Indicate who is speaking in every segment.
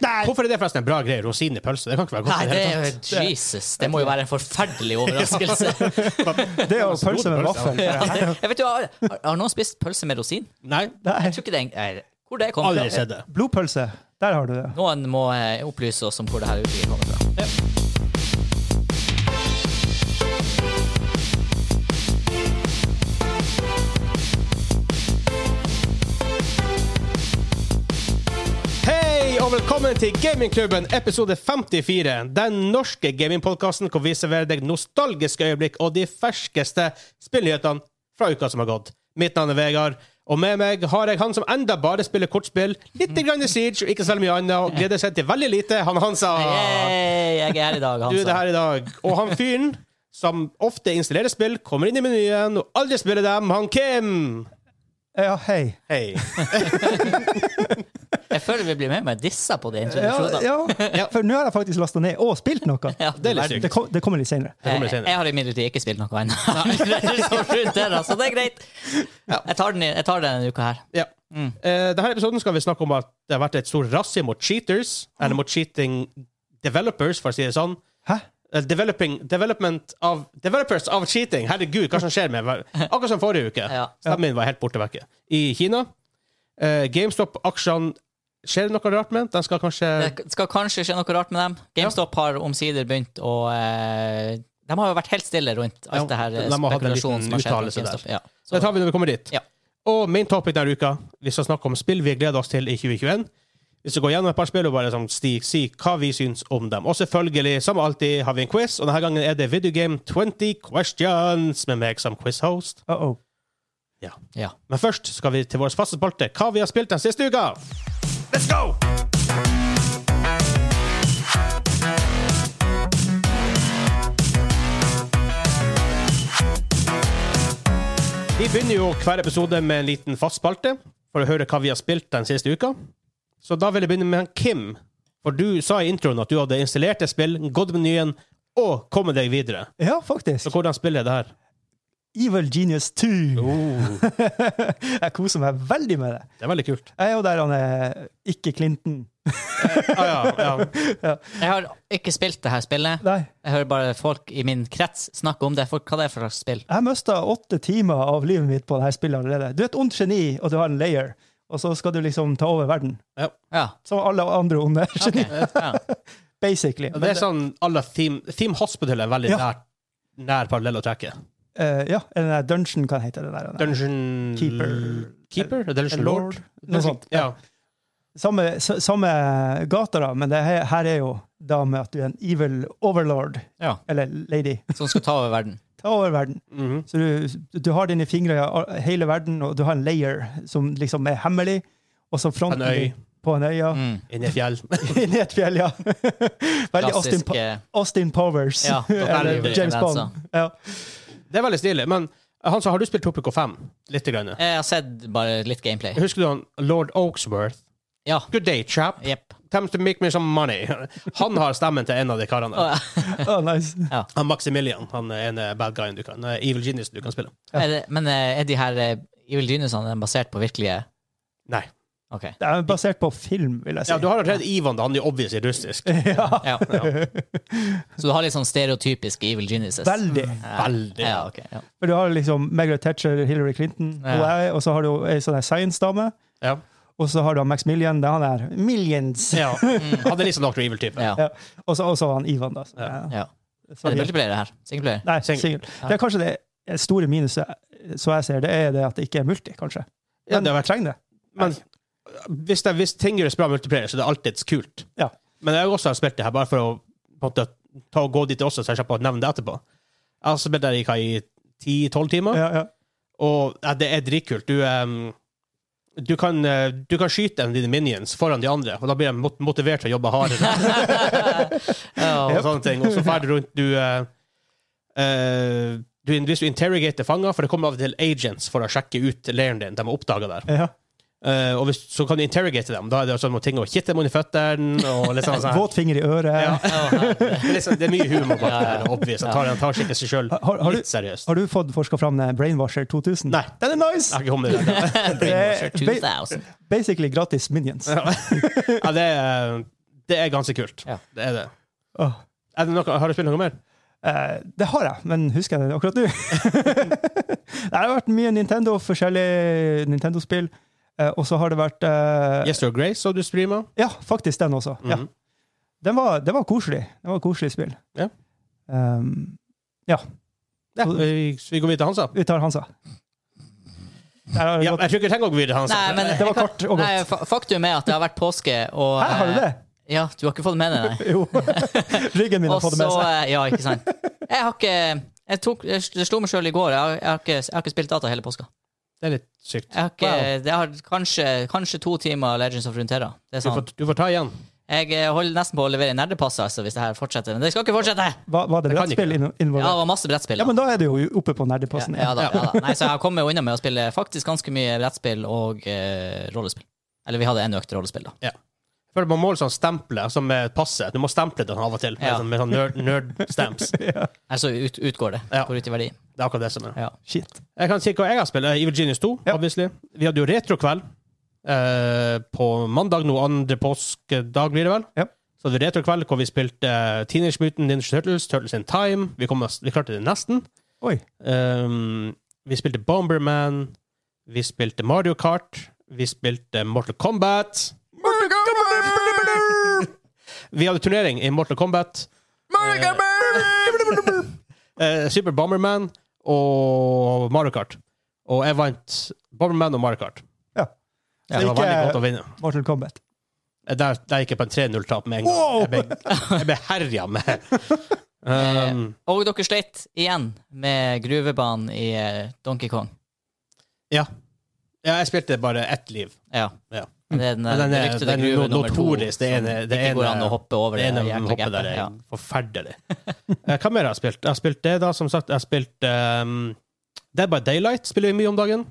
Speaker 1: Nei.
Speaker 2: Hvorfor er det forresten en bra greie? Rosin i pølse? Det kan ikke være godt.
Speaker 3: Nei,
Speaker 2: i
Speaker 3: det
Speaker 2: hele
Speaker 3: er
Speaker 2: tatt.
Speaker 3: jo Jesus. Det må jo være en forferdelig overraskelse.
Speaker 1: Det er jo pølse med vaffel.
Speaker 3: Ja, det- Jeg vet jo, har, har noen spist pølse med rosin?
Speaker 2: Nei,
Speaker 1: Nei,
Speaker 3: Jeg tror ikke det er Hvor det kom
Speaker 2: aldri
Speaker 3: fra?
Speaker 2: sett det.
Speaker 1: Blodpølse. Der har du det.
Speaker 3: Noen må eh, opplyse oss om hvor det her utgivet kommer fra.
Speaker 2: Hei og velkommen til Gamingklubben episode 54. Den norske gamingpodkasten hvor vi serverer deg nostalgiske øyeblikk og de ferskeste spillnyhetene fra uka som har gått. Mitt navn er Vegard, og med meg har jeg han som enda bare spiller kortspill, litt grann i Siege og ikke så veldig mye annet, og gleder seg til veldig lite, han Hansa.
Speaker 3: Yay, jeg er her i dag, altså.
Speaker 2: Du er det
Speaker 3: Hansa.
Speaker 2: her i dag. Og han fyren som ofte installerer spill, kommer inn i menyen og aldri spiller dem, han Kim.
Speaker 1: Ja, hei.
Speaker 2: Hei.
Speaker 3: Jeg føler vi blir mer og mer dissa på de
Speaker 1: Ja,
Speaker 3: introduksjonene.
Speaker 1: ja. For nå har jeg faktisk lasta ned og spilt noe.
Speaker 3: Ja,
Speaker 2: Det er litt sykt.
Speaker 1: Det, kom, det kommer litt senere.
Speaker 2: Det kommer
Speaker 3: Jeg,
Speaker 2: litt senere.
Speaker 3: jeg har imidlertid ikke spilt noe ennå. så rundt her, altså. det er greit. Jeg tar den, i- jeg tar den denne uka her.
Speaker 2: Ja.
Speaker 3: Mm.
Speaker 2: Eh, denne episoden skal vi snakke om at det har vært et stort razzia mot cheaters,
Speaker 3: Mm.
Speaker 2: eller mot cheating developers, for å si det sånn.
Speaker 1: Hæ?
Speaker 2: Eh, Developing, development av, developers av cheating! Herregud, hva som skjer med hver- Akkurat som forrige uke.
Speaker 3: Ja.
Speaker 2: Stemmen min var helt borte vekke. I Kina. Eh, GameStop-aksjene Skjer det noe rart med den? Den skal kanskje
Speaker 3: Det skal kanskje skje noe rart med dem. GameStop har omsider begynt å eh, De har jo vært helt stille rundt
Speaker 2: Ja,
Speaker 3: alt det her eh,
Speaker 2: de har hatt en
Speaker 3: spekulasjonen som
Speaker 2: liten
Speaker 3: har skjedd. rundt
Speaker 2: uttalelse
Speaker 3: GameStop. Ja. Så,
Speaker 2: Det tar vi når vi kommer dit.
Speaker 3: Ja.
Speaker 2: Og main topic denne uka. Vi skal snakke om spill vi gleder oss til i 2021. Vi skal gå gjennom et par spill og bare sånn, si, si hva vi syns om dem. Og selvfølgelig, som alltid, har vi en quiz, og denne gangen er det Video Game 20 Questions med meg som quizhost.
Speaker 1: Uh -oh.
Speaker 3: ja.
Speaker 2: Men først skal vi til vår faste spalte Hva vi har spilt den siste uka. Let's go! Vi begynner jo hver episode med en liten fast spalte for å høre hva vi har spilt den siste uka. Så da vil jeg begynne med Kim. For du sa i introen at du hadde installert et spill, gått med menyen og kommet deg videre.
Speaker 1: Ja, faktisk.
Speaker 2: Så hvordan spiller det her?
Speaker 1: Evil Genius 2.
Speaker 2: Oh.
Speaker 1: jeg koser meg veldig med det.
Speaker 2: Det er veldig kult.
Speaker 1: Jeg er jo der han er ikke Clinton.
Speaker 2: Ah, ja, ja.
Speaker 3: Jeg har ikke spilt det her spillet.
Speaker 1: Nei.
Speaker 3: Jeg hører bare folk i min krets snakke om det. Folk, hva det er for slags spill?
Speaker 1: Jeg mista åtte timer av livet mitt på dette spillet allerede. Du er et ondt geni, og du har en layer, og så skal du liksom ta over verden.
Speaker 3: Ja.
Speaker 1: Som alle andre onde
Speaker 3: ok.
Speaker 1: geni,
Speaker 3: ja.
Speaker 1: basically.
Speaker 2: Ja, det er sånn alle Theme, theme Hospital er en veldig
Speaker 1: Ja.
Speaker 2: nær, nær parallell å trekke.
Speaker 1: Eh, ja, eller den der dungeon, hva heter det der? den der?
Speaker 2: Dungeon
Speaker 1: Keeper.
Speaker 2: Keeper? Dungeon Lord?
Speaker 1: Noe sånt.
Speaker 2: Ja.
Speaker 1: Samme, s- samme gata, da, men det her, her er jo da med at du er en evil overlord,
Speaker 3: ja.
Speaker 1: eller lady.
Speaker 3: Som skal ta over verden.
Speaker 1: Ta over verden.
Speaker 2: Mhm.
Speaker 1: Så du, du har dine fingre i a- hele verden, og du har en layer som liksom er hemmelig, og så fronten
Speaker 2: En øy.
Speaker 1: din på en øy, ja.
Speaker 3: Mm.
Speaker 2: Inni et fjell.
Speaker 1: Inni et fjell, ja. Veldig Austin,
Speaker 3: Klassisk
Speaker 1: Po-
Speaker 3: eh,
Speaker 1: Austin Powers.
Speaker 3: Ja,
Speaker 1: eller
Speaker 3: Dr.
Speaker 1: James
Speaker 3: Evil,
Speaker 1: Bond.
Speaker 3: altså.
Speaker 1: Ja.
Speaker 2: Det er veldig stilig. Men eh, Hansa, har du spilt Topico 5? Lite grann.
Speaker 3: eh, Jeg har sett bare litt gameplay.
Speaker 2: Husker du han Lord Oaksworth?
Speaker 3: Ja.
Speaker 2: Good day, chap.
Speaker 3: Jepp.
Speaker 2: Times to make me some money. Han har stemmen til en av de karene.
Speaker 3: Å,
Speaker 1: Oh, nice.
Speaker 2: Han Maximilian. Han er ene bad guyen du kan. Nei, Evil genius du kan spille.
Speaker 3: Er det- Men eh, er de her eh, Evil Geniusene basert på virkelige
Speaker 2: Nei.
Speaker 3: OK.
Speaker 1: Det er basert på film, vil jeg si.
Speaker 2: Ja, du har allerede Ivan, da. Han er jo obviously russisk.
Speaker 3: Ja. Så du har litt sånn stereotypiske Evil Geniuses?
Speaker 1: Veldig.
Speaker 3: Ja.
Speaker 2: Veldig.
Speaker 3: Ja, ok. Ja.
Speaker 1: For du har liksom Margaret Thatcher, Hillary Clinton,
Speaker 3: Ja.
Speaker 1: og, jeg, og så har du ei sånn her science-dame,
Speaker 2: Ja.
Speaker 1: og så har du han Max Millian, det er han der Millions!
Speaker 2: ja. Han er litt sånn Dr. Evil-type.
Speaker 3: Ja.
Speaker 1: Ja. Og så og så han Ivan, da.
Speaker 2: Ja.
Speaker 1: Ja.
Speaker 3: Ja.
Speaker 1: Så-
Speaker 3: Er det multiplayer her? Singleplayer?
Speaker 1: Nei,
Speaker 2: Single.
Speaker 1: single. Det er kanskje det store minuset, så jeg ser det, er det at det ikke er multi, kanskje.
Speaker 2: Ja,
Speaker 1: Men
Speaker 2: det har
Speaker 1: jeg trenger det.
Speaker 2: Men hvis, det, hvis ting gjøres bra multiplayer, så er det alltid kult.
Speaker 1: Ja.
Speaker 2: Men jeg har også spilt det her bare for å på en måte, ta og gå dit også, så jeg slipper å nevne det etterpå. Jeg har spilt det i hva, i 10-12 timer,
Speaker 1: Ja, ja.
Speaker 2: og ja, det er dritkult. Du, em, du, kan, eh, du kan skyte en av dine minions foran de andre, og da blir de mot motivert til å jobbe hardere.
Speaker 3: Ja.
Speaker 2: og sånne ting. Og så drar du rundt du, eh, eh, du Hvis du interrogater fanger, for det kommer av og til agents for å sjekke ut leiren din, de er oppdaga der.
Speaker 1: ja.
Speaker 2: Eh, og hvis, så kan du interrogate dem. Da er det sånn ting å kitte dem under føttene. og litt sånn sånn.
Speaker 1: Våt finger i øret.
Speaker 2: Ja.
Speaker 3: Ja.
Speaker 2: Det er liksom, det er mye humor bak
Speaker 3: Ja,
Speaker 2: det.
Speaker 3: ja.
Speaker 2: her, obvious. Han tar, han tar ikke seg sjøl
Speaker 1: Har, har,
Speaker 2: litt
Speaker 1: du,
Speaker 2: seriøst.
Speaker 1: har du fått forska fram den Brainwasher 2000?
Speaker 2: Nei.
Speaker 1: Den er
Speaker 2: Jeg
Speaker 1: nice!
Speaker 2: har ikke kommet dit ennå.
Speaker 3: Brainwasher 2000.
Speaker 1: Basically gratis minions.
Speaker 2: Ja, det, er- Det er ganske kult.
Speaker 3: Ja.
Speaker 2: Det er det.
Speaker 1: Åh.
Speaker 2: Er det noe, har du spilt noe mer?
Speaker 1: Eh, det har jeg, men husker jeg det akkurat nå? det har vært mye Nintendo, forskjellige Nintendo-spill. eh, og så har det vært eh,
Speaker 2: Yes or Grace så du streama.
Speaker 1: Ja, faktisk den også. Ja.
Speaker 2: Mhm.
Speaker 1: Den, var, den var koselig. Den var et koselig spill.
Speaker 2: Ja.
Speaker 1: Um,
Speaker 2: Ja, vi, vi går videre til Hansa.
Speaker 1: vi tar Hansa. Der har det
Speaker 2: Ja,
Speaker 1: gått.
Speaker 2: jeg tror ikke jeg trenger å gå videre til Hansa.
Speaker 3: Nei, men
Speaker 1: Altså, Det var kort og godt.
Speaker 3: Nei, fa- faktum er at det har vært påske, og
Speaker 1: Hæ, har du det?
Speaker 3: eh, Ja, du har ikke fått det med deg, nei.
Speaker 1: Jo. Ryggen min har
Speaker 3: Og
Speaker 1: fått det med
Speaker 3: så
Speaker 1: seg.
Speaker 3: eh, Ja, ikke sant. Jeg har ikke jeg tok, jeg, Det slo meg sjøl i går. Jeg har, jeg, har ikke, jeg har ikke spilt data hele påska.
Speaker 2: Det er litt sykt.
Speaker 3: Jeg har ikke, Det har kanskje, kanskje to timer Legends of Runeterra. Det er
Speaker 2: Du får,
Speaker 3: sånn.
Speaker 2: du får ta igjen.
Speaker 3: Jeg eh, holder nesten på å levere nerdepasset altså, hvis det her fortsetter. Men det skal ikke fortsette!
Speaker 1: Var, var det
Speaker 2: kan
Speaker 1: brettspill inno-
Speaker 3: Ja, det
Speaker 1: involvert?
Speaker 3: var masse brettspill.
Speaker 1: Ja,
Speaker 3: da.
Speaker 1: men da er du jo oppe på nerdeposten.
Speaker 3: ja, ja,
Speaker 1: igjen.
Speaker 3: da, ja, da. Nei, så jeg kommer jo unna med å spille faktisk ganske mye brettspill og eh, rollespill. Eller vi hadde en økt rollespill, da.
Speaker 2: Jeg føler Man må sånn stemple som er passet. Du må stemple den av og til med
Speaker 3: Ja.
Speaker 2: sånn, med sånn nerd, nerd stamps.
Speaker 3: Altså ut, utgår det.
Speaker 2: Ja.
Speaker 3: Går ut i verdi.
Speaker 2: Det er akkurat det som er.
Speaker 3: Ja.
Speaker 1: Shit.
Speaker 2: Jeg kan si hva jeg har spilt. Evil Genius 2,
Speaker 1: Ja.
Speaker 2: obviously. Vi hadde jo retrokveld eh, på mandag, nå andre påskedag blir det vel.
Speaker 1: Ja.
Speaker 2: Så hadde vi retrokveld hvor vi spilte eh, Teenage Mutant Ninja Turtles, Turtles in Time. Vi, kom, oss- vi klarte det nesten.
Speaker 1: Oi.
Speaker 2: Um, vi spilte Bomberman. Vi spilte Mario Kart. Vi spilte Mortal Kombat. Vi hadde turnering i Mortal Kombat. Eh, Super Bomberman og Mario Kart. Og jeg vant Bomberman og Mario Kart.
Speaker 1: Ja.
Speaker 2: Så det var
Speaker 1: ikke-
Speaker 2: veldig godt å vinne.
Speaker 1: Mortal Kombat.
Speaker 2: Eh, Der, der gikk jeg på en 3-0-tap med en gang.
Speaker 1: Wow!
Speaker 2: Jeg ble, jeg ble herja med. Um,
Speaker 3: Og dere sleit igjen med gruvebanen i eh, Donkey Kong.
Speaker 2: ja. ja. Jeg spilte bare ett liv.
Speaker 3: Ja.
Speaker 2: Ja.
Speaker 3: Det er den,
Speaker 2: Men den er-
Speaker 3: ryktede
Speaker 2: den er
Speaker 3: gruve
Speaker 2: no-
Speaker 3: nummer to
Speaker 2: notorisk. Det
Speaker 3: som
Speaker 2: ene- det
Speaker 3: ikke går
Speaker 2: ene-
Speaker 3: an å hoppe over
Speaker 2: Det
Speaker 3: det,
Speaker 2: ene
Speaker 3: jækla
Speaker 2: hoppet
Speaker 3: gapet.
Speaker 2: der er
Speaker 3: Ja.
Speaker 2: forferdelig. Eh, Hva mer har jeg spilt? Jeg har spilt det, da. Som sagt, jeg har spilt um, Dead by Daylight spiller vi mye om dagen.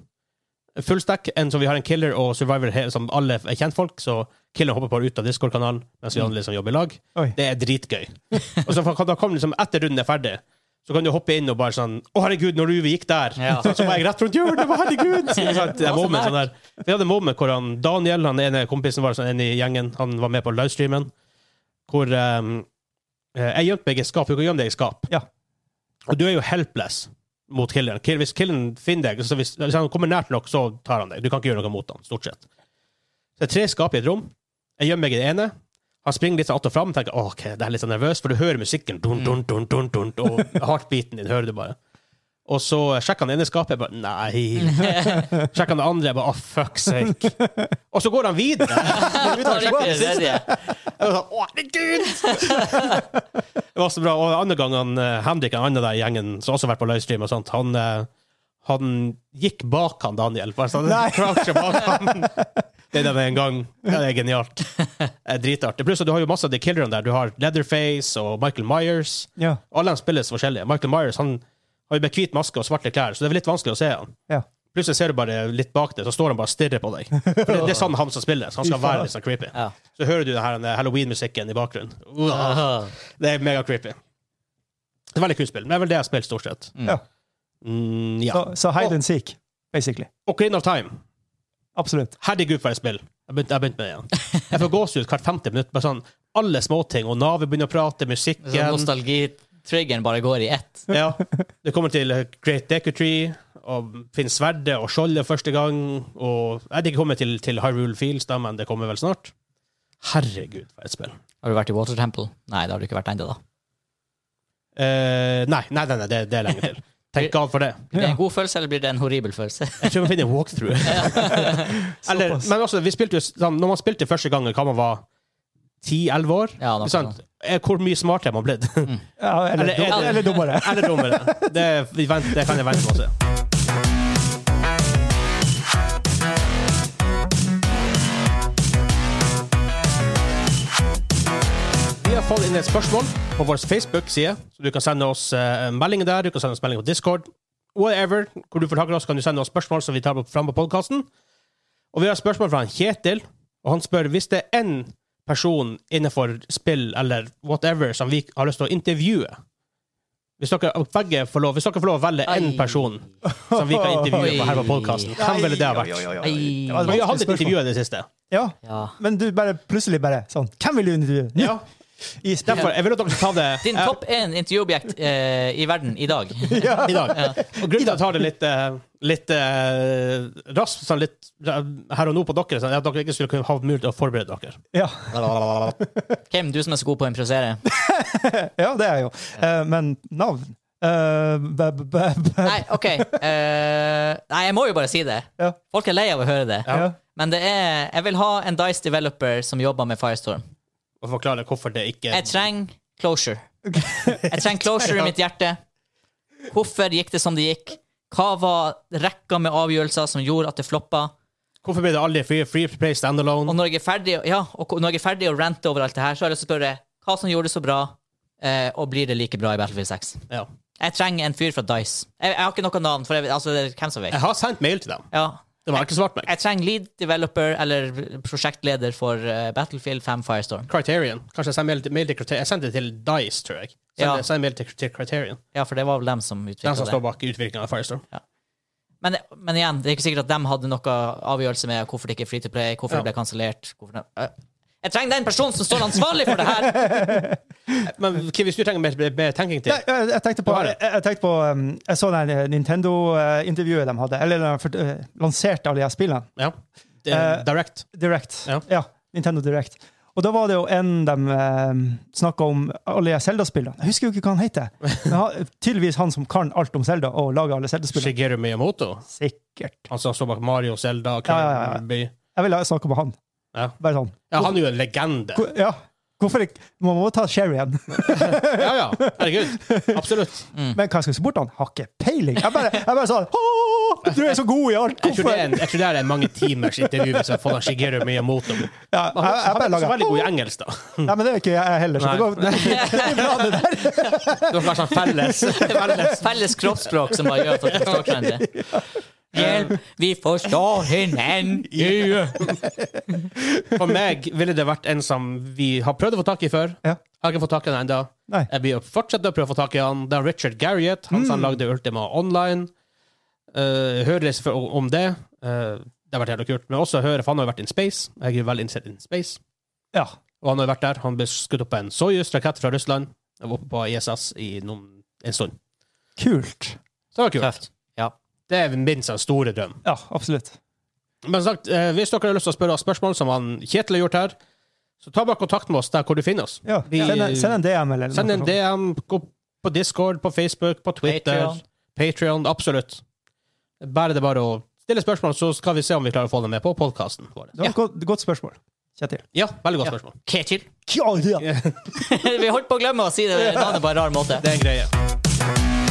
Speaker 2: Full stack. En som vi har en killer og survivor he- som alle er kjentfolk, så killer hopper bare ut av Discord-kanalen mens vi andre liksom jobber i lag.
Speaker 1: Oi.
Speaker 2: Det er dritgøy. Og så kan- da kan liksom etter runden er ferdig, så kan du hoppe inn og bare sånn Å, herregud, når Ruve gikk der,
Speaker 3: Ja.
Speaker 2: så var jeg rett rundt hjørnet! men Herregud! Ikke sant? Det er
Speaker 3: Det var så
Speaker 2: moment, sånn der. Vi hadde en moment hvor han, Daniel, han ene kompisen vår, sånn, en i gjengen, han var med på livestreamen, hvor ehm, eh, jeg gjemte meg i et skap. Du kan gjemme deg i et skap.
Speaker 1: Ja.
Speaker 2: Og du er jo helpless mot killeren. Kill- Hvis killeren finner deg, så hvis, hvis han kommer nært nok, så tar han deg. Du kan ikke gjøre noe mot han, stort sett. Så det er tre skap i et rom. Jeg gjemmer meg i det ene. Han springer litt sånn att og fram og tenker «Åh, ok, det er litt sånn nervøs, for du hører musikken. Dun, dun, dun, dun, dun, og heartbeaten din hører du bare. Og så sjekker han det ene skapet. Jeg bare Nei. sjekker han det andre. Jeg bare Å, fuck sake. Og så går han videre.
Speaker 3: Han tar ikke det tredje.
Speaker 2: Jeg var sånn, Å, herregud! det var så bra. Og andre gang han, eh, Henrik, en annen der i gjengen, som også har vært på livestream, og sånt, han, eh, han gikk bak han, Daniel. Bare sånn, croucher bak han. Det er det en gang. Ja, det er genialt. Det er dritartig. Pluss at du har jo masse av de killerne der. Du har Leatherface og Michael Myers.
Speaker 1: Ja.
Speaker 2: Alle de spilles forskjellige. Michael Myers han har jo med hvit maske og svarte klær, så det er litt vanskelig å se han.
Speaker 1: Ja.
Speaker 2: Plutselig ser du bare litt bak deg, så står han bare og stirrer på deg. For det, det er sånn han som spilles. Han skal
Speaker 1: Fy faen.
Speaker 2: være litt sånn creepy.
Speaker 3: Ja.
Speaker 2: Så hører du den her, den Halloween-musikken i bakgrunnen. Uah, Det er mega creepy. Det er veldig kult spill. men Det er vel det jeg har spilt, stort sett.
Speaker 3: Mm.
Speaker 1: Ja.
Speaker 2: Mm, ja.
Speaker 1: Så, så hide and seek, basically.
Speaker 2: Ocarina of Time.
Speaker 1: Absolutt.
Speaker 2: Herregud, for et spill. Jeg begynte jeg begynte med det igjen. Jeg får gåsehud hvert 50 minutt. Bare sånn alle småting. Og navet begynner å prate, musikken
Speaker 3: Så nostalgitriggeren bare går i ett.
Speaker 2: Ja. Du kommer til Great Deku Tree, og finner sverdet og skjoldet første gang. Og jeg hadde ikke kommet til, til Hyrule Fields, da, men det kommer vel snart. Herregud, for et spill.
Speaker 3: Har du vært i Water Temple? Nei, det har du ikke vært ennå, da.
Speaker 2: Eh, nei, nei, nei, nei det, det er lenge til. Tenk av for det.
Speaker 3: Blir det en god følelse, eller blir det en horribel følelse?
Speaker 2: Jeg tror jeg må finne en walkthrough. Eller,
Speaker 1: Såpass.
Speaker 2: men også, vi spilte jo, sånn, når man spilte første gangen, hva man var 10-11 år
Speaker 3: Ja, da-
Speaker 2: ikke sant? Er- Hvor mye smartere er man blitt?
Speaker 1: Ja, eller,
Speaker 2: Eller-
Speaker 1: dum-
Speaker 2: eller-
Speaker 1: eller dummere.
Speaker 2: Eller dummere? Det, vi vent- det kan jeg vente med å se. Vi har fått inn et spørsmål på vår Facebook-side, så du kan sende oss eh, meldinger der. Du kan sende oss meldinger på Discord. Whatever. Hvor du får tak i oss, kan du sende oss spørsmål som vi tar opp fram på podkasten. Og vi har et spørsmål fra han Kjetil, og han spør hvis det er én person innenfor spill eller whatever som vi har lyst til å intervjue. Hvis dere begge får lov, hvis dere får lov å velge én
Speaker 3: Ai.
Speaker 2: person som vi kan intervjue på her på podkasten, hvem ville det ha
Speaker 1: Oi,
Speaker 2: vært?
Speaker 1: oi, oi, oi.
Speaker 3: Ei.
Speaker 1: Det var et
Speaker 2: Vi har hatt
Speaker 1: vanskelig
Speaker 2: et
Speaker 1: spørsmål.
Speaker 2: intervju i det siste.
Speaker 1: Ja,
Speaker 3: Ja.
Speaker 1: men du bare plutselig bare sånn Hvem vil du intervjue? Nå!
Speaker 2: Ja.
Speaker 1: I spill.
Speaker 2: Derfor, jeg vil at dere skal ta det
Speaker 3: Din
Speaker 2: eh,
Speaker 3: topp én intervjuobjekt eh, i verden i dag.
Speaker 1: Ja.
Speaker 2: i dag. Og grunnen til at jeg tar det litt, eh, litt eh, raskt, sånn litt eh, her og nå på dere, sånn, er at dere ikke skulle kunne ha mulighet til å forberede dere.
Speaker 1: Ja.
Speaker 3: Hvem du som er så god på å improvisere?
Speaker 1: ja, det er jeg jo. Eh, men navn Eh, bæ, bæ, bæ, bæ.
Speaker 3: Nei, OK. Eh, nei, jeg må jo bare si det.
Speaker 1: Ja.
Speaker 3: Folk er lei av å høre det.
Speaker 1: Ja.
Speaker 3: Men det er, jeg vil ha en Dice Developer som jobber med Firestorm.
Speaker 2: Og forklare hvorfor det ikke
Speaker 3: Jeg trenger closure. Jeg trenger closure i mitt hjerte. Hvorfor gikk det som det gikk? Hva var rekka med avgjørelser som gjorde at det floppa?
Speaker 2: Hvorfor ble det aldri free, free play
Speaker 3: Og
Speaker 2: standalone?
Speaker 3: når jeg er ferdig, ja, og når jeg er ferdig å rante over alt det her, så har jeg lyst til å spørre hva som gjorde det så bra, eh, og blir det like bra i Battlefield 6?
Speaker 2: Ja.
Speaker 3: Jeg trenger en fyr fra Dice. Jeg, jeg har ikke noe navn, for jeg, altså, det er hvem som vet.
Speaker 2: Jeg har sendt mail til dem.
Speaker 3: Ja.
Speaker 2: De har ikke svart meg.
Speaker 3: Jeg trenger lead developer eller prosjektleder for eh, Battlefield 5 Firestorm.
Speaker 2: Criterion. Kanskje jeg sendte mail, til- mail til Criterion. Jeg sendte det til Dice, tror jeg. Sendte,
Speaker 3: Ja.
Speaker 2: Send mail til, til Criterion.
Speaker 3: Ja, for det var vel dem som
Speaker 2: Den
Speaker 3: utvikla
Speaker 2: som
Speaker 3: det.
Speaker 2: står bak utviklingen av Firestorm.
Speaker 3: Men, men igjen, det er ikke sikkert at de hadde noe avgjørelse med hvorfor det ikke er free to play, hvorfor
Speaker 2: Ja.
Speaker 3: det ble kansellert. hvorfor det- Øh. Jeg trenger den personen som står ansvarlig for det her!
Speaker 2: Men hva hvis du trenger mer, mer tenking til
Speaker 1: Nei, jeg, jeg tenkte på,
Speaker 2: Hva var
Speaker 1: jeg,
Speaker 2: det?
Speaker 1: jeg, tenkte på um, jeg så det Nintendo-intervjuet de hadde. Eller de for- eh, lanserte alle de her spillene.
Speaker 2: Ja. Det,
Speaker 1: Eh,
Speaker 2: direct.
Speaker 1: Direct.
Speaker 2: Ja.
Speaker 1: Ja. Nintendo Direct. Og da var det jo en de eh, snakka om alle de Zelda-spillene. Jeg husker jo ikke hva han heter. Men han, tydeligvis han som kan alt om Zelda og lager alle Zelda-spillene.
Speaker 2: Shigeru Miyamoto.
Speaker 1: Sikkert.
Speaker 2: Han som står bak Mario, Zelda,
Speaker 1: Ja, ja, ja.
Speaker 2: Kirby.
Speaker 1: Jeg ville snakka med han.
Speaker 2: Ja.
Speaker 1: Bare sånn.
Speaker 2: Ja, han er jo en legende.
Speaker 1: Hvor, ja. Hvorfor ikke? Man må ta Sherry igjen.
Speaker 2: Ja, ja. Herregud. Absolutt.
Speaker 1: Men hva skal jeg se bort han? Har ikke peiling. Jeg bare, jeg bare sånn «Åh, Du er så god i alt!
Speaker 2: Jeg tror det
Speaker 1: Hvorfor?
Speaker 2: er, en, jeg tror det er en mange timers intervju hvis jeg får han Shigeru Miyamoto. Han,
Speaker 1: Ja, jeg,
Speaker 2: han
Speaker 1: jeg
Speaker 2: er
Speaker 1: bare
Speaker 2: ikke så
Speaker 1: lager
Speaker 2: veldig god i engelsk, da.
Speaker 1: Nei, men det er ikke jeg heller. Så det går,
Speaker 2: Nei.
Speaker 1: det er bra, det der.
Speaker 2: Det var kanskje han felles. felles.
Speaker 3: Felles kroppsspråk som bare gjør at dere forstår hverandre. Hjelp, vi forstår hverandre!
Speaker 2: For meg ville det vært en som vi har prøvd å få tak i før.
Speaker 1: Ja.
Speaker 2: Jeg har ikke fått tak i han ennå.
Speaker 1: Nei.
Speaker 2: Jeg blir å fortsette å prøve å få tak i han. Det er Richard Garriott, han som lagde Ultima Online. Uh, hører for, om det. Eh, det har vært jævlig kult. Men også høre, for han har jo vært in space. Jeg er veldig interessert in space.
Speaker 1: Ja.
Speaker 2: Og han har jo vært der. Han ble skutt opp av en Soyuz-rakett fra Russland. Jeg var oppe på ISS i noen, en stund.
Speaker 1: Kult.
Speaker 2: Så det var kult.
Speaker 3: Tøft. Ja.
Speaker 2: Det er min sånn store drøm.
Speaker 1: Ja, absolutt.
Speaker 2: Men som sagt, eh, hvis dere har lyst til å spørre oss spørsmål som han Kjetil har gjort her, så ta bare kontakt med oss der hvor du finner oss.
Speaker 1: Ja.
Speaker 2: Vi-
Speaker 1: Send, en, send en DM, eller
Speaker 2: Send en
Speaker 1: noe.
Speaker 2: DM, gå på Discord, på Facebook, på Twitter,
Speaker 3: Patreon.
Speaker 2: Patrion. Absolutt. Bare det bare å stille spørsmål, så skal vi se om vi klarer å få dem med på podkasten vår.
Speaker 1: Det var et godt, godt spørsmål. Kjetil.
Speaker 2: Ja, veldig godt
Speaker 3: Ja.
Speaker 2: spørsmål.
Speaker 3: Ketil.
Speaker 1: Ja, ja.
Speaker 3: Vi holdt på å glemme å si det navnet på en rar måte.
Speaker 2: Det er en greie.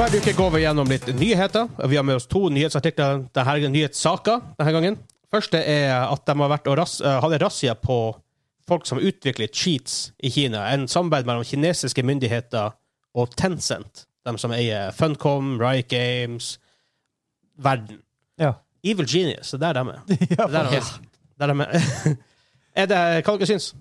Speaker 2: Hver uke går vi gjennom litt nyheter. Vi har med oss to nyhetsartikler denne, nyhetssaker denne gangen. Første er at de har vært og ras, eh, hadde razzia på folk som utvikler cheats i Kina. En samarbeid mellom kinesiske myndigheter og Tencent, de som eier Funcom, Riot Games, verden.
Speaker 1: Ja.
Speaker 2: Evil Genius, det er der de er. Det
Speaker 1: Ja,
Speaker 2: er der de er. Det er. der de er. er det hva dere syns?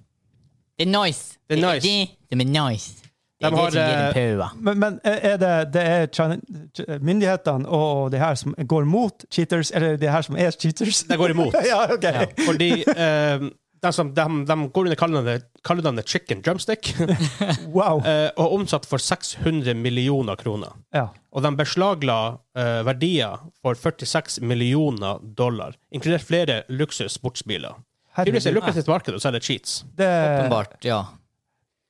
Speaker 3: Det er nice.
Speaker 2: Det er nice.
Speaker 3: Det, det, det er nice. Det
Speaker 2: De
Speaker 3: er det
Speaker 2: har,
Speaker 3: som gir
Speaker 2: eh,
Speaker 3: en paua.
Speaker 1: Men, men er det, det er China- myndighetene og de her som går mot cheaters, eller de her som er cheaters?
Speaker 2: De går imot.
Speaker 1: ja, ok. Ja.
Speaker 2: Fordi eh, de, som, de, de går under kallenavnet kallenavnet Chicken Drumstick
Speaker 1: Wow.
Speaker 2: eh, og er omsatt for 600 millioner kroner.
Speaker 1: Ja.
Speaker 2: Og de beslagla eh, verdier for 46 millioner dollar, inkludert flere luksussportsbiler. Tydeligvis er det lukrativt marked å selge cheats.
Speaker 1: det,
Speaker 3: Åpenbart, ja.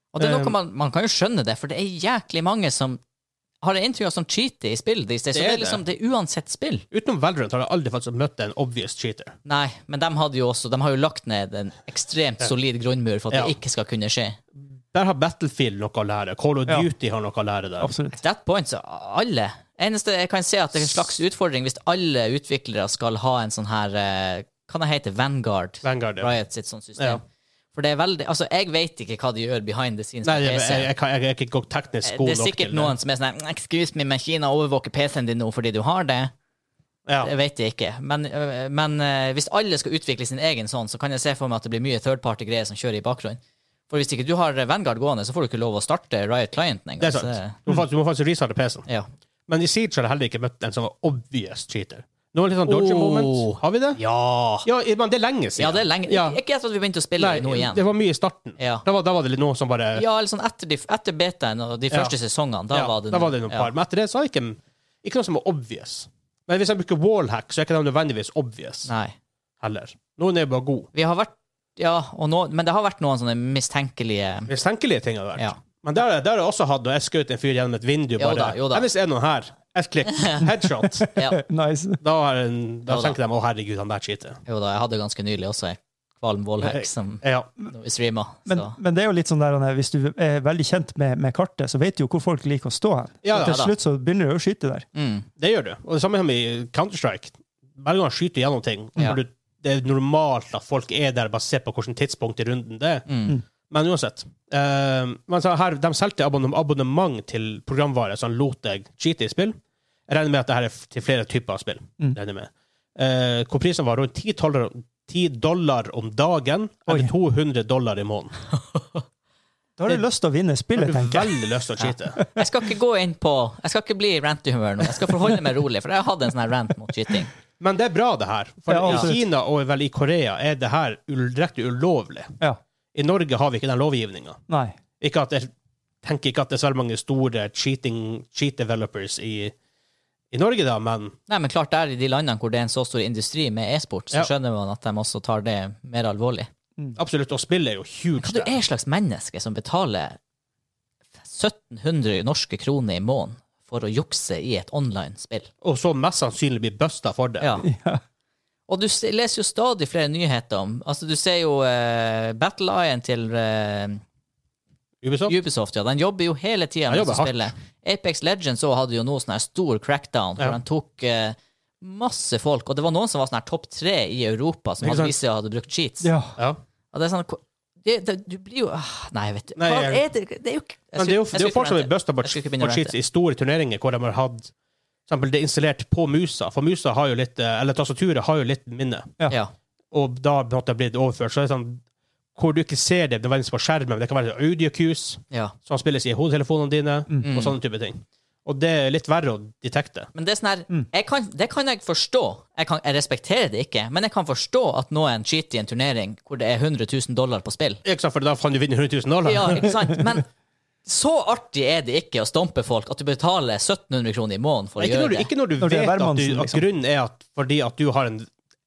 Speaker 3: Og det er
Speaker 2: Eh,
Speaker 3: noe man, man kan jo skjønne det, for det er jæklig mange som har det inntrykk av som cheater i spill these
Speaker 2: Det
Speaker 3: days. Så det
Speaker 2: er
Speaker 3: er liksom det er uansett spill.
Speaker 2: Utenom Valorant har jeg aldri faktisk møtt en obvious cheater.
Speaker 3: Nei, men de hadde jo også De har jo lagt ned en ekstremt solid grunnmur for at
Speaker 2: Ja.
Speaker 3: det ikke skal kunne skje.
Speaker 2: Der har Battlefield noe å lære. Call of
Speaker 1: Ja.
Speaker 2: Duty har noe å lære der.
Speaker 1: Absolutt.
Speaker 3: At that point, så alle Eneste jeg kan se at det er en slags utfordring hvis alle utviklere skal ha en sånn her eh, Hva det heter Vanguard?
Speaker 2: Vanguard, ja.
Speaker 3: Riot sitt sånn system.
Speaker 2: Ja.
Speaker 3: For det er veldig Altså, jeg vet ikke hva de gjør behind the scenes.
Speaker 2: Nei,
Speaker 3: på
Speaker 2: jeg,
Speaker 3: PC.
Speaker 2: jeg, jeg, kan- jeg er ikke godt teknisk god
Speaker 3: Eh, Det
Speaker 2: nok
Speaker 3: er sikkert
Speaker 2: til det.
Speaker 3: noen som er sånn her, Excuse me, men Kina overvåker PC-en din nå fordi du har det.
Speaker 2: Ja.
Speaker 3: Det vet jeg ikke. Men, øh, men øh, hvis alle skal utvikle sin egen sånn, så kan jeg se for meg at det blir mye third party-greier som kjører i bakgrunnen. For hvis ikke du har Vanguard gående, så får du ikke lov å starte Riot Clienten engang.
Speaker 2: Det er
Speaker 3: så det-
Speaker 2: sant. Du må faktisk, du må faktisk restarte PC-en.
Speaker 3: Ja.
Speaker 2: Men i Siege har jeg heller ikke møtt en sånn obvious cheater. Nå er det litt sånn dodgy
Speaker 3: Oh.
Speaker 2: moment. Har vi det?
Speaker 3: Ja.
Speaker 2: Ja, men det er lenge siden.
Speaker 3: ja, det er lenge
Speaker 2: Ja.
Speaker 3: Ikke etter at vi begynte å spille
Speaker 2: Nei,
Speaker 3: nå igjen.
Speaker 2: det var mye i starten.
Speaker 3: Ja.
Speaker 2: Da, var, da var det litt noen som bare
Speaker 3: Ja, eller sånn etter, de, etter betaen og de
Speaker 2: Ja.
Speaker 3: første sesongene. Da
Speaker 2: Ja,
Speaker 3: var det
Speaker 2: da var det noen
Speaker 3: ja.
Speaker 2: par. Men etter det så er det ikke, ikke noe som er obvious. Men hvis jeg bruker wallhack, så er ikke det nødvendigvis obvious
Speaker 3: Nei.
Speaker 2: heller. Noen er jo bare god.
Speaker 3: Vi har vært Ja, og nå, men det har vært noen sånne mistenkelige
Speaker 2: Mistenkelige ting har det vært.
Speaker 3: Ja.
Speaker 2: Men der, der har jeg også hatt når jeg skjøt en fyr gjennom et vindu.
Speaker 3: Jo
Speaker 2: bare,
Speaker 3: da, jo da.
Speaker 2: «Nei, Hvis det er noen her, ett klikk, headshot,
Speaker 3: ja.
Speaker 1: Eh, Nice.
Speaker 2: da, er en, da
Speaker 3: Jo da.
Speaker 2: tenker de å herregud, han der cheater.
Speaker 3: Jo da, jeg hadde ganske nylig også ei kvalm wallhack som
Speaker 2: Ja.
Speaker 3: vi streama.
Speaker 1: Men, men det er jo litt sånn der, Anne, hvis du er veldig kjent med, med kartet, så vet du jo hvor folk liker å stå hen.
Speaker 2: Ja,
Speaker 1: Og
Speaker 2: ja
Speaker 1: til
Speaker 3: da.
Speaker 1: slutt så begynner du å skyte der.
Speaker 3: Mm.
Speaker 2: Det gjør du. Og det samme som i Counter-Strike. Hver gang han skyter gjennom ting,
Speaker 3: Ja.
Speaker 2: når du, det er normalt at folk er der basert på hvilket tidspunkt i runden det er.
Speaker 3: Mm.
Speaker 2: Men uansett. eh, men så her, de solgte abonn abonnement til programvare, så han lot deg cheate i spill. Jeg regner med at det her er f- til flere typer av spill.
Speaker 1: Mm.
Speaker 2: regner jeg med. Eh, hvor prisen var rundt 10 dollar, 10 dollar om dagen, eller
Speaker 1: Oi.
Speaker 2: 200 dollar i måneden.
Speaker 1: Da har du lyst til å vinne
Speaker 2: Jeg har
Speaker 1: spillet,
Speaker 2: du
Speaker 1: tenker jeg.
Speaker 2: veldig lyst til å cheate.
Speaker 3: Jeg skal ikke gå inn på Jeg skal ikke bli i rant-humør nå. Jeg skal forholde meg rolig, for jeg hadde en sånn her rant mot skyting.
Speaker 2: Men det er bra, det her. For
Speaker 1: Ja,
Speaker 2: i
Speaker 1: absolutt.
Speaker 2: Kina og vel i Korea er det her ul- direkte ulovlig.
Speaker 1: Ja.
Speaker 2: I Norge har vi ikke den lovgivninga.
Speaker 1: Nei.
Speaker 2: Ikke at jeg tenker ikke at det er så veldig mange store cheating, cheat developers i, i Norge, da, men
Speaker 3: Nei, men klart der i de landene hvor det er en så stor industri med e-sport, så
Speaker 2: Ja.
Speaker 3: skjønner man at de også tar det mer alvorlig.
Speaker 2: absolutt, å spille er jo huge.
Speaker 3: Hva du er et slags menneske som betaler 1700 norske kroner i måneden for å jukse i et online-spill?
Speaker 2: Og så mest sannsynlig blir busta for det.
Speaker 3: Ja.
Speaker 1: Ja.
Speaker 3: Og du s- leser jo stadig flere nyheter om Altså, du ser jo eh, Battle Iron til eh,
Speaker 2: Ubisoft?
Speaker 3: Ubisoft, ja. Den jobber jo hele tida
Speaker 2: Den
Speaker 3: med
Speaker 2: jobber
Speaker 3: å spille. Apex Legends også hadde jo nå sånn her stor crackdown, hvor
Speaker 2: Ja.
Speaker 3: han tok eh, masse folk, og det var noen som var sånn her topp tre i Europa, som
Speaker 2: Ikke
Speaker 3: hadde
Speaker 2: sant?
Speaker 3: vist seg å hadde brukt cheats.
Speaker 1: ja.
Speaker 2: Ja.
Speaker 3: Og det er sånn hvor- det, det, Du blir jo ah, Nei, vet du.
Speaker 2: Nei,
Speaker 3: Hva
Speaker 2: jeg-
Speaker 3: er det Det er jo ikke jeg
Speaker 2: Men det er jo,
Speaker 3: skulle-
Speaker 2: det er
Speaker 3: jeg
Speaker 2: jo folk som
Speaker 3: skulle ikke
Speaker 2: blir busta på
Speaker 3: Jeg skulle ikke begynne
Speaker 2: på
Speaker 3: å
Speaker 2: cheats
Speaker 3: rante.
Speaker 2: i store turneringer hvor de har hatt for eksempel det installert på musa, for musa har jo litt, eh, eller tastaturet har jo litt minne,
Speaker 1: Ja.
Speaker 3: Ja.
Speaker 2: og da på en måte blir det overført. Så det er sånn, hvor du ikke ser det nødvendigvis på skjermen, men det kan være audio cues
Speaker 3: ja.
Speaker 2: som spilles i hodetelefonene dine,
Speaker 1: Mm.
Speaker 2: og sånne type ting. Og det er litt verre å detekte.
Speaker 3: Men det er sånn her
Speaker 2: Mm.
Speaker 3: jeg kan, Det kan jeg forstå. Jeg, kan, jeg respekterer det ikke, men jeg kan forstå at noen cheater i en turnering hvor det er 100 000 dollar på spill.
Speaker 2: Ikke sant, for da kan du vinne 100 000 dollar.
Speaker 3: Ja, ikke sant? Men så artig er det ikke å stompe folk at du betaler 1700 kroner i måneden for å
Speaker 2: Ikke når,
Speaker 3: gjøre
Speaker 2: du,
Speaker 3: det.
Speaker 2: ikke når du
Speaker 1: Når det er
Speaker 2: vet at, du,
Speaker 1: hvermannsen,
Speaker 2: at
Speaker 1: liksom.
Speaker 2: grunnen er at, fordi at du har en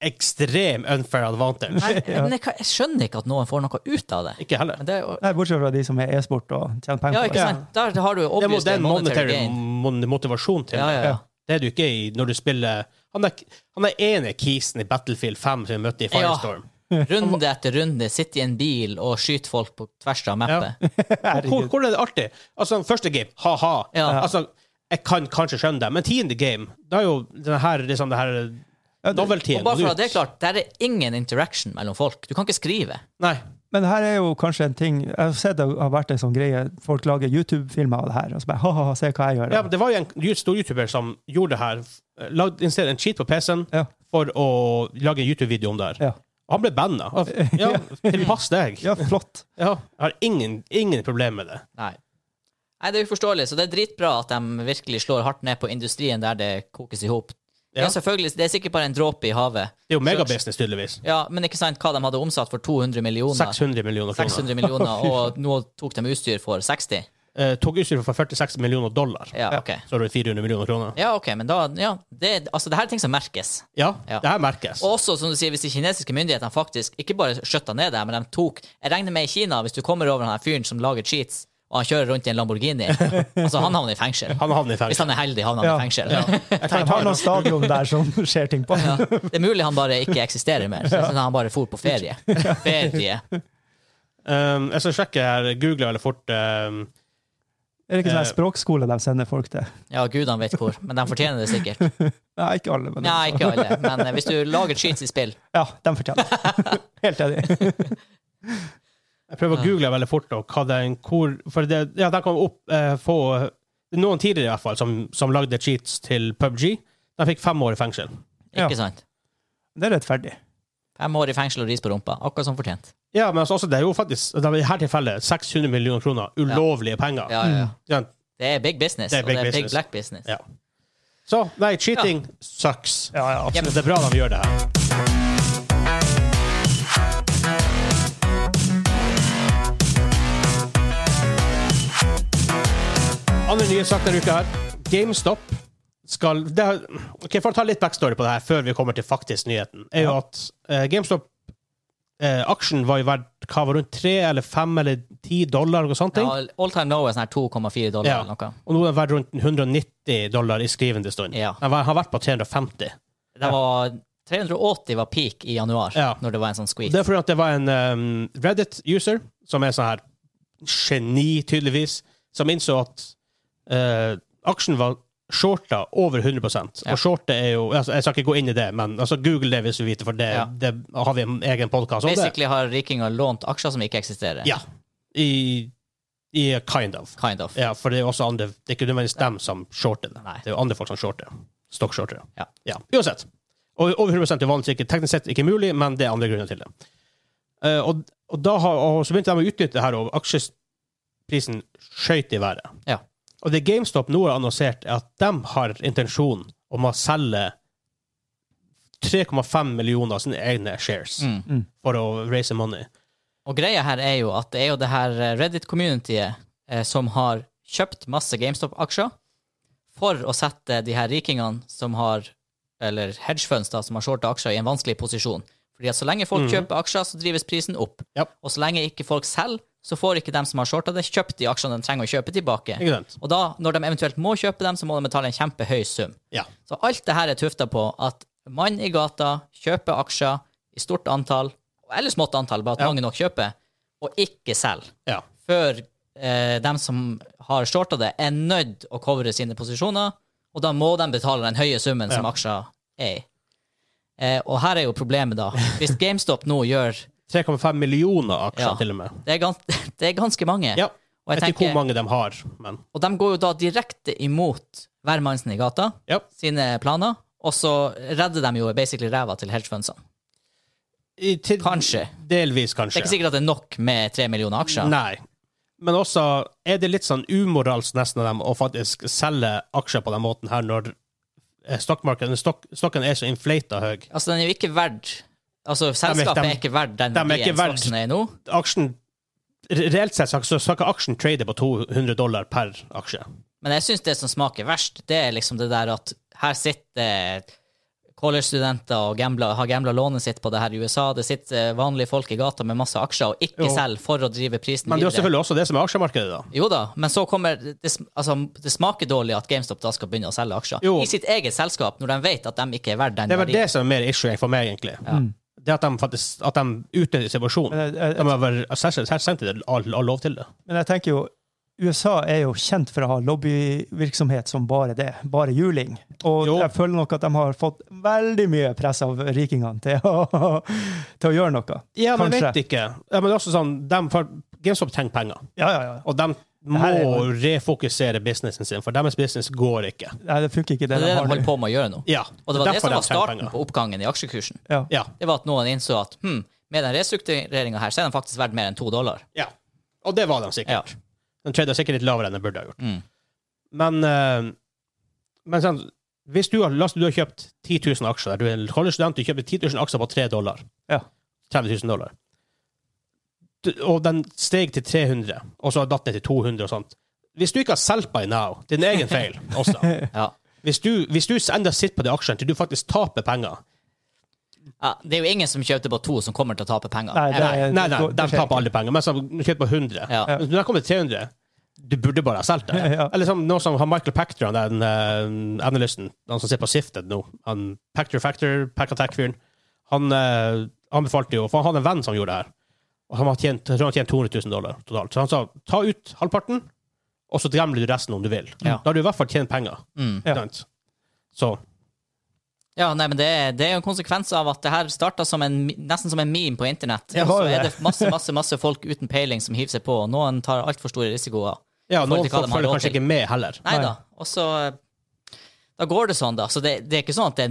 Speaker 2: ekstrem unfair advantage.
Speaker 3: Nei, men jeg, kan- jeg skjønner ikke at noen får noe ut av det.
Speaker 2: Ikke heller.
Speaker 3: Men det er jo-
Speaker 1: Nei, bortsett fra de som er e-sport og tjener penger
Speaker 3: ja,
Speaker 1: på
Speaker 3: ikke
Speaker 1: det.
Speaker 3: sant? Der har du jo
Speaker 2: Det må
Speaker 3: obviously
Speaker 2: den
Speaker 3: monetary
Speaker 2: monetary
Speaker 3: gain.
Speaker 2: mon- motivasjon til.
Speaker 3: Ja, ja, ja.
Speaker 2: Det er du ikke i når du spiller Han er, han er ene kisen i Battlefield 5 som vi møtte i Firestorm.
Speaker 3: Runde etter runde, sitte i en bil og skyte folk på tvers av mappet.
Speaker 2: Og Hvor, hvor er det artig? Altså, første game, ha-ha.
Speaker 3: Ja.
Speaker 2: Altså, jeg kan kanskje skjønne det, men tiende game, da er jo den her, liksom, det her noveltyen
Speaker 3: Og bare for
Speaker 2: gått
Speaker 3: at det er
Speaker 2: ut.
Speaker 3: klart, der er ingen interaction mellom folk. Du kan ikke skrive.
Speaker 2: Nei.
Speaker 1: Men her er jo kanskje en ting Jeg har sett det har vært en sånn greie. Folk lager YouTube-filmer av det her, og så bare ha-ha, se hva jeg gjør.
Speaker 2: Ja, men det var jo en ju- stor YouTuber som gjorde det her. Lagde instead en cheat på PC-en
Speaker 1: Ja.
Speaker 2: for å lage en YouTube-video om det her.
Speaker 1: Ja.
Speaker 2: Og Han ble banna. Ja, tilpass deg.
Speaker 1: ja, flott.
Speaker 2: Ja, jeg har ingen, ingen problem med det.
Speaker 3: Nei. Nei, det er uforståelig, så det er dritbra at de virkelig slår hardt ned på industrien der det kokes i hop. Ja.
Speaker 2: Ja.
Speaker 3: selvfølgelig, det er sikkert bare en dråpe i havet.
Speaker 2: Det er jo megabusiness, tydeligvis.
Speaker 3: Ja, men ikke sant hva de hadde omsatt for 200 millioner.
Speaker 2: 600 millioner kroner.
Speaker 3: 600 millioner, og nå tok de utstyr for 60?
Speaker 2: Eh, tok utstyr for 46 millioner dollar.
Speaker 3: Ja, ok.
Speaker 2: Så er det 400 millioner kroner.
Speaker 3: Ja, ok, men da Ja, det, altså, det her er ting som merkes.
Speaker 2: Ja,
Speaker 3: Ja.
Speaker 2: det her merkes.
Speaker 3: Og også, som du sier, hvis de kinesiske myndighetene faktisk ikke bare skjøtta ned det, her, men de tok Jeg regner med i Kina, hvis du kommer over han her fyren som lager cheats, og han kjører rundt i en Lamborghini Altså, han havner i fengsel.
Speaker 2: Han havner i
Speaker 3: Hvis
Speaker 2: fengsel.
Speaker 3: han er heldig, havner han
Speaker 1: Ja.
Speaker 3: i fengsel.
Speaker 2: Jeg
Speaker 1: Jeg
Speaker 2: kan ta
Speaker 1: har noen stadion der som skjer ting på.
Speaker 3: Ja, det er mulig han bare ikke eksisterer mer. Så jeg synes han bare for på ferie. Ferie.
Speaker 2: um, jeg skal sjekke her, google veldig fort. Um,
Speaker 1: Er det ikke sånn
Speaker 2: Eh.
Speaker 1: her språkskole de sender folk til?
Speaker 3: Ja, gudene vet hvor, men de fortjener det sikkert.
Speaker 1: Nei, ikke alle, men
Speaker 3: Nei, ikke alle, men eh, hvis du lager cheats i spill
Speaker 1: ja, de fortjener det. Helt enig.
Speaker 2: jeg prøver å google veldig fort, og hva det er en kor... For det, ja, der kom opp eh, få Noen tidligere, i hvert fall, som, som lagde cheats til PubG. De fikk fem år i fengsel.
Speaker 1: Ja.
Speaker 3: Ikke sant?
Speaker 1: Det er rettferdig.
Speaker 3: Fem år i fengsel og ris på rumpa. Akkurat som fortjent.
Speaker 2: Ja, men altså, også det er jo faktisk det er i dette tilfellet 600 millioner kroner ulovlige penger.
Speaker 3: Ja, ja, ja.
Speaker 2: Ja.
Speaker 3: Det er big business,
Speaker 2: Det er big
Speaker 3: og det er big
Speaker 2: business.
Speaker 3: black business.
Speaker 2: Ja. Så nei, cheating sucks.
Speaker 1: Ja, ja, absolutt.
Speaker 2: Men det er bra når vi gjør det her. Andre nye sak denne uka her. GameStop skal det, har- Ok, For å ta litt backstory på det her før vi kommer til faktisk nyheten, er jo at eh, GameStop eh, Aksjen var jo verdt hva var det, rundt tre eller fem eller ti dollar. Noe sånt, ting.
Speaker 3: Ja, all time low er sånn her 2,4 dollar
Speaker 2: Ja.
Speaker 3: eller noe.
Speaker 2: Og nå er den verdt rundt 190 dollar i skrivende stund.
Speaker 3: Ja.
Speaker 2: Den var- har vært på 350.
Speaker 3: Det var 380 var peak i januar,
Speaker 2: Ja.
Speaker 3: når det var en sånn squeeze.
Speaker 2: Det er fordi at det var en um, Reddit-user, som er sånn her geni, tydeligvis, som innså at eh, aksjen var shorta over 100
Speaker 3: Ja.
Speaker 2: Og shortet er jo altså, Jeg skal ikke gå inn i det, men altså, google det hvis du vil vite, for det,
Speaker 3: Ja.
Speaker 2: det har vi en egen podkast om. det.
Speaker 3: Basically har rikinger lånt aksjer som ikke eksisterer.
Speaker 2: Ja. I, I kind of.
Speaker 3: Kind of.
Speaker 2: Ja, for det er jo også andre Det er ikke nødvendigvis dem som shorter det.
Speaker 3: Nei.
Speaker 2: Det er jo andre folk som shorter. Stockshortere.
Speaker 3: Ja.
Speaker 2: ja. Uansett. Og over 100 er vanligvis ikke teknisk sett ikke mulig, men det er andre grunner til det. Eh, og, og, da har, og så begynte de å utnytte det her, og aksjeprisen skøyt i været.
Speaker 3: Ja.
Speaker 2: Og det GameStop nå har annonsert, er at de har intensjon om å selge 3,5 millioner av sine egne shares
Speaker 3: Mm.
Speaker 2: for å raise money.
Speaker 3: Og greia her er jo at det er jo det her eh, Reddit-communityet eh, som har kjøpt masse GameStop-aksjer for å sette de her rikingene som har eller hedgefunds da, som har shorta aksjer, i en vanskelig posisjon. Fordi at så lenge folk kjøper aksjer, så drives prisen opp.
Speaker 2: Ja.
Speaker 3: Og så lenge ikke folk selger, så får ikke dem som har shorta det, kjøpt de aksjene de trenger å kjøpe tilbake.
Speaker 2: Ikke sant?
Speaker 3: Og da, når de eventuelt må kjøpe dem, så må de betale en kjempehøy sum.
Speaker 2: Ja.
Speaker 3: Så alt det her er tufta på at mann i gata kjøper aksjer i stort antall, eller smått antall, bare at
Speaker 2: Ja.
Speaker 3: mange nok kjøper, og ikke selger.
Speaker 2: Ja.
Speaker 3: Før eh, dem som har shorta det, er nødt å covre sine posisjoner, og da må de betale den høye summen som aksjer er i. Eh, og her er jo problemet, da. Hvis GameStop nå gjør
Speaker 2: 3,5 millioner aksjer,
Speaker 3: Ja.
Speaker 2: til og med.
Speaker 3: Det er, gans det er ganske mange.
Speaker 2: Ja.
Speaker 3: Og
Speaker 2: Jeg
Speaker 3: jeg
Speaker 2: vet ikke
Speaker 3: tenker-
Speaker 2: hvor mange de har, men
Speaker 3: Og de går jo da direkte imot hvermannsen i gata
Speaker 2: ja.
Speaker 3: sine planer, og så redder de jo basically ræva til hedgefundsene.
Speaker 2: I, til,
Speaker 3: Kanskje.
Speaker 2: Delvis,
Speaker 3: Det
Speaker 2: kanskje.
Speaker 3: er ikke sikkert at det er nok med tre millioner aksjer.
Speaker 2: Nei. Men også er det litt sånn umoralsk nesten av dem å faktisk selge aksjer på den måten her, når eh, stokkmarkedet- stokk, stokken er så inflata høy.
Speaker 3: Altså, den er jo ikke verd Altså, selskapet
Speaker 2: dem-
Speaker 3: er ikke verdt den
Speaker 2: dem er ikke
Speaker 3: verdien
Speaker 2: verd-
Speaker 3: aksjen er nå.
Speaker 2: Aksjen re- Reelt sett så så skal ikke aksjen trade på 200 dollar per aksje.
Speaker 3: Men jeg syns det som smaker verst, det er liksom det der at her sitter eh, college-studenter og gambler, har gambla lånet sitt på det her i USA. Det sitter eh, vanlige folk i gata med masse aksjer og ikke
Speaker 2: Jo.
Speaker 3: selger for å drive prisen
Speaker 2: Men det er jo
Speaker 3: videre.
Speaker 2: selvfølgelig også det som er aksjemarkedet, da.
Speaker 3: Jo da, men så kommer det, sm- altså, det smaker dårlig at GameStop da skal begynne å selge aksjer
Speaker 2: Jo.
Speaker 3: i sitt eget selskap, når de vet at de ikke er verdt den
Speaker 2: Det er vel
Speaker 3: verdien.
Speaker 2: det som er mer issue for meg, egentlig. Det at de faktisk at de utnytter situasjonen.
Speaker 1: Men jeg,
Speaker 2: De
Speaker 1: jeg,
Speaker 2: har vel selvstendig all, all lov til det.
Speaker 1: men jeg tenker jo USA er jo kjent for å ha lobbyvirksomhet som bare det. Bare juling. Og
Speaker 2: Jo.
Speaker 1: jeg føler nok at de har fått veldig mye press av rikingene til å, til å gjøre noe.
Speaker 2: Ja, men jeg
Speaker 1: Kanskje.
Speaker 2: vet ikke. Ja, men det er også sånn, dem- for GameStop trenger penger.
Speaker 1: Ja, ja, ja.
Speaker 2: Og de må
Speaker 1: her er jo-
Speaker 2: refokusere businessen sin, for deres business går ikke.
Speaker 1: Nei, det funker ikke, det
Speaker 3: Det er
Speaker 1: de
Speaker 3: det de
Speaker 1: har
Speaker 3: holder
Speaker 1: nå.
Speaker 3: på med å gjøre nå.
Speaker 2: Ja,
Speaker 3: Og det var det
Speaker 2: derfor
Speaker 3: som
Speaker 2: de
Speaker 3: var
Speaker 2: trenger
Speaker 3: starten
Speaker 2: penger.
Speaker 3: på oppgangen i aksjekursen.
Speaker 1: Ja.
Speaker 2: Ja,
Speaker 3: Det var at noen innså at hm, med den restruktureringa her, så er den faktisk verdt mer enn to dollar.
Speaker 2: ja. Og det var de sikkert.
Speaker 3: Ja.
Speaker 2: De tradet sikkert litt lavere enn de burde ha gjort.
Speaker 3: Mm.
Speaker 2: Men, eh, men sånn, hvis du har, la oss si du har kjøpt 10 000 aksjer, du er en college-student, du kjøper 10 000 aksjer på 3 dollar.
Speaker 1: Ja.
Speaker 2: 30 000 dollar. Du- Og den steg til 300, og så har datt ned til 200 og sånt. Hvis du ikke har solgt by now, din egen feil også.
Speaker 3: Ja.
Speaker 2: Hvis du, hvis du enda sitter på de aksjene til du faktisk taper penger,
Speaker 3: Ja, det er jo ingen som kjøpte på to som kommer til å tape penger.
Speaker 1: Nei, det er-
Speaker 2: Nei, nei,
Speaker 1: det- det
Speaker 2: de
Speaker 1: skjer
Speaker 2: taper
Speaker 1: ikke.
Speaker 2: alle penger. Mens de kjøper på 100.
Speaker 3: Ja.
Speaker 2: Men Når de kommer til 300, du burde bare ha solgt det.
Speaker 1: Ja.
Speaker 2: Eller som noe som han Michael Pactor, han der eh, analysten, han som ser på Sifted nå, han Pactor Factor, Pack Attack-fyren, han eh, anbefalte jo For han hadde en venn som gjorde det her. Og han har tjent, jeg tror han har tjent 200 000 dollar totalt. Så han sa ta ut halvparten, og så glemmer du resten om du vil.
Speaker 3: Ja.
Speaker 2: Da har du i hvert fall tjent penger.
Speaker 3: Mm.
Speaker 1: Ja.
Speaker 2: Sant? Så
Speaker 3: Ja, nei, men det er, det er jo en konsekvens av at det her starta som en, mi- nesten som en meme på internett.
Speaker 2: Ja, det
Speaker 3: Og så
Speaker 2: var jo
Speaker 3: er det
Speaker 2: det.
Speaker 3: masse masse, masse folk uten peiling som hiver seg på, og noen tar altfor store risikoer.
Speaker 2: ja,
Speaker 3: Folk
Speaker 2: noen
Speaker 3: til hva de har
Speaker 2: folk følger
Speaker 3: råd
Speaker 2: kanskje
Speaker 3: til.
Speaker 2: ikke med heller.
Speaker 3: Nei da. Og så eh, Da går det sånn, da. Så det, det er ikke sånn at det,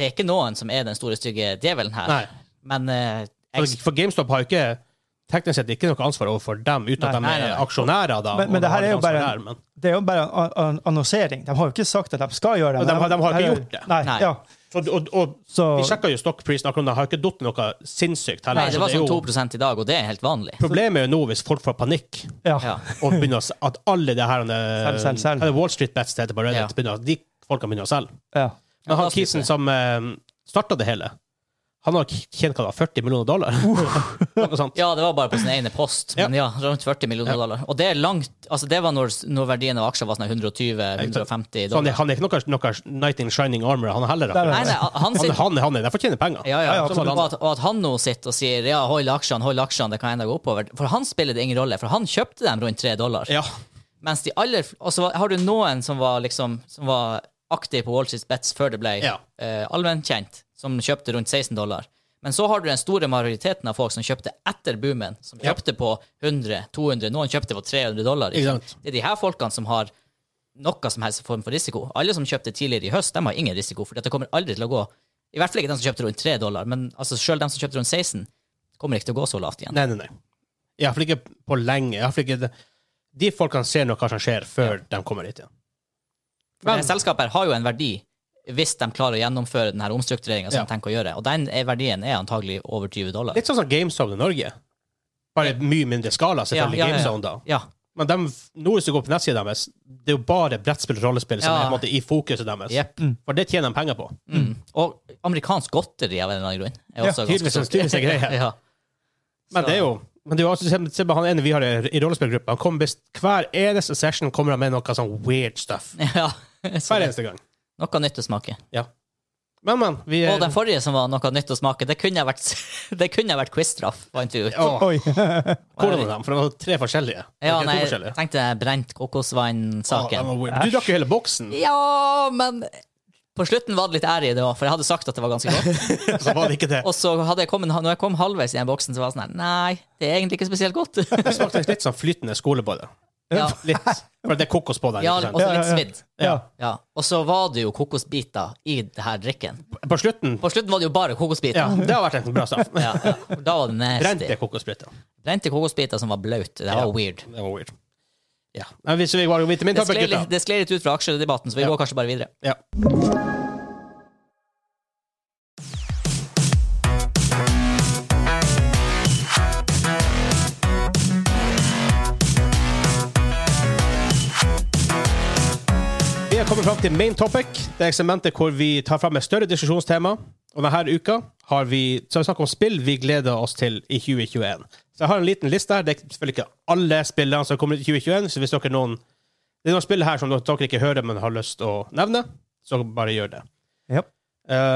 Speaker 3: det er ikke noen som er den store, stygge djevelen her.
Speaker 2: Nei.
Speaker 3: Men eh, jeg,
Speaker 2: For, for GameStop har jo ikke teknisk sett ikke noe ansvar overfor dem, uten at
Speaker 1: Nei,
Speaker 2: de
Speaker 3: nei,
Speaker 2: er
Speaker 3: nei.
Speaker 2: aksjonærer. da.
Speaker 1: Men- men
Speaker 2: og
Speaker 1: det her
Speaker 2: har
Speaker 1: er
Speaker 2: et
Speaker 1: jo bare-
Speaker 2: ansvar der, men-
Speaker 1: Det er jo bare en an- an- annonsering. De har jo ikke sagt at de skal gjøre det.
Speaker 2: Og de
Speaker 1: men
Speaker 2: har- de har ikke
Speaker 1: her er-
Speaker 2: gjort det.
Speaker 1: Nei,
Speaker 3: Nei.
Speaker 1: Ja.
Speaker 2: Så, og, og
Speaker 1: Så,
Speaker 2: vi sjekka jo stokkprisen akkurat nå, har ikke datt noe sinnssykt heller.
Speaker 3: nei, det
Speaker 2: så
Speaker 3: var
Speaker 2: er
Speaker 3: sånn
Speaker 2: jo-
Speaker 3: 2 i dag, og det er helt vanlig.
Speaker 2: Problemet er jo nå hvis folk får panikk
Speaker 1: ja.
Speaker 3: Ja.
Speaker 2: og begynner å s- at alle det her
Speaker 1: Selg, selg, selg.
Speaker 2: Eller Wall Street Bets det heter på Reddit,
Speaker 3: Ja.
Speaker 2: begynner, å- de folkene begynner å selge.
Speaker 1: ja.
Speaker 2: Men
Speaker 3: Ja, da
Speaker 2: han
Speaker 3: skal vi
Speaker 2: Kisen
Speaker 3: se.
Speaker 2: som eh, starta det hele, han har k- tjent hva da, 40 millioner dollar? Noe sånt.
Speaker 3: Ja, det var bare på sin ene post, men ja, rundt 40 millioner
Speaker 2: Ja.
Speaker 3: dollar. Og det er langt Altså, det var når, når verdien av aksjer var sånn 120-150
Speaker 2: Så han, er-
Speaker 3: dollar.
Speaker 2: han er ikke noe, noe Nighting Shining Armor, han er heller.
Speaker 1: Der er
Speaker 3: Nei,
Speaker 2: akkurat.
Speaker 3: nei, han
Speaker 2: Han,
Speaker 3: sitter
Speaker 2: han, han er der for å tjene penger.
Speaker 3: Sånn, Ja, ja,
Speaker 1: Ja, ja,
Speaker 3: absolutt.
Speaker 1: absolutt.
Speaker 3: og, at, og at han nå sitter og sier ja, hold aksjene, hold aksjene, det kan enda gå oppover. For han spiller det ingen rolle, for han kjøpte dem rundt tre dollar.
Speaker 2: Ja.
Speaker 3: Mens de aller f- Og så var- har du noen som var liksom Som var aktiv på Wall Street Bets før det ble
Speaker 2: Ja.
Speaker 3: eh, allmennkjent, som kjøpte rundt 16 dollar. Men så har du den store majoriteten av folk som kjøpte etter boomen. Som
Speaker 2: Ja.
Speaker 3: kjøpte på 100, 200, noen kjøpte på 300 dollar.
Speaker 2: Ikke sant.
Speaker 3: Det er de her folkene som har noe som helst form for risiko. Alle som kjøpte tidligere i høst, de har ingen risiko, for dette kommer aldri til å gå. I hvert fall ikke de som kjøpte rundt 3 dollar, men altså selv de som kjøpte rundt 16, kommer ikke til å gå så lavt igjen.
Speaker 2: Nei, nei, nei. Iallfall ikke på lenge. I hvert fall ikke det. De folkene ser nå hva som skjer, før de kommer dit igjen.
Speaker 3: For det her selskapet her har jo en verdi hvis de klarer å gjennomføre den her omstruktureringa som
Speaker 2: Ja.
Speaker 3: de tenker å gjøre, og den er- verdien er antagelig over 20 dollar.
Speaker 2: Litt sånn som GameZone i Norge. Bare i mye mindre skala, selvfølgelig.
Speaker 3: Ja, ja, ja, ja.
Speaker 2: GameZone, da.
Speaker 3: Ja,
Speaker 2: Men dem, nå hvis du går på nettsida deres, det er jo bare brettspill og rollespill som
Speaker 3: Ja.
Speaker 2: er på en måte i fokuset deres.
Speaker 3: Jepp.
Speaker 2: For det tjener de penger på.
Speaker 3: Mm. Og amerikansk godteri av en eller annen grunn er
Speaker 1: Ja,
Speaker 3: også ganske
Speaker 2: Tydeligvis en
Speaker 3: stort.
Speaker 2: tydeligvis en greie.
Speaker 3: Ja.
Speaker 2: Men det er jo men det er jo også, se, se på han ene vi har i i rollespillgruppa. Han kommer visst Hver eneste session kommer han med noe sånn weird stuff.
Speaker 3: ja. Så
Speaker 2: Hver eneste gang.
Speaker 3: noe nytt å smake.
Speaker 2: Ja. Men, men. Vi
Speaker 3: Og den forrige som var noe nytt å smake, det kunne ha vært, det kunne ha vært quiz-straff, fant vi ut.
Speaker 2: Åh,
Speaker 1: Oi.
Speaker 2: hvordan er de? For det var tre forskjellige.
Speaker 3: Ja,
Speaker 2: Ok,
Speaker 3: nei,
Speaker 2: to
Speaker 3: jeg
Speaker 2: forskjellige.
Speaker 3: tenkte brent kokosvann-saken.
Speaker 2: Åh, de var weird. du drakk jo hele boksen.
Speaker 3: Ja, men på slutten var det litt ære i det òg, for jeg hadde sagt at det var ganske godt.
Speaker 2: Så var det ikke det.
Speaker 3: Og så hadde jeg kommet, når jeg kom halvveis i den boksen, så var det sånn her Nei, det er egentlig ikke spesielt godt.
Speaker 2: Det smakte litt sånn flytende skole på det.
Speaker 3: Ja,
Speaker 2: Litt. For det er kokos på den.
Speaker 3: ja
Speaker 2: ikke
Speaker 3: og
Speaker 2: sant?
Speaker 3: så litt
Speaker 1: Ja, ja, ja.
Speaker 3: svidd.
Speaker 1: Ja.
Speaker 3: Ja. Og så var det jo kokosbiter i det her drikken.
Speaker 2: På slutten
Speaker 3: På slutten var det jo bare
Speaker 2: Ja,
Speaker 3: kokosbiter.
Speaker 2: det har vært en bra straff.
Speaker 3: Ja, ja. For Da var det nasty.
Speaker 2: Brente kokosbryter.
Speaker 3: Brente kokosbiter som var blaute. Det var
Speaker 2: Ja.
Speaker 3: weird.
Speaker 2: Det var weird. Ja. Nei, hvis vi var jo
Speaker 3: Det
Speaker 2: vitamintapper,
Speaker 3: skled
Speaker 2: gutta.
Speaker 3: litt- det skled litt ut fra aksjedebatten, så vi
Speaker 2: Ja.
Speaker 3: går kanskje bare videre.
Speaker 2: Ja. Vi er kommet fram til main topic, det er segmentet hvor vi tar fram et større diskusjonstema. Og denne uka har vi, så har vi snakket om spill vi gleder oss til i 2021. Så jeg har en liten liste her. Det er selvfølgelig ikke alle spillene som kommer ut i 2021. Så hvis dere noen, det er noen spill her som dere ikke hører, men har lyst til å nevne, så bare gjør det.
Speaker 1: Ja.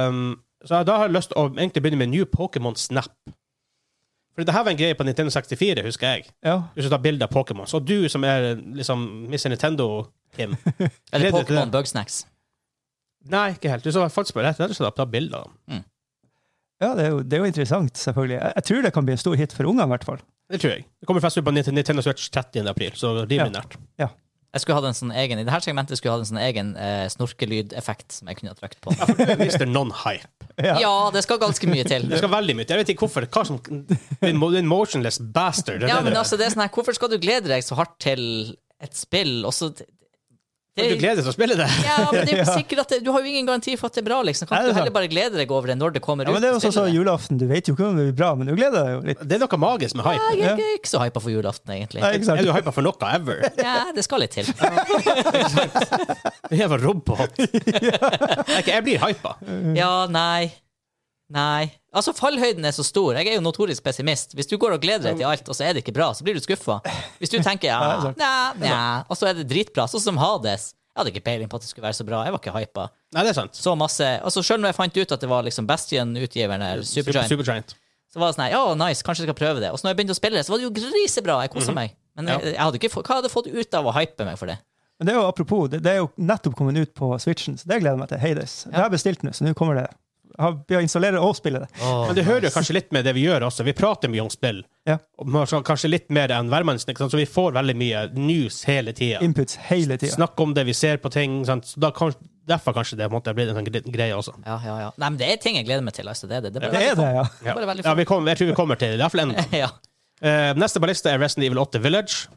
Speaker 2: Um, så da har jeg lyst til å egentlig begynne med New Pokémon Snap. For det her var en greie på Nintendo 64, husker jeg.
Speaker 1: Ja.
Speaker 2: Du skal ta bilde av Pokémon. Så du som er liksom Mr. Nintendo-Kim
Speaker 3: Eller
Speaker 2: Gleder deg til
Speaker 3: Pokémon
Speaker 2: det.
Speaker 3: Bugsnacks.
Speaker 2: Nei, ikke helt. Du skal faktisk bare rett og slett ta bilder. av dem.
Speaker 1: ja det, er jo, det er jo interessant, selvfølgelig. Jeg, jeg tror det kan bli en stor hit for ungene, i hvert fall.
Speaker 2: Det tror jeg. Det kommer fest ut på Nint- Nintendo Switch 30. april, så rimelig nært.
Speaker 3: Jeg skulle hatt en sånn egen, I det her segmentet skulle jeg hatt en sånn egen eh, snorkelydeffekt som jeg kunne ha trykt på.
Speaker 2: Du er Mr. Non-Hype.
Speaker 1: Ja.
Speaker 3: Ja, det skal ganske mye til.
Speaker 2: Det skal veldig mye til. Jeg vet ikke hvorfor. Hva som Din mo- din motionless bastard. Det er
Speaker 3: Ja,
Speaker 2: det
Speaker 3: men
Speaker 2: du er.
Speaker 3: altså, det er sånn her, Hvorfor skal du glede deg så hardt til et spill, og så det,
Speaker 2: Du gleder deg til å spille det.
Speaker 3: ja, men det er jo ikke sikkert at det, Du har jo ingen garanti for at det er bra, liksom. Kan
Speaker 1: Nei,
Speaker 3: ikke
Speaker 1: det er
Speaker 3: du heller
Speaker 1: sant.
Speaker 3: bare glede deg over det når det kommer
Speaker 1: Ja,
Speaker 3: ut?
Speaker 1: men det er jo
Speaker 3: og
Speaker 1: sånn som
Speaker 3: spille det?
Speaker 1: julaften. Du vet jo ikke om det blir bra, men du gleder deg jo litt.
Speaker 2: Det er noe magisk med hype.
Speaker 3: Nei, jeg, jeg er ikke så hypa for julaften, egentlig.
Speaker 1: Nei, ikke
Speaker 2: Er
Speaker 1: sant?
Speaker 2: du hypa for noe ever?
Speaker 3: Ja, det skal litt til.
Speaker 2: Jeg var robot. Nei, ikke, Jeg blir hypa.
Speaker 3: Ja, nei. Nei. Altså, fallhøyden er så stor. Jeg er jo notorisk pessimist. Hvis du går og gleder deg til alt, og så er det ikke bra, så blir du skuffa. Hvis du tenker
Speaker 1: Ja, det
Speaker 3: ja,
Speaker 1: er sant.
Speaker 3: nei, nei, og så er det dritbra. Sånn som Hades. Jeg hadde ikke peiling på at det skulle være så bra. Jeg var ikke hypa.
Speaker 2: Nei, det er sant.
Speaker 3: Så masse Altså, sjøl når jeg fant ut at det var liksom Bastion-utgiveren her, Supergiant,
Speaker 2: Supergiant.
Speaker 3: så var det sånn her, ja, nice, kanskje jeg skal prøve det. Og så når jeg begynte å spille det, så var det jo grisebra. Jeg
Speaker 2: Mhm.
Speaker 3: kosa meg. Men jeg, jeg hadde ikke fått, hva hadde jeg fått ut av å hype meg for det?
Speaker 1: Men det er jo apropos, det, det er jo nettopp kommet ut på Switchen, så det gleder jeg meg til. Hades. Det har jeg bestilt nå, så nå kommer det. Jeg har- Vi har installert og spiller det.
Speaker 2: Men det hører jo kanskje litt med det vi gjør også. Vi prater mye om spill.
Speaker 1: Ja.
Speaker 2: Og man skal Kanskje litt mer enn hvermannsen, ikke sant? så vi får veldig mye news hele tida.
Speaker 1: Inputs hele tida.
Speaker 2: Snakk om det, vi ser på ting. Sant? Så da kanskje, derfor kanskje det på en måte blir en sånn gre- greie også.
Speaker 3: Ja, ja, ja. Nei, men det er ting jeg gleder meg til. Altså. Det er det. Det er
Speaker 1: Det
Speaker 3: bare,
Speaker 1: er det, ja.
Speaker 3: det er bare veldig
Speaker 2: Ja, vi kommer- jeg tror vi kommer til det. Iallfall enda.
Speaker 3: fint. Ja.
Speaker 2: Eh, neste på lista er Resident Evil 8 Village.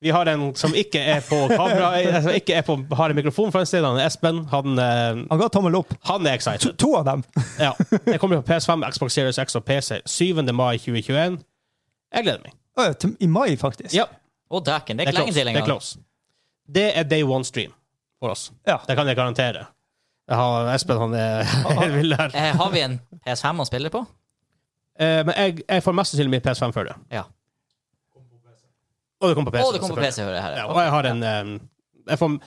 Speaker 2: Vi har en som ikke er på kamera, eh, som ikke er på, har en mikrofon foran seg. Han er Espen. Han, eh,
Speaker 1: Han ga tommel opp.
Speaker 2: han er
Speaker 1: To,
Speaker 2: excited.
Speaker 1: to av dem.
Speaker 2: Ja. Det kommer på PS5, Xbox Series X og PC 7. mai 2021. Jeg gleder meg.
Speaker 1: Å, til- I mai, faktisk.
Speaker 2: Ja,
Speaker 3: Å, dæken. Det er
Speaker 2: det er
Speaker 3: ikke lenge
Speaker 2: close.
Speaker 3: til
Speaker 2: Det er,
Speaker 3: engang.
Speaker 2: close. det er day one stream for oss.
Speaker 1: Ja.
Speaker 2: Det kan jeg garantere. Jeg har, Espen han er helt vill her.
Speaker 3: Eh, har vi en PS5 å spille på?
Speaker 2: Eh, men jeg, jeg får mest sannsynlig min PS5 før det.
Speaker 3: Ja.
Speaker 2: Og det kommer på
Speaker 3: Å,
Speaker 2: PC.
Speaker 3: det kommer på
Speaker 2: selvfølgelig.
Speaker 3: PC, hører jeg her.
Speaker 2: Ja,
Speaker 3: ja.
Speaker 2: og jeg har en eh, jeg får,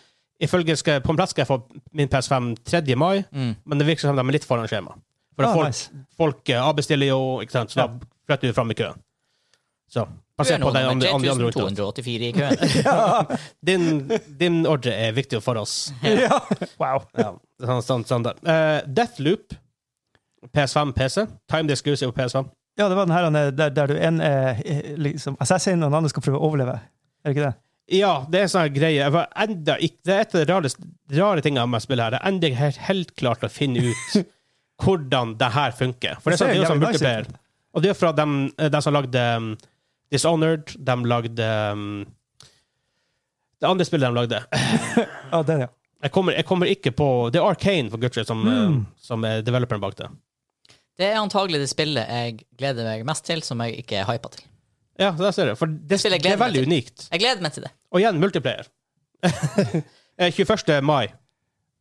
Speaker 2: Ifølge skal, på en plass skal jeg få min PS5 3. mai,
Speaker 3: Mm.
Speaker 2: men det virker som de er litt foran skjema. For
Speaker 1: Ah,
Speaker 2: folk,
Speaker 1: nice.
Speaker 2: folk eh, avbestiller jo, ikke sant, så
Speaker 1: Ja.
Speaker 2: da flytter du fram i køen. Så
Speaker 3: Du er
Speaker 2: basert
Speaker 3: nå
Speaker 2: på den
Speaker 3: nummer
Speaker 2: andre, andre, andre ruta.
Speaker 3: 3284 i køen.
Speaker 2: Din, din ordre er viktig for oss.
Speaker 1: Ja. Wow.
Speaker 2: Ja, sånn, sånn, sånn der. Eh, Deathloop, PS5, PC. Time Disclusive på PS5.
Speaker 1: Ja, det var den her han er- der, der du en er eh, liksom assassin, og den andre skal prøve å overleve. Er det ikke det?
Speaker 2: Ja, det er en sånn her greie. Jeg var enda ikke, det er et av de rareste- rare tingene med spillet her. Jeg ender ikke helt, helt klart å finne ut hvordan det her funker. For det er
Speaker 1: Det
Speaker 2: sånn, det er jo
Speaker 1: ser
Speaker 2: sånn
Speaker 1: jævlig nice
Speaker 2: multiplayer. Og det er fra dem, dem som lagde um, Dishonored, de lagde um, Det andre spillet de lagde.
Speaker 1: Ja, den, ja.
Speaker 2: Jeg kommer, jeg kommer ikke på Det er Arcane for Gucci som,
Speaker 1: Mm.
Speaker 2: eh, som er developeren bak det.
Speaker 3: Det er antagelig det spillet jeg gleder meg mest til, som jeg ikke er hypa til.
Speaker 2: Ja, der ser du. For det,
Speaker 3: Spillet jeg
Speaker 2: det
Speaker 3: gleder
Speaker 2: er
Speaker 3: meg
Speaker 2: veldig
Speaker 3: til.
Speaker 2: unikt.
Speaker 3: Jeg gleder meg til det.
Speaker 2: Og igjen, multiplayer. Eh, 21. mai.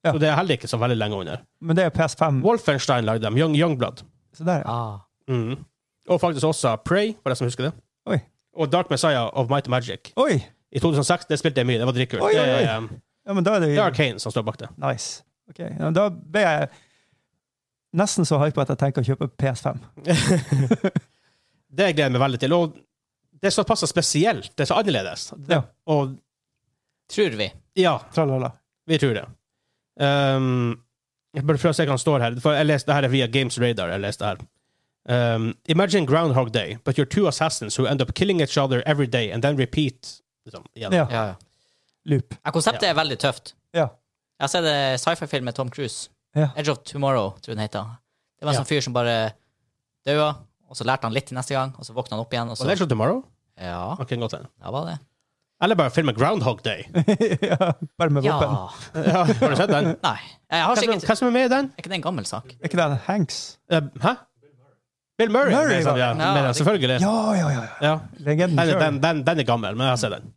Speaker 1: Ja.
Speaker 2: Så det er heller ikke så veldig lenge under.
Speaker 1: Men det er PS5.
Speaker 2: Wolfenstein lagde dem. Young, Youngblood.
Speaker 1: Så der, ja.
Speaker 3: Ah.
Speaker 2: Mhm. Og faktisk også Prey, for de som husker det.
Speaker 1: Oi.
Speaker 2: Og Dark Messiah of Might and Magic.
Speaker 1: Oi!
Speaker 2: I 2006 det spilte jeg mye. Det var dritkult.
Speaker 1: Oi, oi, oi.
Speaker 2: Det, er, um,
Speaker 1: Ja, men da er det
Speaker 2: det er Arcane som står bak det.
Speaker 1: Nice. Ok, ja, men Da ble jeg nesten så hypa at jeg tenker å kjøpe PS5.
Speaker 2: Det gleder jeg meg veldig til. Og det er såpass spesielt. Det er så annerledes.
Speaker 1: Ja.
Speaker 2: Og
Speaker 3: Tror vi.
Speaker 2: ja,
Speaker 1: Tralala.
Speaker 2: vi tror det. Um, jeg burde prøve å se hva han står her. For jeg leste det her via Games Radar. jeg leste det her. Um, Imagine Groundhog Day, but you're two assassins who end up killing each other every day and then repeat liksom, igjen.
Speaker 1: Ja.
Speaker 3: Ja, ja.
Speaker 1: Loop.
Speaker 3: Ja, konseptet er veldig tøft.
Speaker 1: Ja.
Speaker 3: Jeg har sett en sci-fi-film med Tom Cruise.
Speaker 1: Ja.
Speaker 3: Edge of Tomorrow, tror jeg den heter. Det var en
Speaker 2: Ja.
Speaker 3: sånn fyr som bare daua, og så lærte han litt til neste gang, og så våkna han opp igjen, og
Speaker 2: Og
Speaker 3: så
Speaker 2: det er så Tomorrow?
Speaker 3: Ja,
Speaker 2: Ok, godt hende.
Speaker 3: det var det.
Speaker 2: Eller bare filmen Groundhog Day.
Speaker 1: ja, bare med
Speaker 3: Ja.
Speaker 1: våpen.
Speaker 2: Ja, har du sett den?
Speaker 3: Nei. Jeg har
Speaker 2: Hva som,
Speaker 3: sikkert
Speaker 2: hva som er med i den?
Speaker 3: Er ikke det en gammel sak?
Speaker 1: Er ikke det Hanks?
Speaker 2: Eh, hæ? Bill Murray?
Speaker 1: Murray,
Speaker 2: med, sånn, ja,
Speaker 1: var
Speaker 3: det.
Speaker 2: med
Speaker 3: Ja,
Speaker 2: den, selvfølgelig.
Speaker 1: Ja, ja, ja. ja.
Speaker 2: Ja.
Speaker 1: Legenden
Speaker 2: Den,
Speaker 1: sjøl.
Speaker 2: den, den, den er gammel, men jeg har sett den.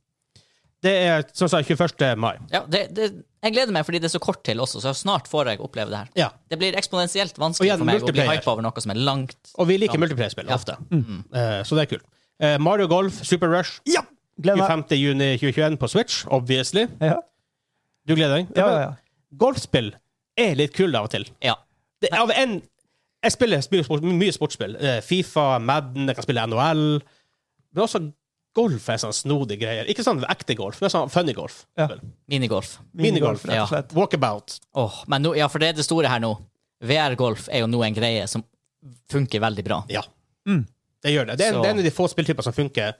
Speaker 2: Det er som sagt 21. mai.
Speaker 3: Ja, det, det, jeg gleder meg fordi det er så kort til også, så snart får jeg oppleve det her.
Speaker 2: Ja.
Speaker 3: Det blir eksponentielt
Speaker 2: Og
Speaker 3: vanskelig
Speaker 2: igjen,
Speaker 3: for meg å bli
Speaker 2: multiplayer.
Speaker 3: hypa over noe som er langt
Speaker 2: Og vi liker
Speaker 3: Ja.
Speaker 2: multiplayer-spill
Speaker 3: Ja.
Speaker 2: ofte,
Speaker 1: Mm.
Speaker 2: Eh, så det er kult. Eh, Mario Golf, Super Rush,
Speaker 1: Ja! Gleder meg.
Speaker 2: 25. juni 2021 på Switch, obviously.
Speaker 1: Ja,
Speaker 2: Du gleder deg?
Speaker 1: ja, ja.
Speaker 2: Golfspill er litt kul av og til.
Speaker 3: Ja.
Speaker 2: Det, av en, jeg spiller mye, sport, mye sportsspill. Eh, Fifa, Madden, jeg kan spille NHL. Men også golf er sånn snodig greier. Ikke sånn ekte golf, men sånn funny golf.
Speaker 1: Ja.
Speaker 3: Minigolf.
Speaker 1: Minigolf, rett
Speaker 3: Ja.
Speaker 1: og slett.
Speaker 2: Walkabout.
Speaker 3: Åh, men nå, ja, for det er det store her nå. VR-golf er jo nå en greie som funker veldig bra.
Speaker 2: Ja.
Speaker 1: Mm.
Speaker 2: Det gjør det. Det er,
Speaker 3: Så-
Speaker 2: det er en av de få spilltyper som funker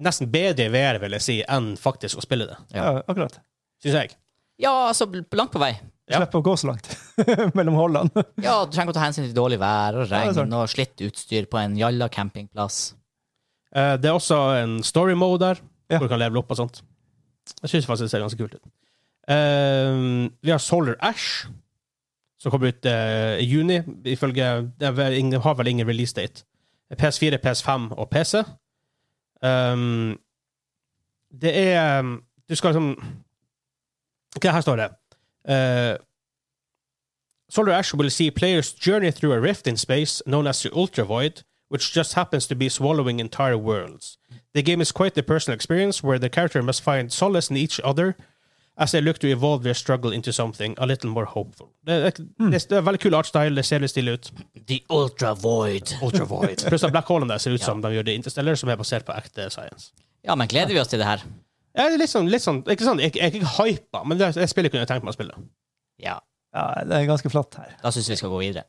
Speaker 2: nesten bedre i VR, vil jeg si, enn faktisk å spille det.
Speaker 1: Ja, akkurat.
Speaker 2: Syns jeg.
Speaker 3: Ja, altså, bl- langt på vei.
Speaker 2: Ja.
Speaker 1: Slipper å gå så langt mellom hullene.
Speaker 3: Ja, du trenger ikke å ta hensyn til dårlig vær og
Speaker 1: Ja, det er sant.
Speaker 3: regn og slitt utstyr på en jalla campingplass.
Speaker 2: Eh, det er også en story mode der,
Speaker 1: Ja.
Speaker 2: hvor du kan levele opp og sånt. Jeg syns faktisk det ser ganske kult ut. Eh, vi har Solar Ash, som kommer ut eh, i juni, ifølge Det er vel ingen- har vel ingen release date. PS4, PS5 og PC. Um, det er um, Du skal liksom Ok, her står det. Eh, Solar Ash will see players journey through a rift in space known as the Ultra Void, which just happens to be swallowing entire worlds. The game is quite a personal experience where the character must find solace in each other as they look to evolve their struggle into something a little more hopeful. Det er, det er veldig kul artstyle, det ser litt stille ut.
Speaker 3: The Ultra Void.
Speaker 2: Ultra Void. Pluss at Black Hole der ser ut som de gjør det i Interstellar, som er basert på ekte science.
Speaker 3: Ja, men gleder vi oss til det her?
Speaker 2: Ja, det er litt sånn, litt sånn ikke sånn, Jeg, jeg er ikke hypa, men det er et spill jeg kunne tenkt meg å spille.
Speaker 3: Ja.
Speaker 1: Ja, det er ganske flatt her.
Speaker 3: Da syns vi skal gå videre.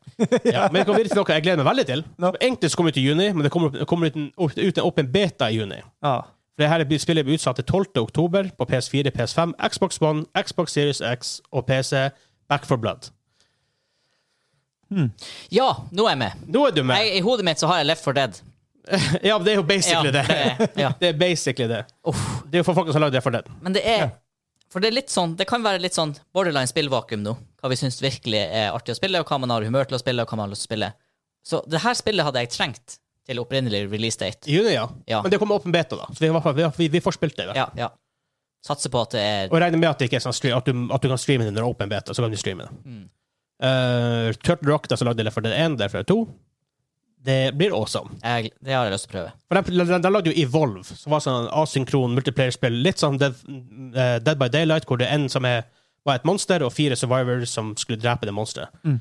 Speaker 2: Ja, men det kommer til noe jeg gleder meg veldig til.
Speaker 1: Ja.
Speaker 2: Egentlig så kommer det ut i juni, men det kommer, kommer ut, en, ut en åpen beta i juni.
Speaker 1: Ja.
Speaker 2: For det her spillet blir utsatt til 12. oktober på PS4, PS5, Xbox One, Xbox Series X og PC Back for Blood.
Speaker 3: Ja, nå er jeg med.
Speaker 2: Nå er du med!
Speaker 3: Jeg, I hodet mitt så har jeg Left for Dead.
Speaker 2: Ja, det er jo
Speaker 3: Ja,
Speaker 2: basically
Speaker 3: det
Speaker 2: det.
Speaker 3: er, ja.
Speaker 2: Det er basically det.
Speaker 3: Uff.
Speaker 2: Det er jo for folk som har lagd det for den.
Speaker 3: Men det er For det er litt sånn Det kan være litt sånn borderline spillvakuum nå. Hva vi syns virkelig er artig å spille, og hva man har humør til å spille, og hva man har lyst til å spille. Så det her spillet hadde jeg trengt til opprinnelig release date.
Speaker 2: I juni, ja.
Speaker 3: Ja.
Speaker 2: Men det kommer åpen beta, da. Så vi, i hvert fall- vi, vi, vi får spilt det. i hvert fall.
Speaker 3: Ja, ja. Satser på at det er
Speaker 2: Og regner med at, det ikke er sånn stream, at, du, at du kan streame det under åpen beta. Så kan du streame det.
Speaker 3: Mm.
Speaker 2: Eh, Turtle Rock, da, som lagde det for den ene, det er for den to. Det blir awesome.
Speaker 3: jeg, Det har jeg lyst til å prøve.
Speaker 2: For de, de, de lagde jo Evolve, som var sånn asynkron multiplayer-spill. Litt sånn Dead, eh, Dead by Daylight, hvor det er en som er, var et monster, og fire survivors som skulle drepe det monsteret.
Speaker 1: Mm.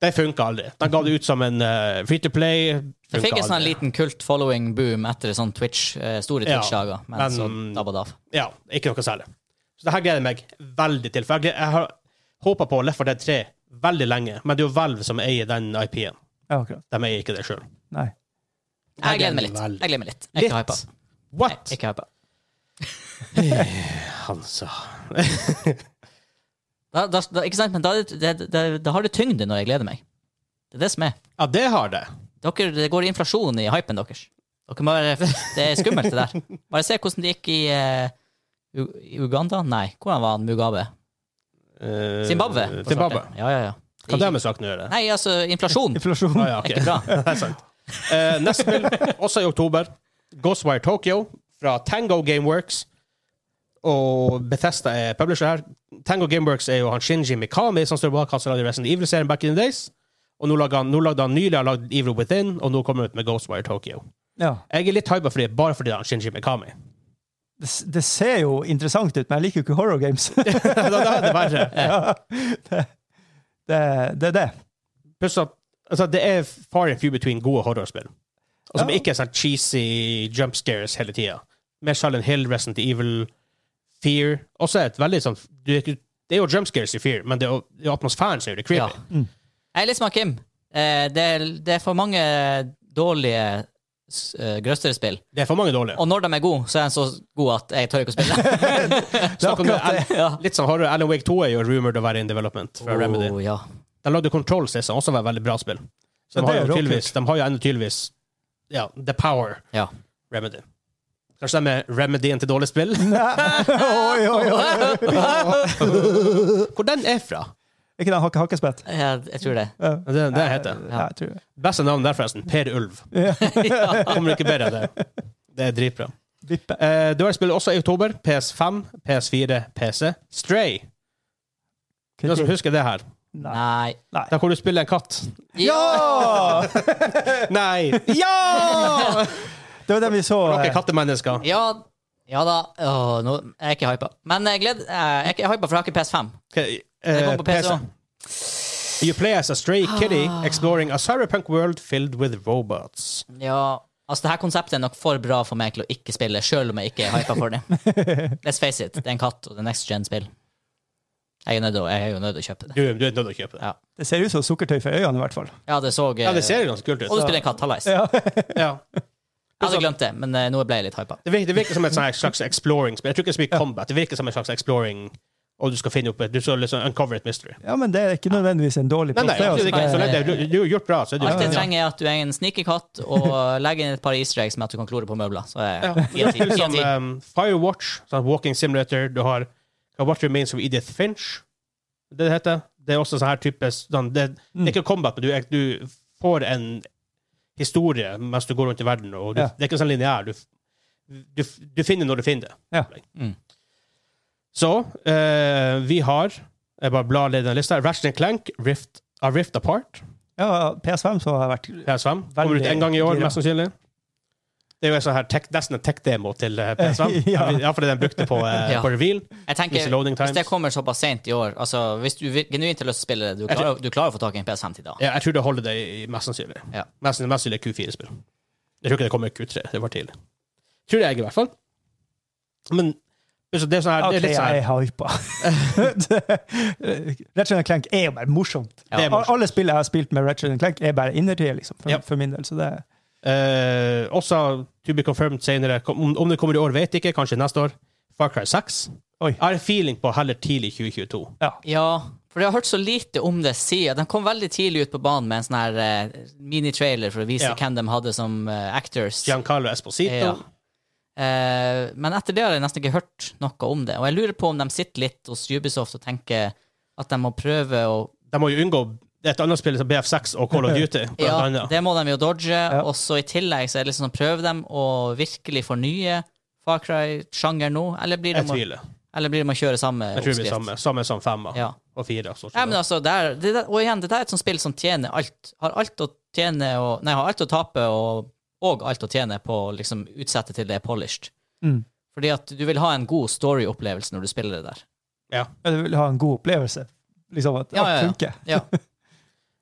Speaker 2: Det funka aldri. De ga det ut som en eh, free to play.
Speaker 3: Jeg fikk
Speaker 2: funka
Speaker 3: en sånn
Speaker 2: aldri.
Speaker 3: liten kult following boom etter sånn Twitch, eh, store
Speaker 2: Ja,
Speaker 3: Twitch-dager, men,
Speaker 2: men-
Speaker 3: så dabba det av.
Speaker 2: Ja, ikke noe særlig. Så det her gleder jeg meg veldig til. For jeg, gled- jeg har håpa på Left 4 Dead 3 veldig lenge, men det er jo Valve som eier den IP-en.
Speaker 1: Ja, akkurat.
Speaker 2: De eier ikke det sjøl.
Speaker 1: Nei.
Speaker 3: Jeg gleder meg litt.
Speaker 2: Veldig.
Speaker 3: Jeg gleder meg litt. Jeg er ikke hypa. Jeg
Speaker 2: What?
Speaker 3: er Ikke hypa.
Speaker 2: Han sa
Speaker 3: Da, da, da, ikke sant? Men da, er det- det, det, da har det tyngde når jeg gleder meg. Det er det som er.
Speaker 2: Ja, det har det.
Speaker 3: Dere, det går inflasjon i hypen deres. Dere må være, det er skummelt, det der. Bare se hvordan det gikk i eh, U- i Uganda? Nei, hvordan var han Mugabe?
Speaker 2: Eh,
Speaker 3: Zimbabwe. for
Speaker 2: Zimbabwe.
Speaker 3: svarte. Ja, ja, ja.
Speaker 2: Hva har det med saken å gjøre?
Speaker 3: Nei, altså, inflasjon er
Speaker 1: Inflasjon.
Speaker 2: Ah, ja, ok.
Speaker 3: ikke bra.
Speaker 2: det er sant. Eh, neste spill, også i oktober, Ghostwire Tokyo fra Tango Gameworks. Og Bethesda er publisher her. Tango Gameworks er jo han Shinji Mikami som står bak han som lagde Resident Evil-serien back in the days. Og nå lagde han, nå lagde han nylig han lagde Evil Within, og nå kommer han ut med Ghostwire Tokyo.
Speaker 1: Ja.
Speaker 2: Jeg er litt hypa for det, bare fordi det er han Shinji Mikami.
Speaker 1: Det, s- det ser jo interessant ut, men jeg liker jo ikke horror games. det,
Speaker 2: da, da er det verre.
Speaker 1: det det er det.
Speaker 2: Pluss at altså, det er far and few between gode horrorspill. Og som
Speaker 1: Ja.
Speaker 2: ikke er sånn cheesy jump scares hele tida. Mer Silent Hill, Resident Evil, Fear. Også et veldig sånn du, vet ikke- Det er jo jump scares i Fear, men det er jo, det er jo atmosfæren som gjør det
Speaker 3: Ja.
Speaker 2: creepy.
Speaker 3: Jeg er litt som han Kim. Eh, det, er, det er for mange dårlige s- eh, grøsterspill.
Speaker 2: Det er for mange dårlige.
Speaker 3: Og når de er gode, så er de så gode at jeg tør ikke å spille.
Speaker 1: Det er
Speaker 2: Snakk om det,
Speaker 1: akkurat det.
Speaker 2: Al-
Speaker 3: ja.
Speaker 2: Litt sånn horror. Alan Wake 2 er jo rumored å være in development fra Remedy.
Speaker 3: Oh, ja.
Speaker 2: De lagde Control sist, som også var et veldig bra spill. Så de
Speaker 1: Ja, det
Speaker 2: har,
Speaker 1: er
Speaker 2: jo
Speaker 1: råkult.
Speaker 2: tydeligvis, de har jo ennå tydeligvis ja, The Power,
Speaker 3: Ja.
Speaker 2: Remedy. Kanskje de er Remedyen til dårlige spill?
Speaker 1: Oi, oi, oi.
Speaker 2: Hvor den er fra?
Speaker 1: Ikke den hakke hakkespett?
Speaker 3: Jeg, jeg tror det.
Speaker 1: Ja.
Speaker 2: Det, det heter det.
Speaker 1: Ja, jeg tror det.
Speaker 2: Beste navn der, forresten. Per Ulv.
Speaker 3: ja.
Speaker 2: Kommer ikke bedre enn det. Det er dritbra.
Speaker 1: Vippe.
Speaker 2: Uh, Duell spiller også i oktober. PS5, PS4, PC. Stray. Noen som husker det her?
Speaker 1: Nei.
Speaker 3: Nei.
Speaker 2: Der hvor du spiller en katt.
Speaker 1: Ja!
Speaker 2: Nei! Ja!
Speaker 1: Det var den vi så.
Speaker 2: Dere
Speaker 1: eh,
Speaker 2: er kattemennesker.
Speaker 3: Ja, ja da. Åh, nå er jeg ikke hypa. Men jeg, gled, eh, jeg er ikke hypa, for jeg har ikke PS5.
Speaker 2: Okay,
Speaker 3: Det
Speaker 2: eh,
Speaker 3: kom på PC også. Ah.
Speaker 2: You play as a stray kitty exploring a cyberpunk world filled with robots.
Speaker 3: Ja, altså det her konseptet er nok for bra for meg til å ikke spille, sjøl om jeg ikke er hypa for det. Let's face it, det er en katt, og det er next gen-spill. Jeg er nødt til å- jeg er jo nødt til å kjøpe det.
Speaker 2: Du, du er nødt til å kjøpe det.
Speaker 3: Ja.
Speaker 1: Det ser ut som sukkertøy for øynene, i hvert fall.
Speaker 3: Ja, det så eh,
Speaker 2: Ja, det ser jo ganske kult
Speaker 3: Og
Speaker 2: ut.
Speaker 3: du spiller en katt, hallais.
Speaker 1: Ja.
Speaker 2: Ja. sånn.
Speaker 3: Jeg hadde glemt det, men eh, nå ble jeg litt hypa.
Speaker 2: Det virker, det virker som et sånn slags exploring-spill. Jeg tror ikke det er så mye combat. Det virker som en slags exploring, og du skal finne opp et, du skal liksom uncover et mystery.
Speaker 1: ja, men det er ikke nødvendigvis en dårlig
Speaker 2: Nei,
Speaker 1: pris.
Speaker 2: nei,
Speaker 1: det,
Speaker 2: absolutt
Speaker 1: altså.
Speaker 2: ikke.
Speaker 3: altså-
Speaker 2: Så lenge du, du har gjort bra, så er du
Speaker 3: Alt jeg
Speaker 2: ja.
Speaker 3: trenger, er at du er en sneaky katt, og legger inn et par easter eggs med at du kan klore på møbler. Så eh, er
Speaker 2: Ja.
Speaker 3: jeg ti av ti.
Speaker 2: Spill
Speaker 3: Ti av
Speaker 2: Som
Speaker 3: ti.
Speaker 2: um, Firewatch, sånn Walking Simulator, du har What Remains of Edith Finch. Det det heter. Det er også sånn her type sånn, det,
Speaker 1: Mm.
Speaker 2: det er ikke combat, men du, er- du får en historie mens du går rundt i verden, og du,
Speaker 1: Ja.
Speaker 2: det er ikke sånn lineær. Du, du, du finner når du finner det.
Speaker 1: Ja.
Speaker 3: Mm.
Speaker 2: Så eh, vi har Jeg bare blar litt i den lista. Ratchet Clank, Rift, A Rift Apart.
Speaker 1: Ja, PS5 så har jeg vært
Speaker 2: PS5. Kommer ut
Speaker 1: Veldig
Speaker 2: en gang i år,
Speaker 1: gira.
Speaker 2: mest sannsynlig. Det er jo en sånn her tech, nesten en tech-demo til eh, PS5. ja.
Speaker 1: Ja.
Speaker 2: for det den brukte på, eh,
Speaker 3: Ja.
Speaker 2: på reveal.
Speaker 3: Jeg tenker,
Speaker 2: Easy loading
Speaker 3: Hvis det
Speaker 2: times.
Speaker 3: kommer såpass sent i år altså Hvis du vir- genuint har lyst til å spille det, du
Speaker 2: Jeg tror-
Speaker 3: klarer, du klarer å få tak i en PS5 til da.
Speaker 2: Ja, jeg tror det holder det i mest sannsynlig.
Speaker 3: Ja.
Speaker 2: Mest, mest sannsynlig Q4-spill. Jeg tror ikke det kommer i Q3. Det var tidlig. Tror jeg, i hvert fall. Men så det er, sånn her,
Speaker 1: Ok,
Speaker 2: det er litt sånn
Speaker 1: jeg
Speaker 2: her
Speaker 1: er hypa. Ratchet Clank er jo bare morsomt.
Speaker 3: Ja.
Speaker 2: det er morsomt.
Speaker 1: Alle spill jeg har spilt med Ratchet Clank, er bare innertier, liksom, for,
Speaker 2: Ja.
Speaker 1: for min del. Så det
Speaker 2: Eh, også to be confirmed senere. Kom- Om, om det kommer i år, vet jeg ikke. Kanskje neste år. Far Cry 6.
Speaker 1: Oi.
Speaker 2: Jeg har en feeling på heller tidlig 2022.
Speaker 3: Ja, for jeg har hørt så lite om det siden. De kom veldig tidlig ut på banen med en sånn her eh, minitrailer for å vise
Speaker 2: Ja.
Speaker 3: hvem de hadde som eh, actors.
Speaker 2: Giancarlo Esposito.
Speaker 3: Ja. Eh, men etter det har jeg nesten ikke hørt noe om det. Og jeg lurer på om de sitter litt hos Ubisoft og tenker at de må prøve å
Speaker 2: De må jo unngå et annet spill som BF6 og Call of Duty. Blant
Speaker 3: Ja,
Speaker 2: annet.
Speaker 3: det må de jo dodge. Og så i tillegg så er det liksom å prøve dem å virkelig fornye Far Cry-sjanger nå, eller blir det
Speaker 2: Jeg
Speaker 3: om å-
Speaker 2: tviler.
Speaker 3: eller blir det om å kjøre samme
Speaker 2: Jeg tror det blir
Speaker 3: oppskrift?
Speaker 2: samme, samme som femmer
Speaker 3: Ja.
Speaker 2: og fire. stort sett.
Speaker 3: Ja, men altså, det er, det der, og igjen, det der er et sånt spill som tjener alt. Har alt å tjene og Nei, har alt å tape og, og alt å tjene på å liksom utsette til det er polished.
Speaker 1: Mm.
Speaker 3: Fordi at du vil ha en god story-opplevelse når du spiller det der.
Speaker 1: Ja, du vil ha en god opplevelse. Liksom at
Speaker 3: Ja, ja, ja.
Speaker 1: alt funker.
Speaker 3: Ja,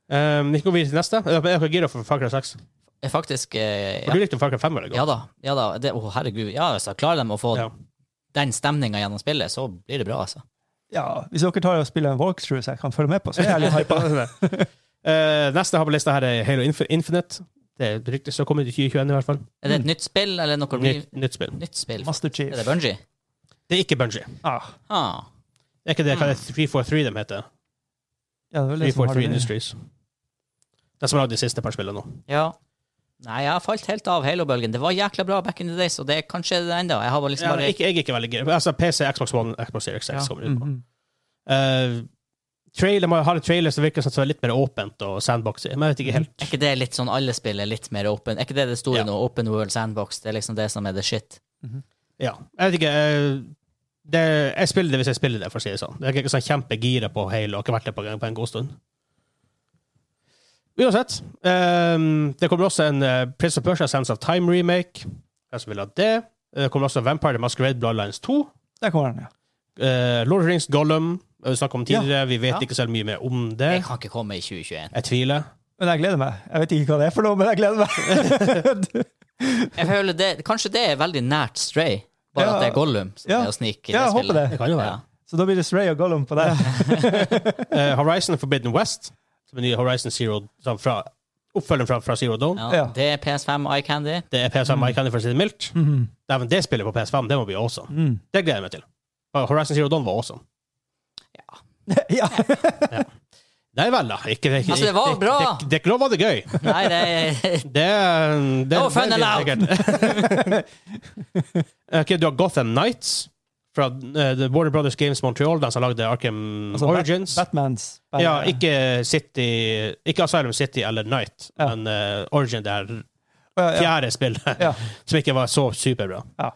Speaker 2: Ehm, vi går videre til neste. Jeg er dere gira for Far Cry 6.
Speaker 3: jeg faktisk eh,
Speaker 2: For
Speaker 3: ja.
Speaker 2: Du likte Far Cry 5 veldig godt.
Speaker 3: ja da. ja da, det, Å, herregud. Ja, altså, klarer de å få
Speaker 2: Ja.
Speaker 3: den stemninga gjennom spillet, så blir det bra, altså.
Speaker 1: Ja, Hvis dere tar og spiller en walkthrough så jeg kan følge med på, så er jeg litt hypa.
Speaker 2: Eh, neste jeg har på lista her er Halo Inf- Infinite. Det er ryktet som kommer i 2021 i hvert fall.
Speaker 3: Er det et nytt spill, eller noe
Speaker 2: Mm. Nytt,
Speaker 3: nytt,
Speaker 2: nytt spill.
Speaker 3: nytt spill?
Speaker 1: Master Chief.
Speaker 3: Er det Bunji?
Speaker 2: Det er ikke Bungie.
Speaker 1: Ah,
Speaker 3: Ah.
Speaker 2: Det er ikke det hva det er 343 de heter.
Speaker 1: ja, det er vel det som har
Speaker 2: 343
Speaker 1: det.
Speaker 2: Industries. Det som har lagd de siste par spillene nå.
Speaker 3: Ja. Nei, jeg har falt helt av Halo-bølgen. Det var jækla bra back in the days, og det er kanskje det enda. Jeg har bare liksom
Speaker 2: Ja,
Speaker 3: bare
Speaker 2: ikke, jeg er ikke veldig gira. Altså PC, Xbox One, Xbox Series X
Speaker 3: Ja.
Speaker 2: kommer ut
Speaker 1: Mm,
Speaker 2: på.
Speaker 1: mm.
Speaker 2: Eh, trailer, man har en trailer som virker som det er litt mer åpent og sandboxy. Men jeg vet ikke helt.
Speaker 3: Er ikke det litt sånn alle spill er litt mer open? Er ikke det det
Speaker 2: Ja.
Speaker 3: store nå? Open World Sandbox. Det er liksom det som er the shit.
Speaker 2: Ja, jeg vet ikke. eh, det, jeg spiller det hvis jeg spiller det, for å si det sånn. Jeg er ikke sånn kjempegira på Halo. Jeg har ikke vært det på, en- på en god stund. Uansett. eh, det kommer også en eh, Prince of Persia Sense of Time remake. Hvem som vil ha det? Eh, Det kommer også Vampire the Masquerade Bloodlines 2.
Speaker 1: Der kommer den, ja.
Speaker 2: Eh, Lord of the Rings Gollum eh, vi snakket om tidligere. Vi vet
Speaker 3: Ja.
Speaker 2: ikke så mye mer om
Speaker 3: Det
Speaker 2: det.
Speaker 3: kan ikke komme i 2021.
Speaker 2: Jeg tviler.
Speaker 1: Men jeg gleder meg. Jeg vet ikke hva det er for noe, men jeg gleder meg.
Speaker 3: Jeg føler det, kanskje det er veldig nært Stray, bare
Speaker 1: Ja.
Speaker 3: at det er Gollum som
Speaker 1: Ja.
Speaker 3: er å snike i det
Speaker 1: Ja, jeg håper
Speaker 3: spillet.
Speaker 1: det.
Speaker 2: Det kan jo være.
Speaker 1: så da blir det Stray og Gollum på det.
Speaker 2: Eh, Horizon Forbidden West, som er nye Horizon Zero som fra, Oppfølgeren fra, fra Zero Dawn.
Speaker 3: Ja. Ja.
Speaker 1: Ja.
Speaker 3: Det er PS5 Eye Candy.
Speaker 2: Det er PS5 mm. Icon, for å si det mildt.
Speaker 1: Mhm.
Speaker 2: Dæven, det spillet på PS5, det må bli awesome.
Speaker 1: Mm.
Speaker 2: Det gleder jeg meg til. Og Horizon Zero Dawn var awesome.
Speaker 1: Ja.
Speaker 2: Nei vel, da. Ikke, ikke,
Speaker 3: Altså, det var
Speaker 2: ikke-
Speaker 3: bra.
Speaker 2: Det, det, det var det gøy.
Speaker 3: Nei, det er
Speaker 2: Det, eh, det,
Speaker 3: No fun
Speaker 2: det blir
Speaker 3: allowed.
Speaker 2: sikkert. ok, du har Gotham Knights fra eh, The Warner Brothers Games Montreal, de som lagde Arkham
Speaker 1: Altså, Bat-
Speaker 2: Origins.
Speaker 1: Batmans.
Speaker 2: ja, ikke City Ikke Asylum City eller Night,
Speaker 1: Ja.
Speaker 2: men eh, Origin, det her
Speaker 1: Å, ja, ja.
Speaker 2: fjerde spillet,
Speaker 1: Ja.
Speaker 2: som ikke var så superbra.
Speaker 1: Ja.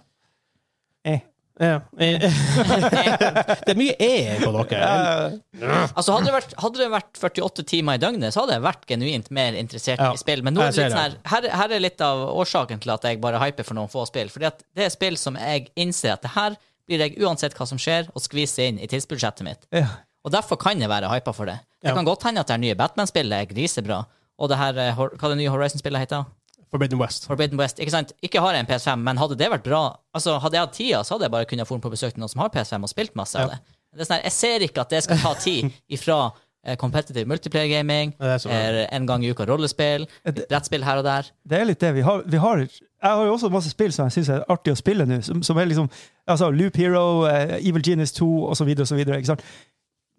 Speaker 1: Eh.
Speaker 2: Ja, eh, det er mye E på dere.
Speaker 1: Eh,
Speaker 3: Altså, hadde det, vært, hadde det vært 48 timer i døgnet, så hadde jeg vært genuint mer interessert
Speaker 2: Ja,
Speaker 3: i spill. Men nå er det
Speaker 2: jeg ser
Speaker 3: litt sånn her, her, her er litt av årsaken til at jeg bare hyper for noen få spill. Fordi at det er spill som jeg innser at det her blir jeg uansett hva som skjer, og skviser inn i tidsbudsjettet mitt.
Speaker 1: ja.
Speaker 3: Og derfor kan jeg være hypa for det. Det
Speaker 2: Ja.
Speaker 3: kan godt hende at det her nye Batman-spillet er grisebra. Og det her, eh, Hor- hva det nye Horizon-spillet heter?
Speaker 2: Forbidden West.
Speaker 3: Forbidden West. Ikke sant? Ikke har jeg en PS5, men hadde det vært bra Altså, Hadde jeg hatt tida, så hadde jeg bare kunnet dratt på besøk til noen som har PS5 og spilt masse av det. det er sånn her, jeg ser ikke at det skal ta tid ifra eh, competitive multiplayer gaming,
Speaker 2: Ja, det er så bra.
Speaker 3: eh, en gang i uka rollespill, litt brettspill her og der.
Speaker 1: Det er litt det. Vi har, vi har, jeg har jo også masse spill som jeg syns er artig å spille nå. Som, som er liksom altså Loop Hero, eh, Evil Genius 2 osv. osv.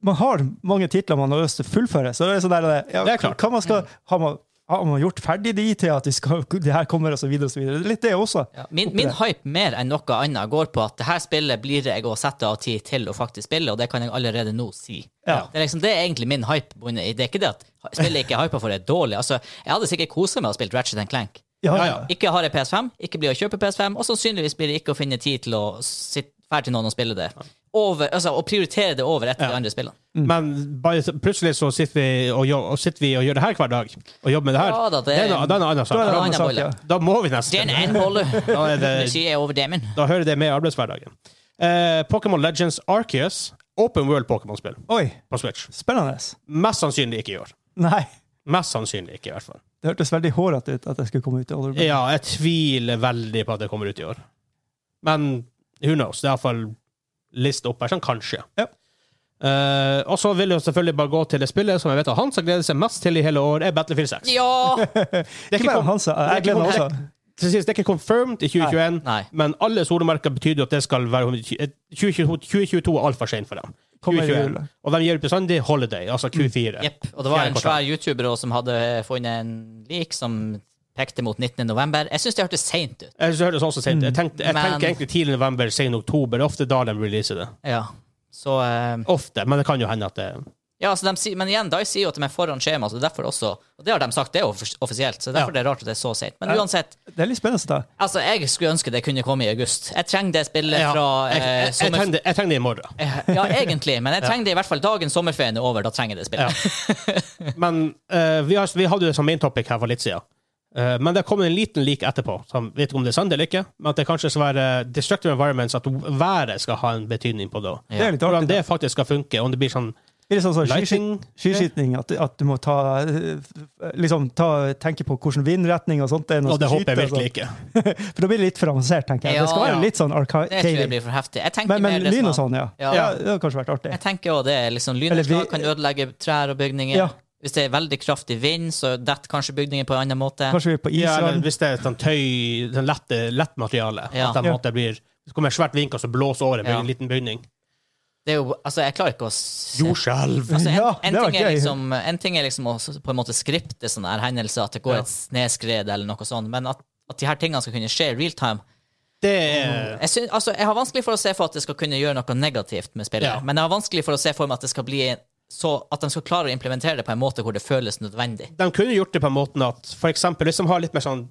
Speaker 1: Man har mange titler man har lyst til å fullføre. Så det er sånn der, ja,
Speaker 2: Det er klart. Mm.
Speaker 1: Hva man skal, har, man, har man gjort ferdig de til at de skal, det her kommer, osv.? Litt det også.
Speaker 3: Ja. Min, min hype mer enn noe annet går på at det her spillet blir jeg å sette av tid til å faktisk spille, og det kan jeg allerede nå si.
Speaker 1: Ja.
Speaker 3: Det, er liksom, det er egentlig min hype. bundet i. Det er ikke det at spillet ikke er hypa for, det er dårlig. Altså, jeg hadde sikkert kosa meg å spille Ratchet Clank.
Speaker 1: Ja,
Speaker 2: Ja,
Speaker 1: ja.
Speaker 2: ja.
Speaker 3: Ikke har jeg PS5, ikke blir å kjøpe PS5, og sannsynligvis blir det ikke å finne tid til å sitte fære til noen og spille det. Over, altså, Å prioritere det over et av de andre spillene.
Speaker 1: Mm.
Speaker 2: Men bare, plutselig så sitter vi, og gjør, og sitter vi og gjør det her hver dag, og jobber med det her.
Speaker 3: Ja da, det-
Speaker 2: er noe- det er en annen
Speaker 1: Da er det
Speaker 3: Ja,
Speaker 2: sak.
Speaker 1: andre
Speaker 3: ja, bolle.
Speaker 1: saker.
Speaker 2: Da må vi
Speaker 3: Det er
Speaker 2: nesten
Speaker 3: en end bolle. Nå
Speaker 2: er det-
Speaker 3: sier jeg over demon.
Speaker 2: Da hører det med i arbeidshverdagen. Eh, Pokémon Legends Arceus, open world Pokémon-spill
Speaker 1: Oi,
Speaker 2: på Switch.
Speaker 1: spennende.
Speaker 2: Mest sannsynlig ikke i år.
Speaker 1: Nei.
Speaker 2: Mest sannsynlig ikke, i hvert fall.
Speaker 1: Det hørtes veldig hårete ut at jeg skulle komme ut i Olderburg.
Speaker 2: Ja, jeg tviler veldig på at det kommer ut i år. Men who knows? Det er iallfall lista opp her, sånn kanskje.
Speaker 1: Ja.
Speaker 2: Eh, og så vil jeg jo selvfølgelig bare gå til det spillet som jeg vet at han som gleder seg mest til i hele år, er Battlefield 6.
Speaker 3: Ja!
Speaker 2: Det er
Speaker 1: Ikke bare
Speaker 2: kom-
Speaker 1: han sa
Speaker 2: det er
Speaker 1: Jeg
Speaker 2: ikke
Speaker 1: gleder meg
Speaker 2: kom-
Speaker 1: også.
Speaker 2: til sist, det er ikke confirmed i 2021,
Speaker 3: Nei. Nei.
Speaker 2: men alle solemerker betyr jo at det skal være 2022, 2022 er altfor sent for dem.
Speaker 1: Kommer i
Speaker 2: 2021.
Speaker 1: jula.
Speaker 2: Og de gir ut bestandig holiday, altså Q4.
Speaker 3: Jepp. Og det var en
Speaker 2: Fjerde
Speaker 3: svær YouTuber også som hadde eh, funnet en lik som pekte mot 19. november. Jeg syns det hørtes seint ut.
Speaker 2: Jeg, hørte det også sent. jeg, tenkte, jeg
Speaker 3: Men-
Speaker 2: tenker egentlig tidlig november, sen oktober. Det er ofte da de releaser det.
Speaker 3: Ja. Så eh,
Speaker 2: Ofte, men det kan jo hende at det
Speaker 3: Ja, så de, sier- men igjen, Dice sier jo at de er foran skjema, så det er derfor også Og det har de sagt, det er offis- offisielt, så derfor
Speaker 2: Ja.
Speaker 3: det er rart at det er så seint. Men
Speaker 1: Ja.
Speaker 3: uansett,
Speaker 1: Det er litt spennende. da.
Speaker 3: altså, jeg skulle ønske det kunne komme i august. Jeg trenger det spillet
Speaker 2: Ja,
Speaker 3: fra
Speaker 2: jeg,
Speaker 3: eh,
Speaker 2: jeg, jeg,
Speaker 3: sommer...
Speaker 2: trenger det- jeg trenger det i morgen.
Speaker 3: Eh, Ja, egentlig, men jeg trenger det i hvert fall dagen sommerferien er over. Da trenger jeg det spillet.
Speaker 2: Men eh, vi, har, vi hadde jo det som main topic her for litt siden. Eh, men det kom en liten lik etterpå, som vet ikke om det er sant eller ikke. Men at det kanskje skal være destructive environments, at været skal ha en betydning på det.
Speaker 1: Det er litt
Speaker 2: Hvordan
Speaker 1: artig.
Speaker 2: det
Speaker 1: da.
Speaker 2: faktisk skal funke, om det blir sånn
Speaker 1: Det er litt sånn som skiskyting,
Speaker 2: lighting
Speaker 1: skiskyting at, at du må ta, eh, f- liksom, ta, tenke på hvilken vindretning og sånt det er når
Speaker 2: Og det
Speaker 1: du skal
Speaker 2: håper jeg
Speaker 1: skyte,
Speaker 2: virkelig ikke.
Speaker 1: altså. For da blir det litt for avansert, tenker jeg.
Speaker 3: Ja,
Speaker 1: det skal være
Speaker 2: ja.
Speaker 1: litt sånn
Speaker 3: Det tror jeg
Speaker 1: arcade.
Speaker 3: blir for heftig. Jeg tenker
Speaker 1: Men, men
Speaker 3: mer det
Speaker 1: lyn og
Speaker 3: som at-
Speaker 1: sånn, ja.
Speaker 3: Ja.
Speaker 1: ja. Det hadde kanskje vært artig.
Speaker 3: Jeg tenker også det. liksom
Speaker 1: Eller vi-
Speaker 3: Lynnedslag kan ødelegge trær og bygninger.
Speaker 1: Ja.
Speaker 3: Hvis det er veldig kraftig vind, så detter kanskje bygninger på en annen måte.
Speaker 1: Kanskje vi er på
Speaker 2: Ja, eller
Speaker 1: Island.
Speaker 2: hvis det er sånn tøy, sånn lett, lett materiale.
Speaker 3: Ja.
Speaker 2: At det,
Speaker 1: Ja.
Speaker 2: at det blir det kommer en svært vindkast og blåser over en
Speaker 3: Ja.
Speaker 2: byg- liten bygning.
Speaker 3: Det er jo, altså, jeg klarer ikke å se
Speaker 2: Jordskjelv!
Speaker 3: Altså, en,
Speaker 1: Ja,
Speaker 3: en,
Speaker 1: det var
Speaker 3: ting er
Speaker 1: gøy.
Speaker 3: liksom, en ting er liksom å s- på en måte skripte sånne her hendelser, at det går
Speaker 2: Ja.
Speaker 3: et snøskred eller noe sånt, men at, at de her tingene skal kunne skje i real time
Speaker 2: Det er
Speaker 3: jeg, syn- altså, jeg har vanskelig for å se for at det skal kunne gjøre noe negativt med spillet,
Speaker 2: Ja.
Speaker 3: men jeg har vanskelig for å se for meg at det skal bli så at de skal klare å implementere det på en måte hvor det føles nødvendig.
Speaker 2: De kunne gjort det på en måte at for eksempel hvis de har litt mer sånn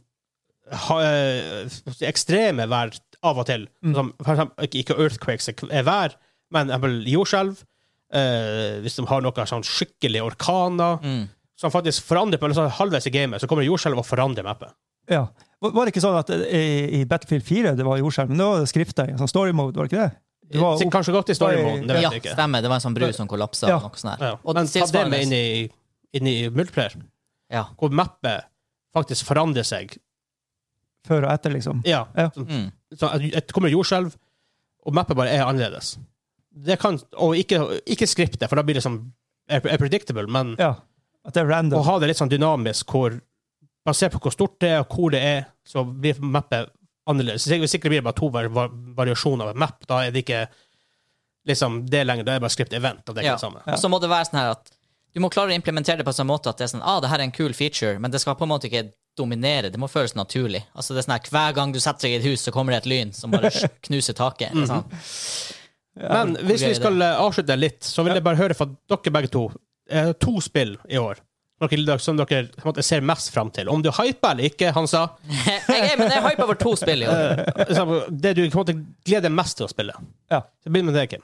Speaker 2: ha, eh, ekstreme vær av og til,
Speaker 3: Mm.
Speaker 2: som for eksempel, ikke- ikke earthquakes er vær, men eksempel jordskjelv eh, Hvis de har noe sånn skikkelig orkaner
Speaker 3: Mm.
Speaker 2: som faktisk forandrer på liksom, halvveis i gamet, så kommer jordskjelv og forandrer mappet.
Speaker 1: Ja. Var var det ikke sånn at eh, i, i Battlefield 4 det var jordskjelv, men det var skrifta i en sånn story mode, var det ikke det? Du var
Speaker 2: Sikkert
Speaker 1: opp,
Speaker 2: Kanskje godt i story-moden, det vet
Speaker 3: Ja,
Speaker 2: jeg ikke.
Speaker 3: stemmer. Det var en sånn bru som kollapsa.
Speaker 1: Ja.
Speaker 3: og Noe sånt her.
Speaker 2: Ja.
Speaker 3: Og
Speaker 2: Men ta det
Speaker 3: tilsvarende-
Speaker 2: med inn i, inn i multiplayer,
Speaker 3: Ja.
Speaker 2: hvor mappet faktisk forandrer seg.
Speaker 1: før og etter, liksom.
Speaker 2: Ja.
Speaker 1: Ja.
Speaker 3: Mm.
Speaker 2: Så at det kommer jordskjelv, og mappet bare er annerledes. Det kan, og ikke, ikke skriptet, for da blir det sånn er, er predictable, men
Speaker 1: Ja. At det er
Speaker 2: å
Speaker 1: random.
Speaker 2: ha det litt sånn dynamisk, hvor basert på hvor stort det er, og hvor det er, så blir mappet annerledes. Så Hvis ikke det blir bare to var, var, variasjoner av et map, da er det ikke liksom det lenger, da er det bare skript event, og det er ikke
Speaker 3: Ja.
Speaker 2: det samme.
Speaker 3: Og så må det være sånn her at du må klare å implementere det på en sånn måte at det er sånn, ah, det her er en kul feature, men det skal på en måte ikke dominere, det må føles naturlig. Altså det er sånn her, Hver gang du setter deg i et hus, så kommer det et lyn som bare knuser taket. Det er sånn.
Speaker 2: Men hvis vi
Speaker 3: gøy det.
Speaker 2: skal eh, avslutte litt, så vil jeg bare høre fra dere begge to. Eh, To spill i år dere, som dere på en måte, ser mest fram til. Om du hyper eller ikke, han sa.
Speaker 3: jeg er, men jeg er hypa over to spill i år.
Speaker 2: eh, liksom, Det du på en måte gleder deg mest til å spille.
Speaker 1: Ja.
Speaker 2: Så begynn med det, Kim.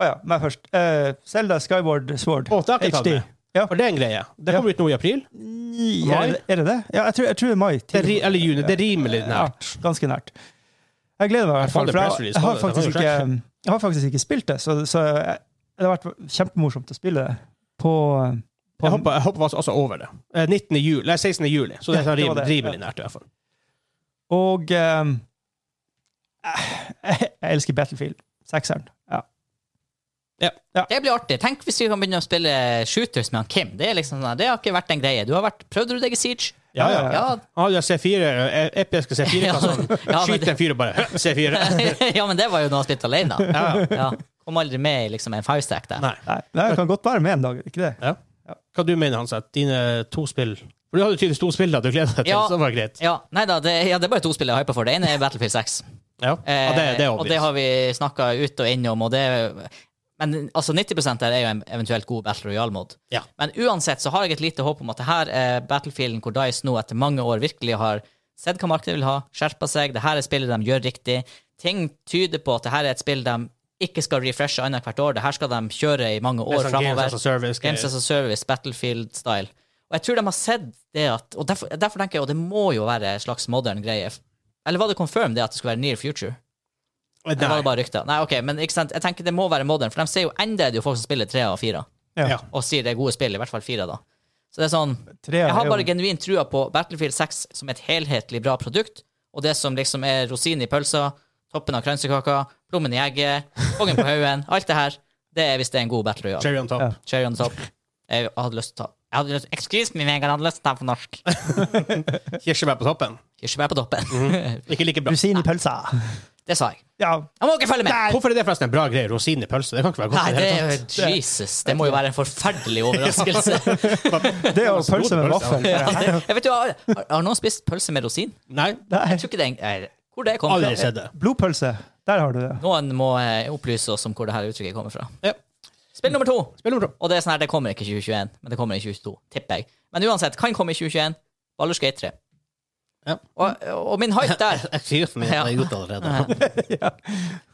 Speaker 1: Å ja, meg først. Uh, Zelda Skyward Sword.
Speaker 2: Å, det har jeg ikke tatt
Speaker 1: HD.
Speaker 2: med.
Speaker 1: Ja.
Speaker 2: For det er en greie. Det kommer ut nå i april.
Speaker 1: Ni-
Speaker 2: Mai?
Speaker 1: Er det, er det det? Ja, jeg tror, jeg tror det er mai.
Speaker 2: Det er, ri- eller juni. Det er rimelig nært.
Speaker 1: Ja, ganske nært. Jeg gleder meg i hvert fall,
Speaker 2: Jeg fant det
Speaker 1: for
Speaker 2: press
Speaker 1: jeg,
Speaker 2: release,
Speaker 1: jeg, har
Speaker 2: det var
Speaker 1: faktisk
Speaker 2: jo
Speaker 1: ikke, jeg har faktisk ikke spilt det, så, så jeg, det har vært kjempemorsomt å spille det på, på
Speaker 2: Jeg håper, jeg håper altså over det. Eh, 19. Juli, nei, 16. juli. Så det er
Speaker 1: Ja,
Speaker 2: sånn
Speaker 1: det
Speaker 2: rimelig,
Speaker 1: var det.
Speaker 2: rimelig nært, i hvert fall.
Speaker 1: Og ehm, eh, jeg, jeg elsker Battlefield. Sekseren. Ja.
Speaker 3: Det blir artig. Tenk hvis vi kan begynne å spille shooters med han Kim. Det, er liksom sånn, det har ikke vært en greie. Du har vært, Prøvde du deg i Siege?
Speaker 2: Ja, ja.
Speaker 1: Ja,
Speaker 3: Ja,
Speaker 2: Ah, ja C4, eh, episke C4-kassen.
Speaker 3: Ja, men
Speaker 2: Skyt
Speaker 3: det-
Speaker 2: en fyr og bare «Hø, C4.
Speaker 3: ja men det var jo noe han spilte alene. da.
Speaker 2: Ja, ja.
Speaker 3: Ja. Kom aldri med i liksom, en firestack der.
Speaker 2: Nei.
Speaker 1: Nei, men jeg kan godt være med en dag, ikke det?
Speaker 2: Hva du mener Hans, at dine to spill For du hadde tydeligvis to spill da du gleda deg til,
Speaker 3: Ja.
Speaker 2: så det var greit.
Speaker 3: Ja, nei da, det, ja, det er bare to spill jeg hyper for. Det ene er Battlefield 6.
Speaker 2: Ja, ja det, det er
Speaker 3: Eh, og det
Speaker 2: obvious.
Speaker 3: har vi snakka ut og innom, og det Men altså 90 der er jo en eventuelt god Battle Royale-mod.
Speaker 2: Ja.
Speaker 3: Men uansett så har jeg et lite håp om at det her er battlefielden hvor Dice nå etter mange år virkelig har sett hva markedet vil ha, skjerpa seg, det her er spillet de gjør riktig. Ting tyder på at det her er et spill de ikke skal refreshe annet hvert år. Det her skal de kjøre i mange
Speaker 2: Det er
Speaker 3: år
Speaker 2: sånn Games as
Speaker 3: framover.
Speaker 2: a service.
Speaker 3: Games as a Service, Battlefield-style. Og jeg tror de har sett det at Og derfor, derfor tenker jeg, og det må jo være en slags modern greie. Eller var det confirm det at det skulle være near future?
Speaker 2: Nei,
Speaker 3: Det var det bare rykter. Nei, ok, men ikke sant? jeg tenker det må være modern, for de ser jo enda det er jo folk som spiller tre av fire,
Speaker 2: Ja.
Speaker 3: og sier det er gode spill, i hvert fall fire, da. Så det er sånn
Speaker 1: Tre
Speaker 3: Jeg har
Speaker 1: er jo-
Speaker 3: bare genuint trua på Battlefield 6 som et helhetlig bra produkt, og det som liksom er rosinen i pølsa, toppen av kransekaka, plommen i egget, kongen på haugen, alt det her. Det er hvis det er en god battle royale.
Speaker 2: Cherry on top.
Speaker 1: Ja.
Speaker 3: Cherry on top. Jeg hadde lyst til å ta jeg hadde lyst, Excuse me, Vegard, jeg hadde lyst til å ta den på norsk.
Speaker 2: Kirsebær på toppen.
Speaker 3: Kirsebær på toppen.
Speaker 2: Ikke like bra.
Speaker 1: Rosin i pølsa.
Speaker 3: det sa jeg.
Speaker 1: Ja.
Speaker 3: Jeg må ikke følge med!
Speaker 2: Hvorfor er det forresten en bra greie? Rosin i pølse? Det kan ikke være
Speaker 3: Nei,
Speaker 2: godt. i
Speaker 3: det
Speaker 2: hele
Speaker 3: er
Speaker 2: tatt.
Speaker 3: jo Jesus. Det må jo være en forferdelig overraskelse.
Speaker 1: Det er jo pølse med vaffel.
Speaker 3: Ja, det, jeg vet jo, har, har noen spist pølse med rosin?
Speaker 2: Nei,
Speaker 1: Nei.
Speaker 3: Jeg tror ikke det er en- nei, Hvor det kom
Speaker 2: aldri
Speaker 3: fra?
Speaker 2: sett det.
Speaker 1: Blodpølse. Der har du det.
Speaker 3: Noen må eh, opplyse oss om hvor det her uttrykket kommer fra.
Speaker 2: Ja.
Speaker 3: Spill nummer to.
Speaker 2: Spiller bra.
Speaker 3: Og det er sånn her, det kommer ikke i 2021, men det kommer i 2022, tipper jeg. Men uansett, kan komme i 2021. Baldur's Gate 3.
Speaker 2: Ja.
Speaker 3: Og, og min hype der
Speaker 2: Jeg sier for mye, jeg
Speaker 3: Ja.
Speaker 2: har gjort det allerede.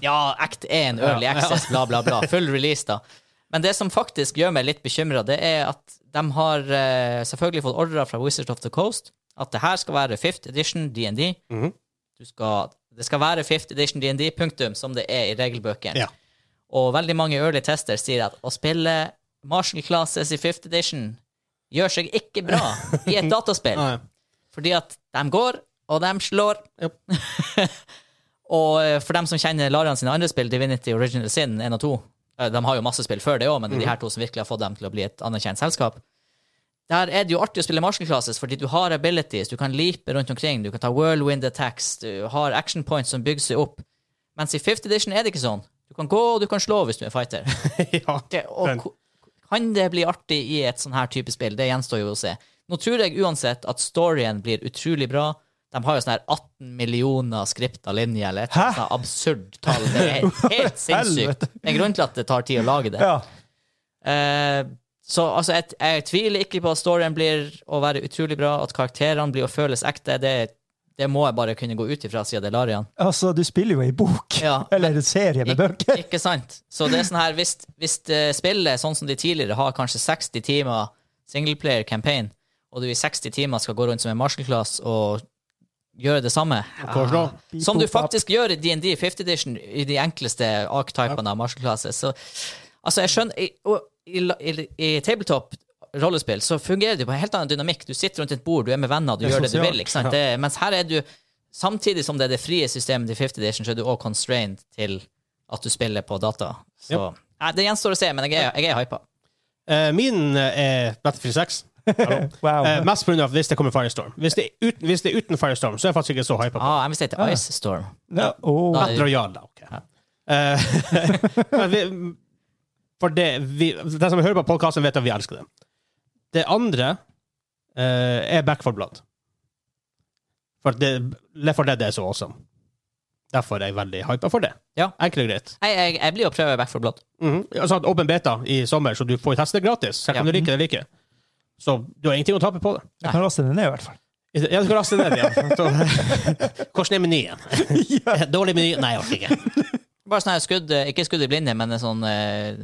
Speaker 3: Ja, Act 1, Early
Speaker 2: Ja, ja.
Speaker 3: Access, bla, bla, bla. Full release, da. Men det som faktisk gjør meg litt bekymra, det er at de har eh, selvfølgelig fått ordre fra Wizards of the Coast at det her skal være 5th edition DND.
Speaker 2: Mhm.
Speaker 3: Du skal- Det skal være 5th edition DND, punktum, som det er i regelbøkene.
Speaker 2: Ja.
Speaker 3: Og veldig mange early tester sier at å spille Marshall Classes i 5th edition gjør seg ikke bra i et dataspill.
Speaker 2: Nei.
Speaker 3: Fordi at de går, og de slår.
Speaker 2: Japp.
Speaker 3: og eh, for dem som kjenner Larian sine andre spill, Divinity Original Sin 1 og 2 eh, De har jo masse spill før det òg, men det er de her to som virkelig har fått dem til å bli et anerkjent selskap. Der er det jo artig å spille martial classes, fordi du har abilities, du kan leape rundt omkring, du kan ta whirlwind attacks, du har action points som bygger seg opp. Mens i 5th edition er det ikke sånn. Du kan gå, og du kan slå hvis du er fighter
Speaker 2: Ja.
Speaker 3: det, og,
Speaker 2: Den-
Speaker 3: ko- kan det bli artig i et sånn her type spill? Det gjenstår jo å se. Nå tror jeg uansett at storyen blir utrolig bra. De har jo sånn her 18 millioner skripta linjer, eller et
Speaker 1: Hæ?
Speaker 3: sånt absurd tall. Det er helt sinnssykt.
Speaker 1: Helvete.
Speaker 3: Det er en grunn til at det tar tid å lage det.
Speaker 1: Ja.
Speaker 3: Eh, så altså, jeg, jeg tviler ikke på at storyen blir å være utrolig bra, at karakterene blir å føles ekte. Det, det må jeg bare kunne gå ut ifra, siden det er Larian.
Speaker 1: Altså, du spiller jo ei bok.
Speaker 3: Ja.
Speaker 1: Eller en serie med
Speaker 3: Ik
Speaker 1: bøker.
Speaker 3: ikke sant? Så det er sånn her, hvis, hvis eh, spillet, sånn som de tidligere, har kanskje 60 timer singleplayer campaign, og du i 60 timer skal gå rundt som en martial class og gjøre det samme
Speaker 2: Korslå.
Speaker 3: Som du faktisk gjør i DND 50 edition, i de enkleste archetypene av martial classes. Så, altså, jeg skjønner I, og, i, la- i, i tabletop rollespill så fungerer det jo på en helt annen dynamikk. Du sitter rundt et bord, du er med venner, du
Speaker 1: Det er
Speaker 3: gjør det du
Speaker 1: sosialt,
Speaker 3: vil. ikke sant?
Speaker 1: ja.
Speaker 3: Det, mens her er du Samtidig som det er det frie systemet til 50 edition, så er du også constrained til at du spiller på data. Så Nei, Det gjenstår å se, men jeg er, jeg er hypa.
Speaker 2: Eh, Min eh, er Battlefield 6. Hallo.
Speaker 1: Wow.
Speaker 2: Eh, mest pga. hvis det kommer Firestorm. Hvis det, er uten, hvis det er uten Firestorm, så er jeg faktisk ikke så hypa på det.
Speaker 3: Ah, jeg vil si til Ice Storm.
Speaker 1: Ja. Åh.
Speaker 3: Da-
Speaker 2: Battle Royale, da. ok. Eh, men vi, for det, vi, de som hører på podkasten, vet at vi elsker det. Det andre eh, er Back for Blood. For det, Left 4 Dead er så awesome. Derfor er jeg veldig hypa for det.
Speaker 3: Ja.
Speaker 2: Enkelt og greit.
Speaker 3: Nei, jeg, jeg blir å prøve Back for Blood.
Speaker 2: Mhm. Altså at Åpen beta i sommer, så du får teste det gratis. Selv om
Speaker 3: Ja.
Speaker 2: du liker det eller ikke. Så du har ingenting å tape på det.
Speaker 1: Jeg kan laste den ned, i hvert fall.
Speaker 2: Ja, du skal laste ned igjen. Så- Hvordan er menyen? Dårlig meny? Nei, jeg orker ikke.
Speaker 3: Bare sånn her skudd, eh, ikke skudd i blinde, men en sånn eh,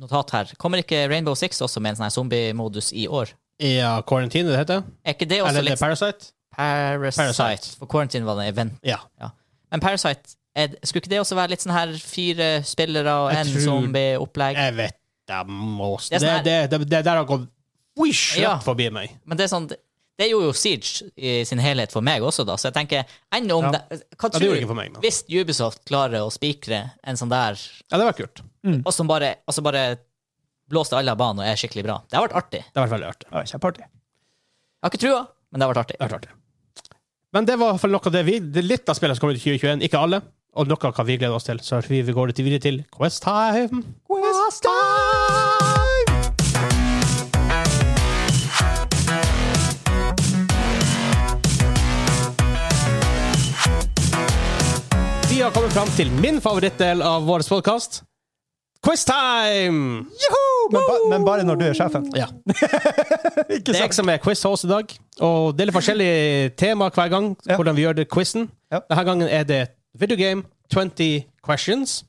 Speaker 3: notat her. Kommer ikke Rainbow Six også med en sånn her zombiemodus i år?
Speaker 2: Ja, quarantine, det heter.
Speaker 3: Er ikke det også
Speaker 2: Eller det er
Speaker 3: litt
Speaker 2: Parasite?
Speaker 3: Parasite?
Speaker 2: Parasite.
Speaker 3: For Quarantine var det event.
Speaker 2: Ja.
Speaker 3: Men Parasite, er, skulle ikke det også være litt sånn her fire spillere og
Speaker 2: Jeg
Speaker 3: en
Speaker 2: tror-
Speaker 3: zombie-opplegg?
Speaker 2: Jeg vet da mås.
Speaker 3: Det er
Speaker 2: Det,
Speaker 3: sånn
Speaker 2: det, det, det der har gått wish
Speaker 3: Ja.
Speaker 2: rett forbi meg.
Speaker 3: Men det er sånn det gjorde jo Siege i sin helhet for meg også, da, så jeg tenker enn om
Speaker 2: Ja.
Speaker 3: det Hva
Speaker 2: Ja, det
Speaker 3: tror
Speaker 2: gjorde ikke
Speaker 3: du?
Speaker 2: for meg. Men.
Speaker 3: Hvis Ubisoft klarer å spikre en sånn der,
Speaker 2: Ja, det var kult.
Speaker 3: og som bare, og som bare blåser alle av banen og er skikkelig bra Det har vært artig.
Speaker 2: Det har vært veldig artig.
Speaker 1: Ja, Kjempeartig.
Speaker 3: Jeg har ikke trua, men det har vært artig.
Speaker 2: Det har vært artig. Men det var i hvert fall noe av det vi Det er litt av spillene som kommer ut i 2021, ikke alle. Og noe kan vi glede oss til. Så vi vi går litt videre til Quest Time.
Speaker 1: Quest time!
Speaker 2: Vi har kommet fram til min favorittdel av vår podkast. Quiz time!
Speaker 1: Joho! Men, ba, men bare når du er sjefen.
Speaker 2: Ja.
Speaker 1: Ikke
Speaker 2: Det er jeg
Speaker 1: sant?
Speaker 2: som er quiz-host i dag, og det er litt forskjellige temaer hver gang.
Speaker 1: Ja.
Speaker 2: hvordan vi gjør det quizen.
Speaker 1: Ja.
Speaker 2: Denne gangen er det video game 20 questions.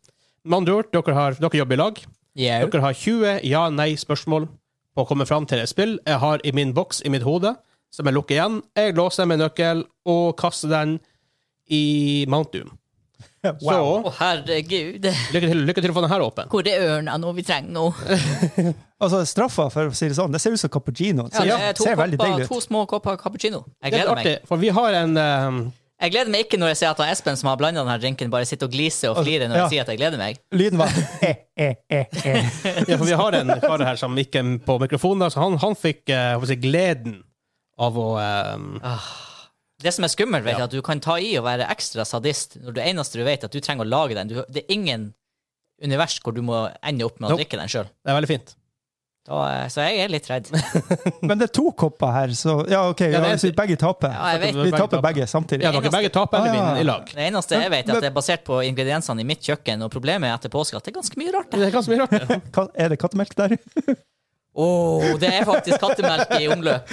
Speaker 2: Med andre ord, dere, har, dere jobber i lag.
Speaker 3: Yeah.
Speaker 2: Dere har 20 ja-nei-spørsmål på å komme fram til et spill jeg har i min boks i mitt hode, som jeg lukker igjen. Jeg låser med nøkkel og kaster den i Mount Doom.
Speaker 1: Wow.
Speaker 3: Å, herregud.
Speaker 2: Så lykke til, lykke til å få den her åpen.
Speaker 3: Hvor er ørna nå vi trenger nå?
Speaker 1: Altså, straffa, for å si det sånn, det ser ut som cappuccino. Det ser,
Speaker 3: Ja, det er to,
Speaker 1: ser veldig
Speaker 3: kopper,
Speaker 1: deilig ut.
Speaker 3: to små kopper cappuccino.
Speaker 2: Det er
Speaker 3: Jeg
Speaker 2: litt
Speaker 3: gleder meg.
Speaker 2: artig, for vi har en eh,
Speaker 3: Jeg gleder meg ikke når jeg ser at han Espen som har blanda denne drinken, bare sitter og gliser og flirer når
Speaker 1: Ja.
Speaker 3: jeg sier at jeg gleder meg.
Speaker 1: Lyden var eh, eh, eh, eh.
Speaker 2: Ja, for vi har en kar her som gikk eh, på mikrofonen, da, så han, han fikk eh, hva skal jeg si, gleden av å eh,
Speaker 3: Det som er skummelt, vet du,
Speaker 2: Ja.
Speaker 3: at du kan ta i og være ekstra sadist når det eneste du vet, at du trenger å lage den. Du, det er ingen univers hvor du må ende opp med å
Speaker 2: Nope.
Speaker 3: drikke den sjøl.
Speaker 2: Det er veldig fint.
Speaker 3: Så jeg er litt redd.
Speaker 1: Men det er to kopper her, så ja, OK. Ja,
Speaker 2: det er-
Speaker 1: så begge taper.
Speaker 3: Ja, jeg vet.
Speaker 1: Vi taper begge samtidig.
Speaker 2: Ja, dere
Speaker 3: Eneste-
Speaker 2: begge taper eller
Speaker 1: Ah, ja.
Speaker 2: vinner i lag.
Speaker 3: Det eneste jeg vet, er
Speaker 1: Men-
Speaker 3: at det er basert på ingrediensene i mitt kjøkken, og problemet er etter påske at det er ganske mye rart.
Speaker 2: Det er ganske mye rart. det.
Speaker 1: Ka- Er det kattemelk der?
Speaker 3: Oh, det er faktisk kattemelk i omløp.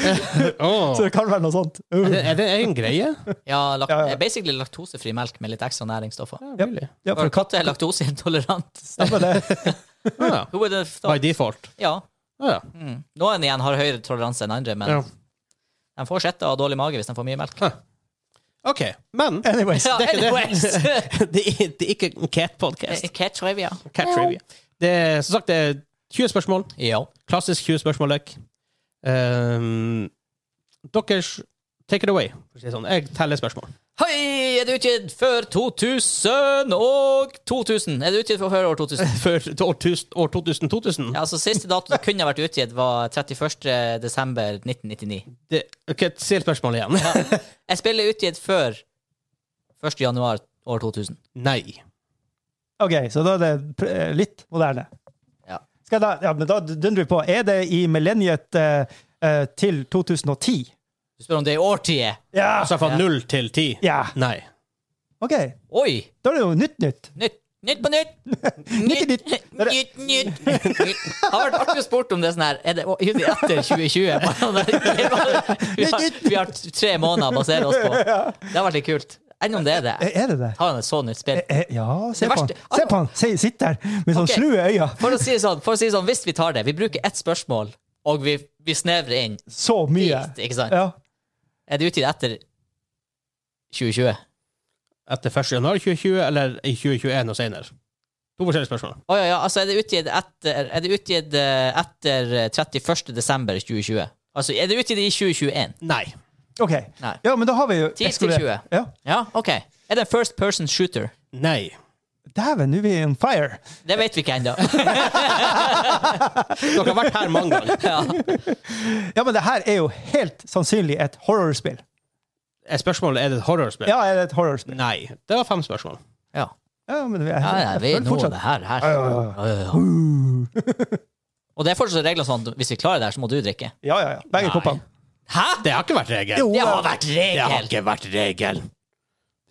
Speaker 2: Åh.
Speaker 1: Så det kan være noe sånt.
Speaker 2: Er
Speaker 1: Uh.
Speaker 2: det- Er det en greie?
Speaker 3: Ja, lak eh,
Speaker 1: Ja, ja.
Speaker 3: Basically laktosefri melk med litt ekstra næringsstoffer.
Speaker 2: Ja,
Speaker 1: Ja.
Speaker 2: really.
Speaker 1: Ja,
Speaker 3: For
Speaker 1: for
Speaker 3: katter er laktoseintolerant.
Speaker 1: stemmer det.
Speaker 2: Ah,
Speaker 3: Who would have
Speaker 2: ja. By
Speaker 3: thought?
Speaker 2: default.
Speaker 3: Ja.
Speaker 2: Ah, ja.
Speaker 3: Mm. Noen igjen har høyere toleranse enn andre, men
Speaker 2: Ja.
Speaker 3: de får sjette og dårlig mage hvis de får mye melk.
Speaker 2: OK. Men
Speaker 1: Anyways.
Speaker 3: Ja,
Speaker 2: det er ikke det.
Speaker 3: anyways.
Speaker 2: det er det er ikke en cat-podkast.
Speaker 3: Cat trivia.
Speaker 2: Cat trivia. Det er som sagt det er 20 spørsmål.
Speaker 3: Ja.
Speaker 2: Klassisk 20-spørsmål-lek. Um, dere Take it away. for å si det Sånn. Jeg teller spørsmål.
Speaker 3: Hei, er det utgitt før 2000 og 2000? Er det utgitt før år 2000?
Speaker 2: Før til år 1000 år 2000? 2000.
Speaker 3: Ja, altså Siste dato det kunne ha vært utgitt, var 31. desember 1999.
Speaker 2: Det, ok, Still spørsmål igjen.
Speaker 3: Jeg spiller utgitt før 1. januar år 2000.
Speaker 2: Nei.
Speaker 1: OK, så da er det pr- eh, litt moderne.
Speaker 3: Ja.
Speaker 1: Skal jeg da, ja, men da dundrer vi på. Er det i millenniet eh, eh, til 2010?
Speaker 3: Du spør om det er i årtiet.
Speaker 1: Ja!
Speaker 2: Altså fra
Speaker 3: Ja.
Speaker 2: null til ti?
Speaker 1: ja.
Speaker 2: Nei.
Speaker 1: OK.
Speaker 3: Oi!
Speaker 1: Da er det jo nytt nytt.
Speaker 3: Nytt, nytt på nytt!
Speaker 1: Nytt i nytt.
Speaker 3: Nytt, nytt, nytt. Det har vært artig å spurt om det er sånn her Er det å, er det etter 2020? Vi har, vi har tre måneder å basere oss på. Det har vært litt kult. Enn om det er det?
Speaker 1: Er er det det?
Speaker 3: Har han et så nytt spill?
Speaker 1: Eh, Ja, se
Speaker 3: Det
Speaker 1: på han.
Speaker 3: verste-
Speaker 1: Se på han. Se- Sitt der med sånn
Speaker 3: Ok.
Speaker 1: slue øyne.
Speaker 3: For å si det sånn, for å si det sånn hvis vi tar det Vi bruker ett spørsmål, og vi, vi snevrer inn.
Speaker 1: Så mye.
Speaker 3: Likt, ikke sant?
Speaker 1: Ja.
Speaker 3: Er det utgitt etter 2020?
Speaker 2: Etter 1. januar 2020 eller i 2021 og senere? To forskjellige spørsmål.
Speaker 3: Å ja, ja, altså er det utgitt etter, er det utgitt eh, etter 31. desember 2020? Altså, er det utgitt i 2021?
Speaker 2: Nei.
Speaker 1: OK.
Speaker 3: Nei.
Speaker 1: Ja, men da har vi jo
Speaker 3: 10 til
Speaker 1: eksplodert.
Speaker 3: 20.
Speaker 1: Ja.
Speaker 3: Ja, ok. Er det en first person shooter?
Speaker 2: Nei.
Speaker 1: Dæven, nå er vi on fire.
Speaker 3: Det vet vi ikke ennå.
Speaker 2: Dere har vært her mange ganger.
Speaker 3: ja.
Speaker 1: Ja, men det her er jo helt sannsynlig et horrorspill.
Speaker 2: Er Spørsmålet er det et horrorspill?
Speaker 1: Ja, er det et horrorspill?
Speaker 2: Nei. Det var fem spørsmål.
Speaker 3: ja.
Speaker 1: Ja, men vi er,
Speaker 3: ja, ja vi er
Speaker 1: jeg føler
Speaker 3: nå
Speaker 1: fortsatt-
Speaker 3: det her. her.
Speaker 1: Ja, ja, ja.
Speaker 3: Ja, ja, ja.
Speaker 1: Uh.
Speaker 3: Og det er fortsatt regler sånn at hvis vi klarer det her, så må du drikke.
Speaker 1: Ja, ja, ja. Begge
Speaker 2: Nei.
Speaker 1: koppene.
Speaker 3: Hæ?!
Speaker 2: Det har ikke vært regel.
Speaker 1: Jo,
Speaker 3: Det har vært
Speaker 2: Det har
Speaker 3: regel!
Speaker 2: ikke vært regel.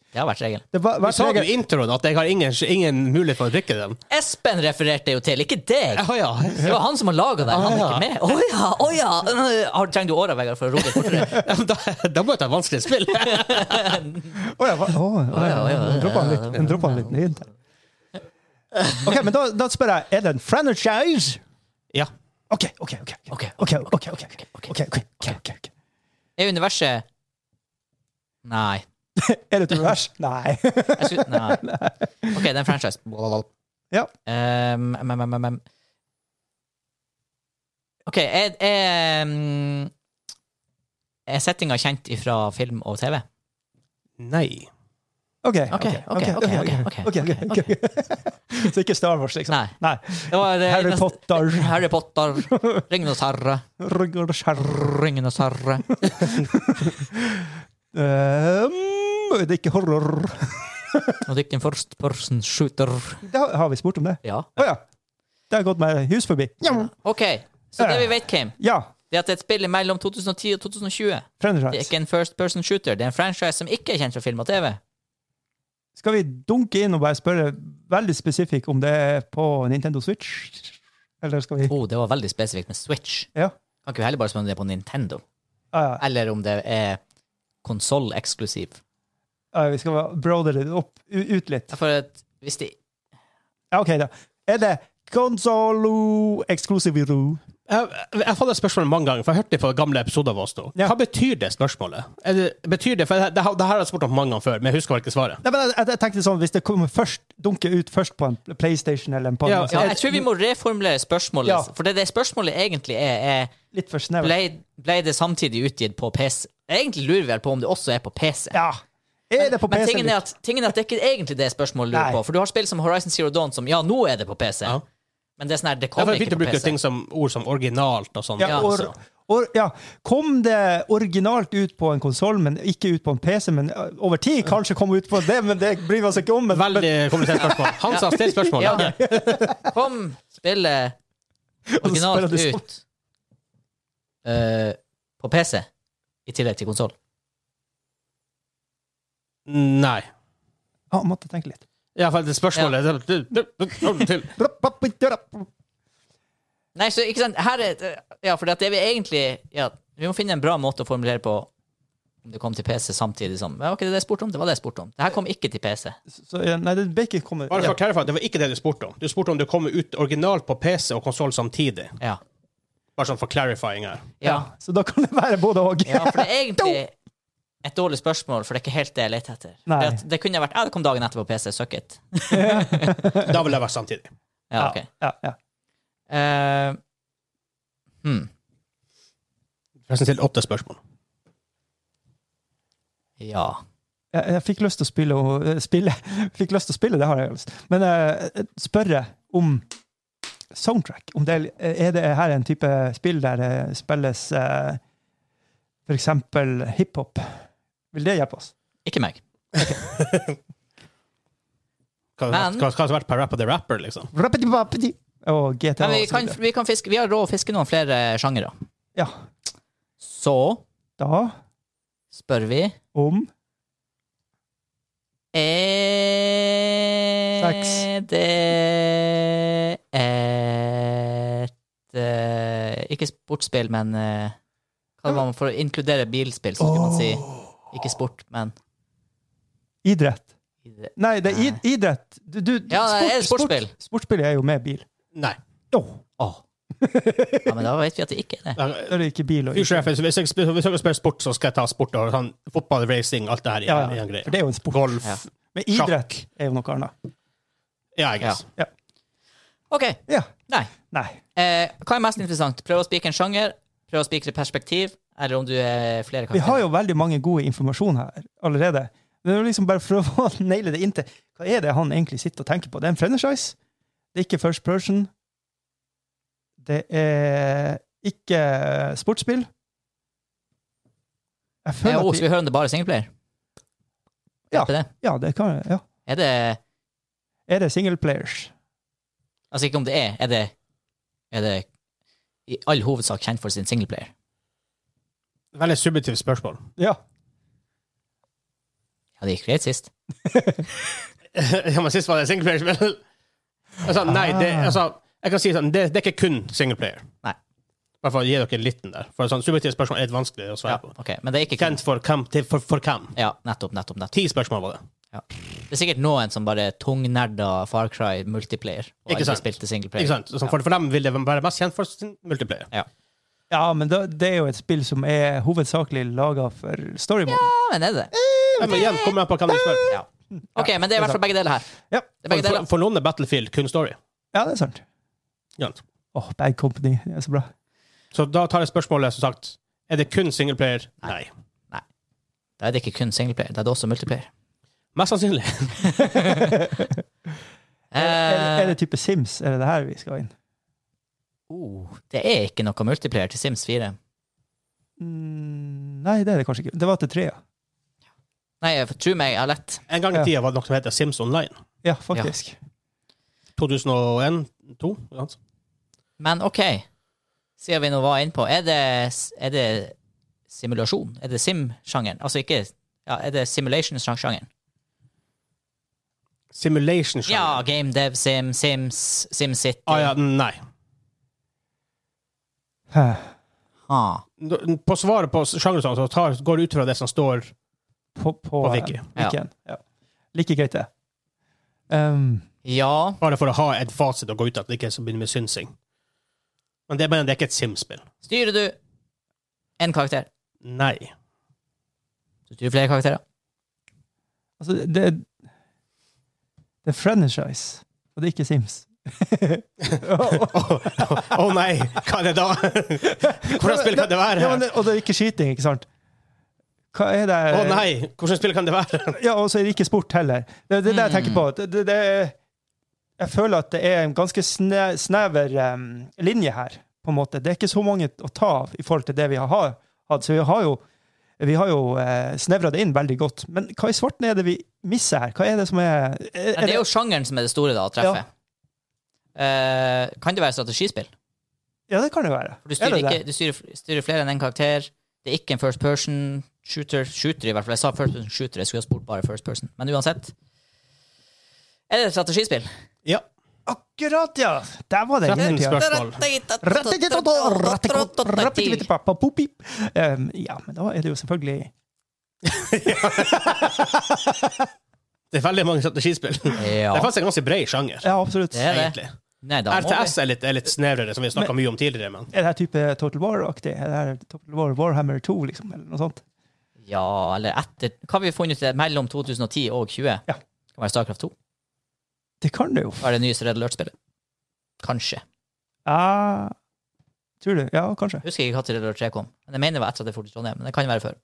Speaker 3: Det har vært regel.
Speaker 1: det var,
Speaker 2: Vi
Speaker 1: var
Speaker 2: sa jo
Speaker 1: regel.
Speaker 2: i introen at jeg har ingen, ingen mulighet for å drikke den.
Speaker 3: Espen refererte jo til, ikke deg!
Speaker 2: Ja, ja.
Speaker 3: Det var han som har laga den, han er
Speaker 2: Ah, ja.
Speaker 3: ikke med. Å ja, å ja! Har- Trenger du åra, Vegard, for å roe deg fortere?
Speaker 2: Da, da må jeg ta et vanskelig spill.
Speaker 1: Å ja, hva- å, å,
Speaker 3: ja, ja,
Speaker 1: ja.
Speaker 3: ja,
Speaker 1: Den droppa han litt, den droppa han litt ned. OK, men da, da spør jeg, er det en franchise?
Speaker 2: Ja.
Speaker 1: OK, OK, OK.
Speaker 3: Ok,
Speaker 1: OK, OK, OK. ok,
Speaker 3: ok.
Speaker 1: ok, ok, ok, ok, ok.
Speaker 3: Er universet Nei.
Speaker 1: Er det et univers? Nei.
Speaker 3: Jeg skulle Nei. OK, det er en franchise.
Speaker 1: Ja.
Speaker 3: Um, mm, mm, mm, mm. OK, er, er, mm, er settinga kjent ifra film og TV?
Speaker 2: Nei.
Speaker 1: OK.
Speaker 3: Ok, ok, ok, ok,
Speaker 1: ok, ok, ok, ok. Så ikke Star Wars, liksom?
Speaker 3: Nei.
Speaker 1: Nei.
Speaker 3: Det var, eh,
Speaker 1: Harry
Speaker 3: nest-
Speaker 1: Potter.
Speaker 3: Harry Potter. Ringenes herre.
Speaker 1: Rugger, skjær.
Speaker 3: Ringenes herre.
Speaker 1: Um, det er ikke horror.
Speaker 3: Og det gikk en first person shooter.
Speaker 1: Det har, har vi spurt om det?
Speaker 3: Ja.
Speaker 1: Å ja. Det har gått meg hus forbi. Ja.
Speaker 3: OK, så det vi vet, Kim,
Speaker 1: ja.
Speaker 3: det er at det er et spill mellom 2010 og 2020. Det er
Speaker 1: Franchise.
Speaker 3: ikke en first person shooter. Det er en franchise som ikke er kjent fra film og TV.
Speaker 1: Skal vi dunke inn og bare spørre veldig spesifikk om det er på Nintendo Switch? Eller skal vi
Speaker 3: Oh, det var veldig spesifikt med Switch.
Speaker 1: Ja.
Speaker 3: Kan ikke vi heller bare spørre om det er på Nintendo?
Speaker 1: Ah, Ja, ja.
Speaker 3: Eller om det er konsolleksklusiv.
Speaker 1: Ah, ja, vi skal broader det opp, u- ut litt.
Speaker 3: Ja, For at hvis det
Speaker 1: Ja, OK, da. Er det Consolo Exclusiviro?
Speaker 2: Jeg, jeg har fått det spørsmålet mange ganger, for jeg hørte det på gamle episoder av oss nå.
Speaker 1: Ja.
Speaker 2: Hva betyr det spørsmålet? Er det, betyr det, for det, det, har- det her har jeg spurt om mange ganger før, men jeg husker bare ikke svaret.
Speaker 1: Nei, men jeg, jeg tenkte sånn, Hvis det kommer først, dunker ut først på en PlayStation eller en på
Speaker 2: Ja,
Speaker 1: en-
Speaker 3: ja, Jeg tror vi må reformulere spørsmålet,
Speaker 1: Ja.
Speaker 3: for det, det spørsmålet egentlig er, er
Speaker 1: Litt for snevert.
Speaker 3: ble, ble det samtidig utgitt på PC? Egentlig lurer vi vel på om det også er på PC.
Speaker 1: Ja. Er det på
Speaker 3: Men
Speaker 1: PC-en
Speaker 3: tingen er, at, tingen er at det er ikke egentlig det spørsmålet du lurer
Speaker 1: Nei.
Speaker 3: på. For du har spill som Horizon Zero Dawn som ja, nå er det på PC.
Speaker 2: Ja.
Speaker 3: Men det er sånn her, det
Speaker 2: Derfor
Speaker 3: kommer
Speaker 2: er det fint
Speaker 3: ikke
Speaker 2: å
Speaker 3: på
Speaker 2: bruke
Speaker 3: PC.
Speaker 2: ting som, ord som originalt og sånn.
Speaker 1: Ja,
Speaker 3: Ja,
Speaker 1: or,
Speaker 3: altså.
Speaker 1: or, ja. Kom det originalt ut på en konsoll, men ikke ut på en PC? Men eh, over tid kanskje kom ut på det, men det bryr vi oss ikke om. Men,
Speaker 2: Veldig komplisert spørsmål. Hans har stilt spørsmål.
Speaker 3: Ja. Kom spillet
Speaker 1: Og så spiller
Speaker 3: originalt
Speaker 1: du sånn.
Speaker 3: ut eh, på PC, i tillegg til konsoll.
Speaker 2: Nei.
Speaker 1: Ja, måtte tenke litt.
Speaker 2: Ja, for det spørsmålet til.
Speaker 3: Nei, så ikke sant Her er Ja, for det er vi egentlig Ja, vi må finne en bra måte å formulere på om det kom til PC samtidig som Det var ikke det jeg spurte om. Det var det jeg spurte om. Det her kom ikke til PC.
Speaker 1: Så, ja, nei, det ble ikke kommet
Speaker 2: Bare
Speaker 1: ja.
Speaker 2: for å clarify, det var ikke det du spurte om. Du spurte om det kom ut originalt på PC og konsoll samtidig.
Speaker 3: Ja.
Speaker 2: Bare sånn for clarifying her.
Speaker 3: Ja,
Speaker 1: Så da kan det være både og.
Speaker 3: ja for det er egentlig et dårlig spørsmål, for det er ikke helt det jeg leter etter.
Speaker 1: Nei.
Speaker 3: Det, at det kunne vært Ja, det kom dagen etter på PC. Suck it.
Speaker 2: Da ville det vært samtidig.
Speaker 3: Ja, OK.
Speaker 1: ja, ja.
Speaker 3: Eh, hmm.
Speaker 2: Forresten stilt åtte spørsmål.
Speaker 3: Ja.
Speaker 1: Jeg, jeg fikk lyst til å spille, og, eh, spille. Fikk lyst til å spille, det har jeg lyst Men eh, spørre om soundtrack. Om det, er det her en type spill der det spilles eh, for eksempel hiphop? Vil det hjelpe oss?
Speaker 3: Ikke meg.
Speaker 2: Hva hva-
Speaker 3: Men-
Speaker 2: hva- hva har vært per rapper the rapper, liksom?
Speaker 1: Rappidi-bappidi. Og GTA.
Speaker 3: Men vi,
Speaker 1: og så
Speaker 3: kan,
Speaker 1: videre.
Speaker 3: vi, kan fiske, vi har råd å fiske noen flere sjangere.
Speaker 1: Ja.
Speaker 3: Så
Speaker 1: Da
Speaker 3: spør vi
Speaker 1: om
Speaker 3: Er
Speaker 1: Seks.
Speaker 3: det et eh, Ikke sportsspill, men eh, hva var det For å inkludere bilspill, så skulle man si ikke sport, men
Speaker 1: idrett.
Speaker 3: idrett.
Speaker 1: Nei, det er id idrett. Du, du,
Speaker 3: Ja, det er sportsspill.
Speaker 1: Sport, sportsspill er jo med bil.
Speaker 2: Nei.
Speaker 1: Åh,
Speaker 3: Åh. Ja, men da vet vi at det ikke er det.
Speaker 1: da er det ikke bil og
Speaker 2: Future reference, hvis jeg, sp- hvis jeg spiller sport, så skal jeg ta sport og sånn fotball, racing, alt det her i
Speaker 1: Ja,
Speaker 2: i
Speaker 1: ja,
Speaker 2: en
Speaker 1: for
Speaker 2: greie.
Speaker 1: det er jo en sport.
Speaker 2: Golf.
Speaker 3: Ja.
Speaker 1: Men idrett er jo noe annet.
Speaker 2: Ja, jeg guess.
Speaker 3: OK.
Speaker 1: Ja.
Speaker 3: Nei.
Speaker 1: Nei.
Speaker 3: Eh, hva er mest interessant? Prøv å spikre en sjanger, prøv å spikre perspektiv, eller om du er flere
Speaker 1: Vi har
Speaker 3: karakterer.
Speaker 1: jo veldig mange gode informasjon her allerede. Det er jo liksom bare for å naile det inn til Hva er det han egentlig sitter og tenker på? Det er en franchise. Det er ikke first person. Det er ikke sportsspill. Jeg
Speaker 3: Eh,
Speaker 1: føler
Speaker 3: oh,
Speaker 1: at
Speaker 3: så vi
Speaker 1: vi,
Speaker 3: hører om det bare er singleplayer?
Speaker 1: Ja.
Speaker 3: Hjelper det?
Speaker 1: Ja, det kan ja.
Speaker 3: Er det
Speaker 1: Er det single players?
Speaker 3: Altså ikke om det er, er det, er det i all hovedsak kjent for sin singleplayer.
Speaker 2: Veldig subjektivt spørsmål.
Speaker 1: Ja.
Speaker 3: Ja, det gikk greit sist.
Speaker 2: ja, men sist var det singleplayer. men- altså, nei, det, altså, jeg kan si sånn, det, det er ikke kun singleplayer.
Speaker 3: Nei.
Speaker 2: I hvert fall gi dere en liten der. For sånn subjektive spørsmål er litt vanskelig å
Speaker 3: Ja,
Speaker 2: svare på.
Speaker 3: ok, Men det er ikke
Speaker 2: Kjent for hvem? til- For, for hvem?
Speaker 3: Ja, nettopp, nettopp, nettopp.
Speaker 2: Ti spørsmål var det.
Speaker 3: Det er sikkert noen som bare tungnerda Far Cry multiplayer og
Speaker 2: Ikke
Speaker 3: aldri
Speaker 2: sant.
Speaker 3: spilte
Speaker 2: Ikke
Speaker 3: singleplayer.
Speaker 2: sant? Så for, for dem vil det være mest kjent for sin multiplayer.
Speaker 1: ja, men da, det er jo et spill som er hovedsakelig laga for story mode.
Speaker 3: Ja, men er det det?
Speaker 2: Ja, Men igjen, kommer an på hvem de spør.
Speaker 3: Ja. OK, men det er i hvert fall begge deler her.
Speaker 1: Ja.
Speaker 3: Det er begge
Speaker 2: For,
Speaker 3: deler.
Speaker 2: for, for noen er Battlefield kun story.
Speaker 1: Ja, det er sant.
Speaker 2: Ja.
Speaker 1: Åh, Bad Company det er så bra.
Speaker 2: Så da tar jeg spørsmålet, som sagt, er det kun singleplayer? Nei.
Speaker 3: Da er det ikke kun singleplayer, da er det også multiplayer.
Speaker 2: Mest sannsynlig.
Speaker 1: Er, det- er
Speaker 3: Eh,
Speaker 1: det type Sims? Er det det her vi skal inn?
Speaker 3: oh, det er ikke noe multiplayer til Sims 4.
Speaker 1: Mm, nei, det er det kanskje ikke. Det var til trea.
Speaker 3: Nei, for tro meg, jeg har lett.
Speaker 2: En gang i
Speaker 1: Ja.
Speaker 2: tida var det noe som heter Sims Online.
Speaker 1: Ja, faktisk.
Speaker 2: 2001 2 ja.
Speaker 3: Men OK, siden vi nå var inne på, er det, er det simulasjon? Er det sim-sjangeren? Altså ikke ja, Er det simulation-sjangeren?
Speaker 2: Simulation Show.
Speaker 3: Ja, Game Dev, Sim, Sims, SimCity.
Speaker 2: Ah, ja, nei.
Speaker 1: Hæ.
Speaker 3: Ah,
Speaker 2: På svaret på sjangeren så tar, går det ut fra det som står
Speaker 1: På, på,
Speaker 2: på Wiki.
Speaker 1: eh, Wikien. Ja. Like greit, det. Um,
Speaker 3: ja.
Speaker 2: Bare for å ha et fasit å gå ut av, at det ikke er så begynner med synsing. Men det, mener, det er ikke et Sims-spill.
Speaker 3: Styrer du én karakter?
Speaker 2: Nei.
Speaker 3: Du styrer flere karakterer?
Speaker 1: altså, det, det er franchise, og det er ikke Sims.
Speaker 2: Å å nei, hva er det da? Hvordan spill kan det være?
Speaker 1: Ja, men, det- og det er ikke skyting, ikke sant? Hva er det
Speaker 2: Å nei, hvordan spill kan det være?
Speaker 1: Ja, og så er det ikke sport heller. Det er det, er det jeg tenker på. Det, det, det, jeg føler at det er en ganske sne, snever em, linje her, på en måte. Det er ikke så mange å ta av i forhold til det vi har ha- hatt. Så vi har jo, vi har jo eh, snevra det inn veldig godt. Men hva i svarten er det vi misser her? Hva er det som er, er,
Speaker 3: Ja, det er jo sjangeren som er det store da, å treffe. Eh, kan det være strategispill?
Speaker 1: Ja, det kan det være.
Speaker 3: For du
Speaker 1: Er
Speaker 3: styrer,
Speaker 1: det det?
Speaker 3: ikke, du styrer, styrer flere enn én karakter. Det er ikke en first person shooter. Shooter, i hvert fall. Jeg sa first person shooter, jeg skulle ha spurt bare first person. Men uansett. Er det et strategispill?
Speaker 2: Ja.
Speaker 1: Akkurat, ja! Der var det.
Speaker 2: Tretten
Speaker 1: Ja.
Speaker 2: spørsmål.
Speaker 1: Em, Um, ja, men da er det jo selvfølgelig
Speaker 2: Det er veldig mange strategispill.
Speaker 3: Ja.
Speaker 2: Det er faktisk en ganske bred sjanger,
Speaker 1: Ja, absolutt.
Speaker 3: Det er det.
Speaker 2: egentlig.
Speaker 3: Nei, da må
Speaker 2: RTS
Speaker 3: vi.
Speaker 2: er litt, er litt snevrere, som vi snakka mye om tidligere, men
Speaker 1: Er det her type Total War-aktig? Er det her Total War Warhammer 2, liksom? Eller noe sånt?
Speaker 3: Ja, eller etter Hva har vi funnet ut det er mellom 2010 og 20?
Speaker 1: Ja.
Speaker 3: Kan være Starcraft 2.
Speaker 1: Det kan det jo.
Speaker 3: Da er det nyeste Red Alert-spillet. Kanskje.
Speaker 1: Ja, Ah, tror du? Ja, kanskje.
Speaker 3: Jeg husker ikke når Red Alert 3 kom. Men jeg mener det var etter at jeg dro til Trondheim. Men det kan være før.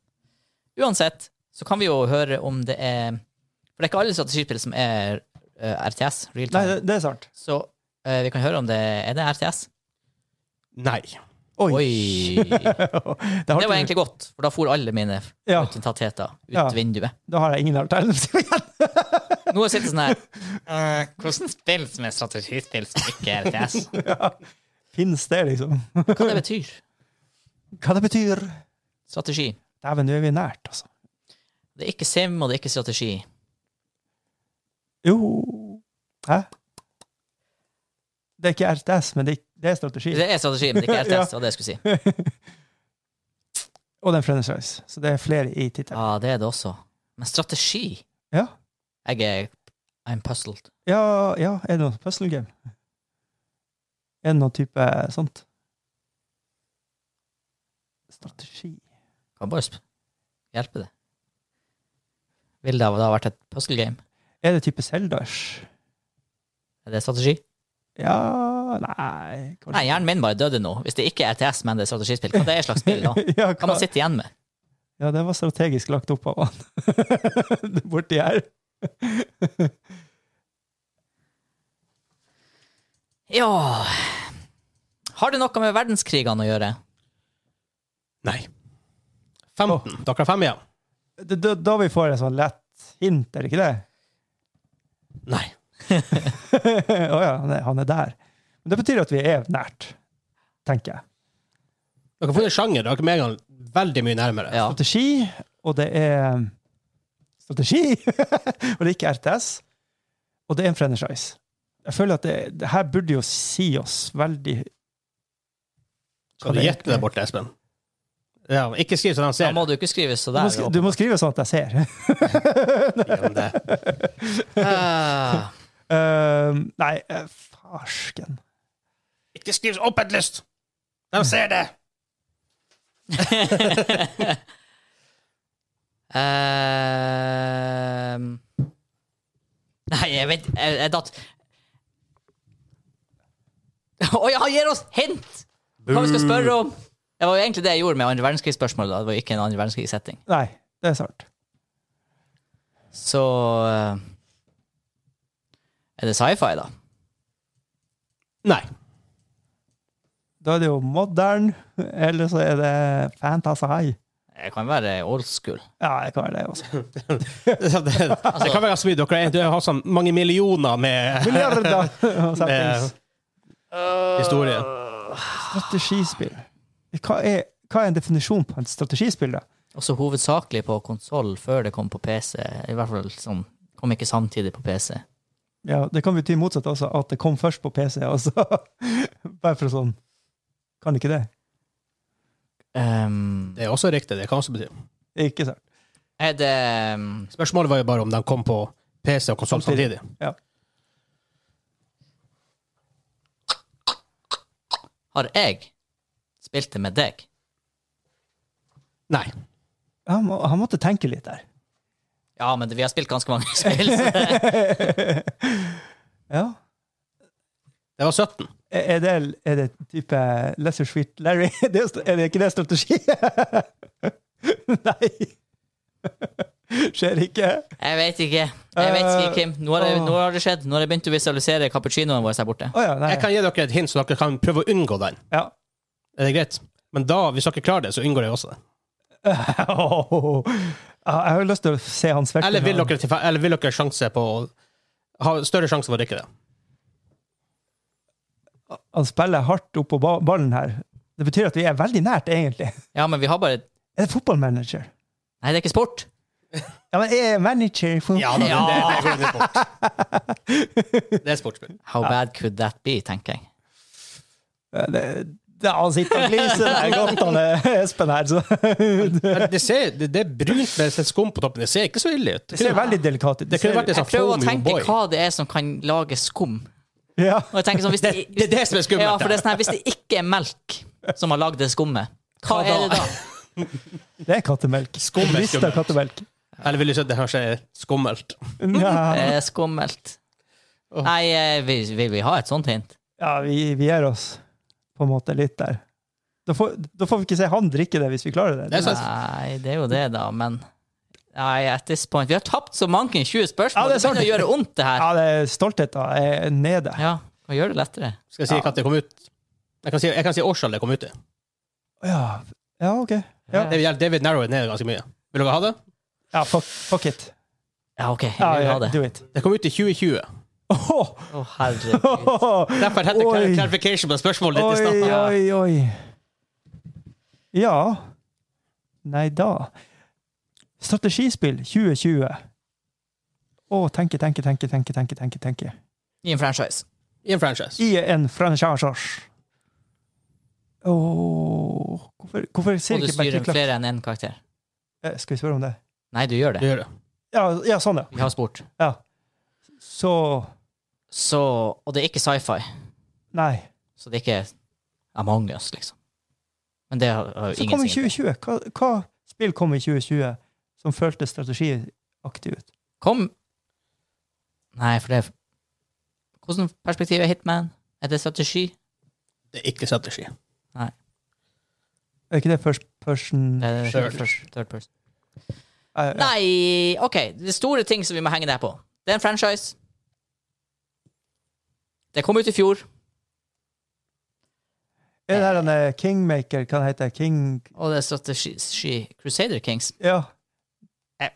Speaker 3: Uansett så kan vi jo høre om det er For det er ikke alle strategispill som er eh, RTS. Real
Speaker 1: Nei,
Speaker 3: time.
Speaker 1: det, det er sant.
Speaker 3: Så eh, vi kan høre om det Er det RTS?
Speaker 2: nei.
Speaker 1: Oi!
Speaker 3: Oi!
Speaker 1: det, har
Speaker 3: Det var
Speaker 1: ikke-
Speaker 3: egentlig godt, for da for alle mine
Speaker 1: Ja,
Speaker 3: autentatiteter ut
Speaker 1: Ja.
Speaker 3: vinduet.
Speaker 1: da har jeg ingen alternativer igjen.
Speaker 3: Nå har jeg sittet sånn her eh, Hvordan spill som er strategispill som ikke er RTS?
Speaker 1: Ja. Fins det, liksom?
Speaker 3: Hva det betyr?
Speaker 1: Hva det betyr?
Speaker 3: Strategi.
Speaker 1: Dæven, nå er vi nært, altså.
Speaker 3: Det er ikke sim, og det er ikke strategi.
Speaker 1: Jo Hæ? Det er ikke RTS, men det er, det er strategi.
Speaker 3: Det er strategi, men det er ikke RTS. Det var det jeg skulle si.
Speaker 1: Og det er en franchise, så det er flere i tittelen.
Speaker 3: Ja, det er det også. Men strategi
Speaker 1: Ja.
Speaker 3: Jeg er I'm puzzled.
Speaker 1: Ja, ja, er det noe puzzle game? Er det noe type sånt? Strategi
Speaker 3: Kan bare sp- hjelpe det. Vil det ha det ha vært et puzzle game?
Speaker 1: Er det type Zeldash?
Speaker 3: Er det strategi?
Speaker 1: Ja Nei, kanskje
Speaker 3: Nei, hjernen min bare døde nå. Hvis det ikke er RTS, men det er strategispill, hva det er slags spill da?
Speaker 1: ja,
Speaker 3: Hva man
Speaker 1: hva?
Speaker 3: sitter igjen med?
Speaker 1: ja, det var strategisk lagt opp av han borti her.
Speaker 3: Ja Har det noe med verdenskrigene å gjøre?
Speaker 2: Nei. 15. Dere har fem igjen?
Speaker 1: Da, da- da vi får et sånn lett hint, er det ikke det?
Speaker 2: Nei.
Speaker 1: Å ja, han er, han er der. Men det betyr at vi er nært, tenker jeg.
Speaker 2: Dere har funnet sjanger. Dere er med en gang veldig mye nærmere.
Speaker 3: Ja.
Speaker 1: strategi, og det er strategi, og det er ikke RTS, og det er en franchise. Jeg føler at det, det her burde jo si oss veldig
Speaker 2: Skal du gjette det borte, Espen? Ja, ikke skriv så de
Speaker 3: Da
Speaker 2: ser.
Speaker 3: må du ikke skrive så
Speaker 1: Du må,
Speaker 3: der.
Speaker 1: sk- du må skrive sånn at jeg ser.
Speaker 2: Gi dem det.
Speaker 3: Ah,
Speaker 1: Um, nei, eh, farsken.
Speaker 2: Ikke skriv så åpenlyst! De ser det!
Speaker 3: ehm. Nei, jeg vet Jeg, jeg datt Å ja, han gir oss hint! Hva vi skal spørre om? Det var jo egentlig det jeg gjorde med andre verdenskrigsspørsmål. da. Det var jo ikke en andre verdenskrigssetting.
Speaker 1: Nei, det er sant.
Speaker 3: Så eh, Er det sci-fi, da?
Speaker 2: Nei.
Speaker 1: Da er det jo modern, eller så er det fantasy.
Speaker 3: Det kan være old school.
Speaker 1: Ja, jeg kan være det også.
Speaker 2: Det, det,
Speaker 3: Altså-
Speaker 2: det kan være så mye. Dere er- du har sånn mange millioner med Eh,
Speaker 1: Milliarder av settings.
Speaker 2: historie.
Speaker 1: Strategispill. Hva er, hva er en definisjon på et strategispill, da?
Speaker 3: Også hovedsakelig på konsoll før det kom på PC. I hvert fall sånn, kom ikke samtidig på PC.
Speaker 1: Ja, det kan bety motsatt også, at det kom først på PC, altså. Bare for sånn. Kan ikke det?
Speaker 3: Ehm,
Speaker 2: Det er også riktig. Det kan også bety.
Speaker 1: Ikke sant.
Speaker 3: er det ehm,
Speaker 2: Spørsmålet var jo bare om de kom på PC og konsoll samtidig.
Speaker 3: Har jeg spilt det med deg?
Speaker 2: Nei.
Speaker 1: Han, må, han måtte tenke litt der.
Speaker 3: Ja, men det- vi har spilt ganske mange spill. så-
Speaker 1: Ja.
Speaker 2: Det var 17.
Speaker 1: Er er det, er det type Lesser Sweet Larry? Det Er er det ikke det strategi? Nei. Skjer ikke.
Speaker 3: Jeg vet ikke. Jeg vet ikke, Kim. Nå har, jeg,
Speaker 1: Eh,
Speaker 3: nå har det skjedd. Nå har jeg begynt å visualisere cappuccinoen vår her borte.
Speaker 1: Å ja, nei.
Speaker 2: Jeg kan gi dere et hint, så dere kan prøve å unngå den.
Speaker 1: Ja.
Speaker 2: Er det greit? Men da, hvis dere klarer det, så unngår jeg også det.
Speaker 1: Ja, Jeg har lyst til å se han sverte.
Speaker 2: Eller vil dere, tilfe- eller vil dere sjanse på å ha større sjanse for å drikke det?
Speaker 1: Han spiller hardt oppå ba- ballen her. Det betyr at vi er veldig nært, egentlig.
Speaker 3: Ja, men vi har bare
Speaker 1: Er det fotballmanager?
Speaker 3: Nei, det er ikke sport.
Speaker 1: Ja, men er jeg manager for
Speaker 2: Ja, da, det, det, det, det, er sport. det er sportsspill.
Speaker 3: How bad could that be, tenker jeg.
Speaker 1: det, det, Han sitter og gliser der godt, han eh, Espen her. Så.
Speaker 2: Men Det, ser, det, det er brunt med litt skum på toppen. Det ser ikke så ille ut.
Speaker 1: Det ser veldig delikat ut.
Speaker 2: Det kunne vært en
Speaker 3: Jeg
Speaker 2: sånn
Speaker 3: prøver å
Speaker 2: foamy
Speaker 3: tenke
Speaker 2: boy.
Speaker 3: hva det er som kan lage skum.
Speaker 1: Ja.
Speaker 3: Og jeg tenker sånn, hvis det,
Speaker 2: Det er det som er skummelt.
Speaker 3: ja, for det er sånn her, hvis det ikke er melk som har lagd det skummet, hva
Speaker 2: Hva
Speaker 3: er
Speaker 2: da?
Speaker 3: det da?
Speaker 1: Det er kattemelk.
Speaker 2: Skum er
Speaker 1: Rista
Speaker 2: skummelt.
Speaker 1: kattemelk.
Speaker 2: Eller vil du si at det kanskje er skummelt?
Speaker 1: Ja,
Speaker 3: Det er skummelt.
Speaker 2: Åh.
Speaker 3: Nei, eh, vil, vil vi ha et sånt hint?
Speaker 1: ja vi, vi gir oss på en måte litt der. Da får, da får vi ikke se han drikke det, hvis vi klarer det.
Speaker 2: Det er sant.
Speaker 3: Nei, det er jo det, da, men Nei, at this point Vi har tapt så mange 20
Speaker 1: Ja,
Speaker 3: spørsmål.
Speaker 1: det
Speaker 3: det
Speaker 1: er sant.
Speaker 3: begynner å gjøre vondt, det her.
Speaker 1: Ja, det er stoltheten er nede.
Speaker 3: Ja, og gjør det lettere.
Speaker 2: Skal jeg si hva det kom ut? Jeg kan si, jeg kan si årstallet det kom ut i.
Speaker 1: Ja, ja ok. Ja.
Speaker 2: Det vil, det vil narrow it ned ganske mye. Vil dere ha det?
Speaker 1: Ja, fuck, fuck it.
Speaker 3: Ja, OK. Jeg
Speaker 1: Ja,
Speaker 3: vil ha
Speaker 1: ja,
Speaker 3: det.
Speaker 1: do it.
Speaker 2: Det kom ut i 2020.
Speaker 1: Åh!
Speaker 3: Å, herregud.
Speaker 2: Derfor heter det
Speaker 1: Oi.
Speaker 2: clar- clarification på spørsmålet ditt i
Speaker 1: Oi,
Speaker 2: stad.
Speaker 1: oi, oi. Ja Nei da. Strategispill 2020. Å, tenke, tenke, tenke, tenke, tenke, tenke, tenke.
Speaker 3: I en franchise.
Speaker 2: I en franchise.
Speaker 1: I en franchise. Åh, hvorfor, hvorfor ser
Speaker 3: Og du
Speaker 1: ikke
Speaker 3: styrer
Speaker 1: Bertil Klapp
Speaker 3: flere enn én karakter.
Speaker 1: Eh, Skal vi spørre om det?
Speaker 3: Nei, du gjør
Speaker 2: Du
Speaker 3: det.
Speaker 2: gjør det.
Speaker 1: Ja, ja sånn, ja.
Speaker 3: Vi har spurt.
Speaker 1: Så
Speaker 3: Så Og det er ikke sci-fi.
Speaker 1: Nei.
Speaker 3: Så det er ikke Among us, liksom. Men det har har jo
Speaker 1: Så
Speaker 3: ingen
Speaker 1: kom i
Speaker 3: sin-
Speaker 1: 2020. Hva, hva spill kom i 2020 som føltes strategiaktig ut?
Speaker 3: Kom Nei, for det er Hvordan perspektiv er Hitman? Er det strategi?
Speaker 2: Det er ikke strategi.
Speaker 1: Er ikke det first person
Speaker 3: Det er
Speaker 2: Third.
Speaker 3: first- third person.
Speaker 1: Eh, ja.
Speaker 3: Nei, OK. Det er store ting som vi må henge det her på. Det er en franchise. Det kom ut i fjor,
Speaker 1: Er det her han er Kingmaker? Hva han heter King
Speaker 3: og det er strategi Crusader Kings.
Speaker 1: Ja.
Speaker 3: Eh,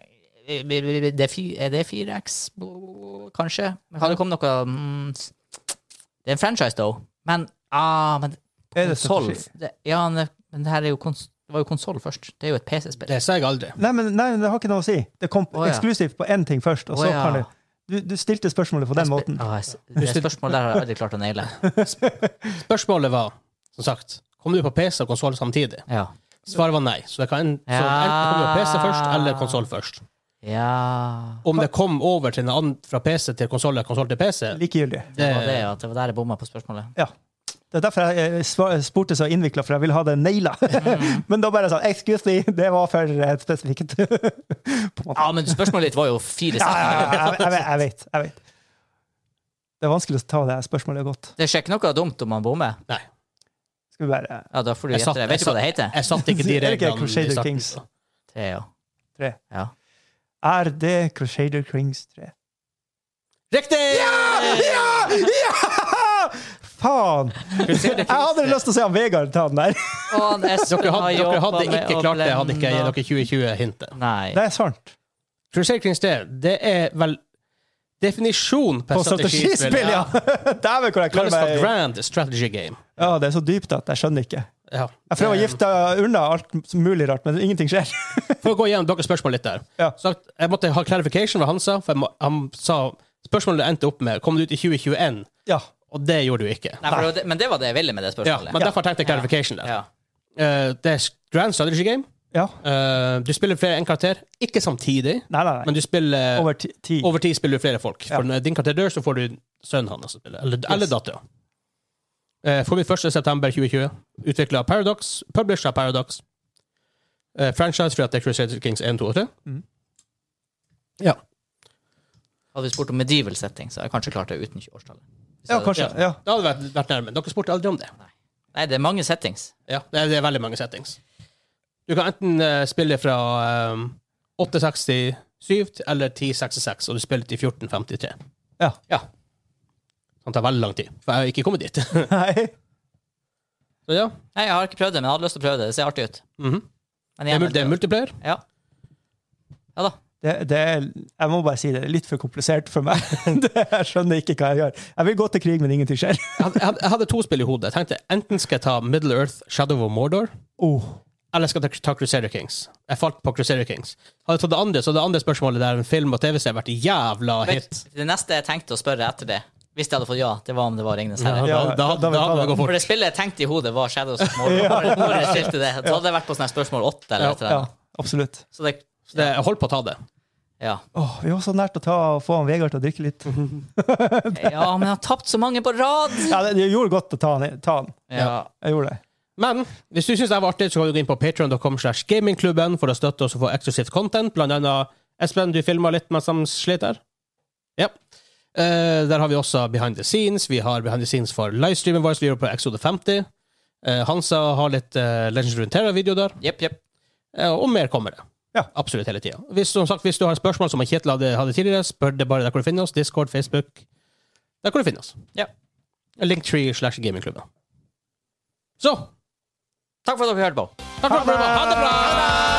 Speaker 3: Det er, fi- er det 4X, kanskje? Men Har det kommet noe mm, Det er en franchise, though. Men ah, men
Speaker 1: Er det
Speaker 3: konsoll
Speaker 1: strategi?
Speaker 3: det- Ja, men det- men det her er jo kons det var jo konsoll først. Det er jo et PC-spill.
Speaker 2: Det sa jeg aldri.
Speaker 1: Nei, men, nei, men det har ikke noe å si. Det kom
Speaker 3: Å, ja.
Speaker 1: eksklusivt på én ting først, og så
Speaker 3: Å, ja.
Speaker 1: kan du du, du stilte spørsmålet på den måten.
Speaker 3: Ah, jeg s- det spørsmålet der har jeg aldri klart å naile.
Speaker 2: Spørsmålet var, som sagt, kom du på PC og konsoll samtidig?
Speaker 3: Ja.
Speaker 2: Svaret var nei. Så det kan enten, så enten kom du på PC først, eller konsoll først.
Speaker 3: ja.
Speaker 2: Om det kom over til en annen fra PC til konsoll eller konsoll til PC,
Speaker 1: Likegyldig.
Speaker 3: Det var det, ja. Det var der jeg bomma på spørsmålet.
Speaker 1: Det er derfor jeg eh, sva- spurte så innvikla, for jeg ville ha det naila.
Speaker 3: Mm.
Speaker 1: men da bare sånn Excuse me, det var for eh, spesifikt. på en måte.
Speaker 3: Ja, men spørsmålet ditt var jo fire
Speaker 1: Ja,
Speaker 3: setninger.
Speaker 1: ja, ja, jeg, jeg, vet- jeg vet. Jeg vet. Det er vanskelig å ta det her spørsmålet godt.
Speaker 3: Det skjer ikke noe dumt om man bommer.
Speaker 1: Skal vi bare eh,
Speaker 3: Ja, da får du
Speaker 2: Jeg
Speaker 3: gjette
Speaker 2: satt-
Speaker 3: det.
Speaker 2: jeg
Speaker 3: Vet du hva det heter?
Speaker 2: jeg satt ikke de
Speaker 1: Er det ikke
Speaker 2: reglene. i
Speaker 1: Crusader
Speaker 2: starten.
Speaker 1: Kings?
Speaker 3: Tre, ja.
Speaker 1: Tre.
Speaker 3: Ja.
Speaker 1: Er det Crusader Kings 3?
Speaker 2: Riktig!
Speaker 1: Faen!
Speaker 2: Crusader
Speaker 1: Jeg hadde lyst til å se han Vegard ta den der.
Speaker 3: Og han Espen
Speaker 2: Dere hadde,
Speaker 3: har
Speaker 2: dere
Speaker 3: jobbet
Speaker 2: hadde
Speaker 3: med
Speaker 2: ikke
Speaker 3: å
Speaker 2: klart det, hadde ikke jeg
Speaker 3: blende-
Speaker 2: gitt dere 2020-hintet.
Speaker 3: Nei.
Speaker 1: Det er sant.
Speaker 2: Crusader Kings 3, det er vel definisjon på,
Speaker 1: På strategispill, ja! Dæven, hvor
Speaker 2: Kalles
Speaker 1: jeg klarer
Speaker 2: for
Speaker 1: meg.
Speaker 2: Grand Strategy Game.
Speaker 1: Ja, det er så dypt at jeg skjønner ikke.
Speaker 2: Ja.
Speaker 1: Jeg prøver å
Speaker 2: Eh,
Speaker 1: gifte unna alt mulig rart, men ingenting skjer.
Speaker 2: For å gå igjennom deres spørsmål litt der.
Speaker 1: Ja.
Speaker 2: Så at jeg måtte ha clarification hva han sa, for jeg må, han sa Spørsmålet endte opp med Kom det ut i 2021,
Speaker 1: Ja.
Speaker 2: og det gjorde du ikke.
Speaker 3: Nei, for det var det, men det var det jeg ville med det
Speaker 2: Ja,
Speaker 3: spørsmålet.
Speaker 2: men derfor tenkte jeg clarification der.
Speaker 3: Ja.
Speaker 2: Eh, det er Grand Strategy Game.
Speaker 1: ja.
Speaker 2: Eh, du spiller flere enn karakter. Ikke samtidig,
Speaker 1: Nei, nei, nei.
Speaker 2: men du spiller
Speaker 1: Over ti. ti.
Speaker 2: Over tid spiller du flere folk.
Speaker 1: Ja.
Speaker 2: For når din karakter dør, så får du sønnen hans. å spille, Eller, eller dattera. Eh, Forbudt 1.9.2020. Utvikla av Paradox. Published av Paradox. Eh, franchise fra The Crusader Kings 1, 2 og 3.
Speaker 1: Mhm.
Speaker 2: Ja.
Speaker 3: Hadde vi spurt om medieval setting, så hadde jeg kanskje klart det uten årstallet. Hvis jeg
Speaker 1: Ja,
Speaker 3: hadde-
Speaker 1: kanskje. Ja.
Speaker 2: Det hadde vært, vært nærme. Dere spurte aldri om det.
Speaker 3: Nei, det er mange settings.
Speaker 2: Ja, det, er, det er veldig mange settings. Du kan enten eh, spille fra eh, 860 7 eller 1066, og du spiller til 1453.
Speaker 1: Ja.
Speaker 2: ja. Det tar veldig lang tid, for jeg har ikke kommet dit.
Speaker 1: Nei.
Speaker 2: Så ja,
Speaker 3: Nei, jeg har ikke prøvd det, men jeg hadde lyst til å prøve det. Det ser artig ut.
Speaker 2: mhm.
Speaker 3: Men
Speaker 2: det, er,
Speaker 3: igjen,
Speaker 2: mul- det er multiplayer.
Speaker 3: Ja. ja da.
Speaker 1: Det, det er, jeg må bare si det, det er litt for komplisert for meg. Det, jeg skjønner ikke hva jeg gjør. Jeg vil gå til krig, men ingenting skjer.
Speaker 2: Jeg hadde, jeg hadde- jeg hadde to spill i hodet. Jeg tenkte enten skal jeg ta Middle Earth Shadow of Mordor,
Speaker 1: Oh,
Speaker 2: eller skal jeg ta, ta Crusader Kings. Jeg falt på Crusader Kings. Hadde jeg tatt det andre, så hadde det andre spørsmålet der en film og TV-serie vært jævla hit.
Speaker 3: Vent, det neste jeg tenkte å spørre etter det, hvis jeg hadde fått ja, det var om det var Ringnes
Speaker 2: Ja,
Speaker 3: herre.
Speaker 2: da, da,
Speaker 1: da
Speaker 2: da,
Speaker 1: vil jeg ta
Speaker 2: hadde det
Speaker 1: det.
Speaker 2: gått fort.
Speaker 3: For det spillet jeg tenkte i hodet, var Shadows of Mordor. Når- Når jeg skilte det, så hadde jeg vært på sånne spørsmål åtte eller
Speaker 2: Ja,
Speaker 3: et eller
Speaker 1: ja,
Speaker 3: annet.
Speaker 1: absolutt.
Speaker 3: Så det,
Speaker 2: Så det, jeg holdt på å ta det.
Speaker 3: ja.
Speaker 1: Åh, vi var så nært å ta og få han Vegard til å drikke litt.
Speaker 2: Mhm.
Speaker 3: ja, men jeg har tapt så mange på rad!
Speaker 1: Ja, det, det gjorde godt å ta han. i- Ta han.
Speaker 3: Ja.
Speaker 1: Jeg gjorde det.
Speaker 2: Men hvis du syns det var artig, så kan du gå inn på patreon.com slash gamingklubben for å støtte oss og få eksklusivt content. Blant annet Espen, du filma litt mens de slet der. Ja. Eh, der har vi også behind the scenes. Vi har behind the scenes for livestreamen vår, som vi gjør på Exode 50. Eh, Hansa har litt uh, Legends of Terra-video der.
Speaker 3: Jepp, jepp.
Speaker 2: Eh, og mer kommer det.
Speaker 1: Ja.
Speaker 2: Absolutt hele tida. Hvis, som sagt, hvis du har spørsmål som Kjetil hadde, hadde tidligere, spør det bare der hvor du finner oss. Discord, Facebook. Der hvor du finner oss.
Speaker 3: Ja.
Speaker 2: Linktree slash gamingklubben. Så!
Speaker 3: Takk for at dere hørte på.
Speaker 2: Takk for at du hørte på. Ha det bra!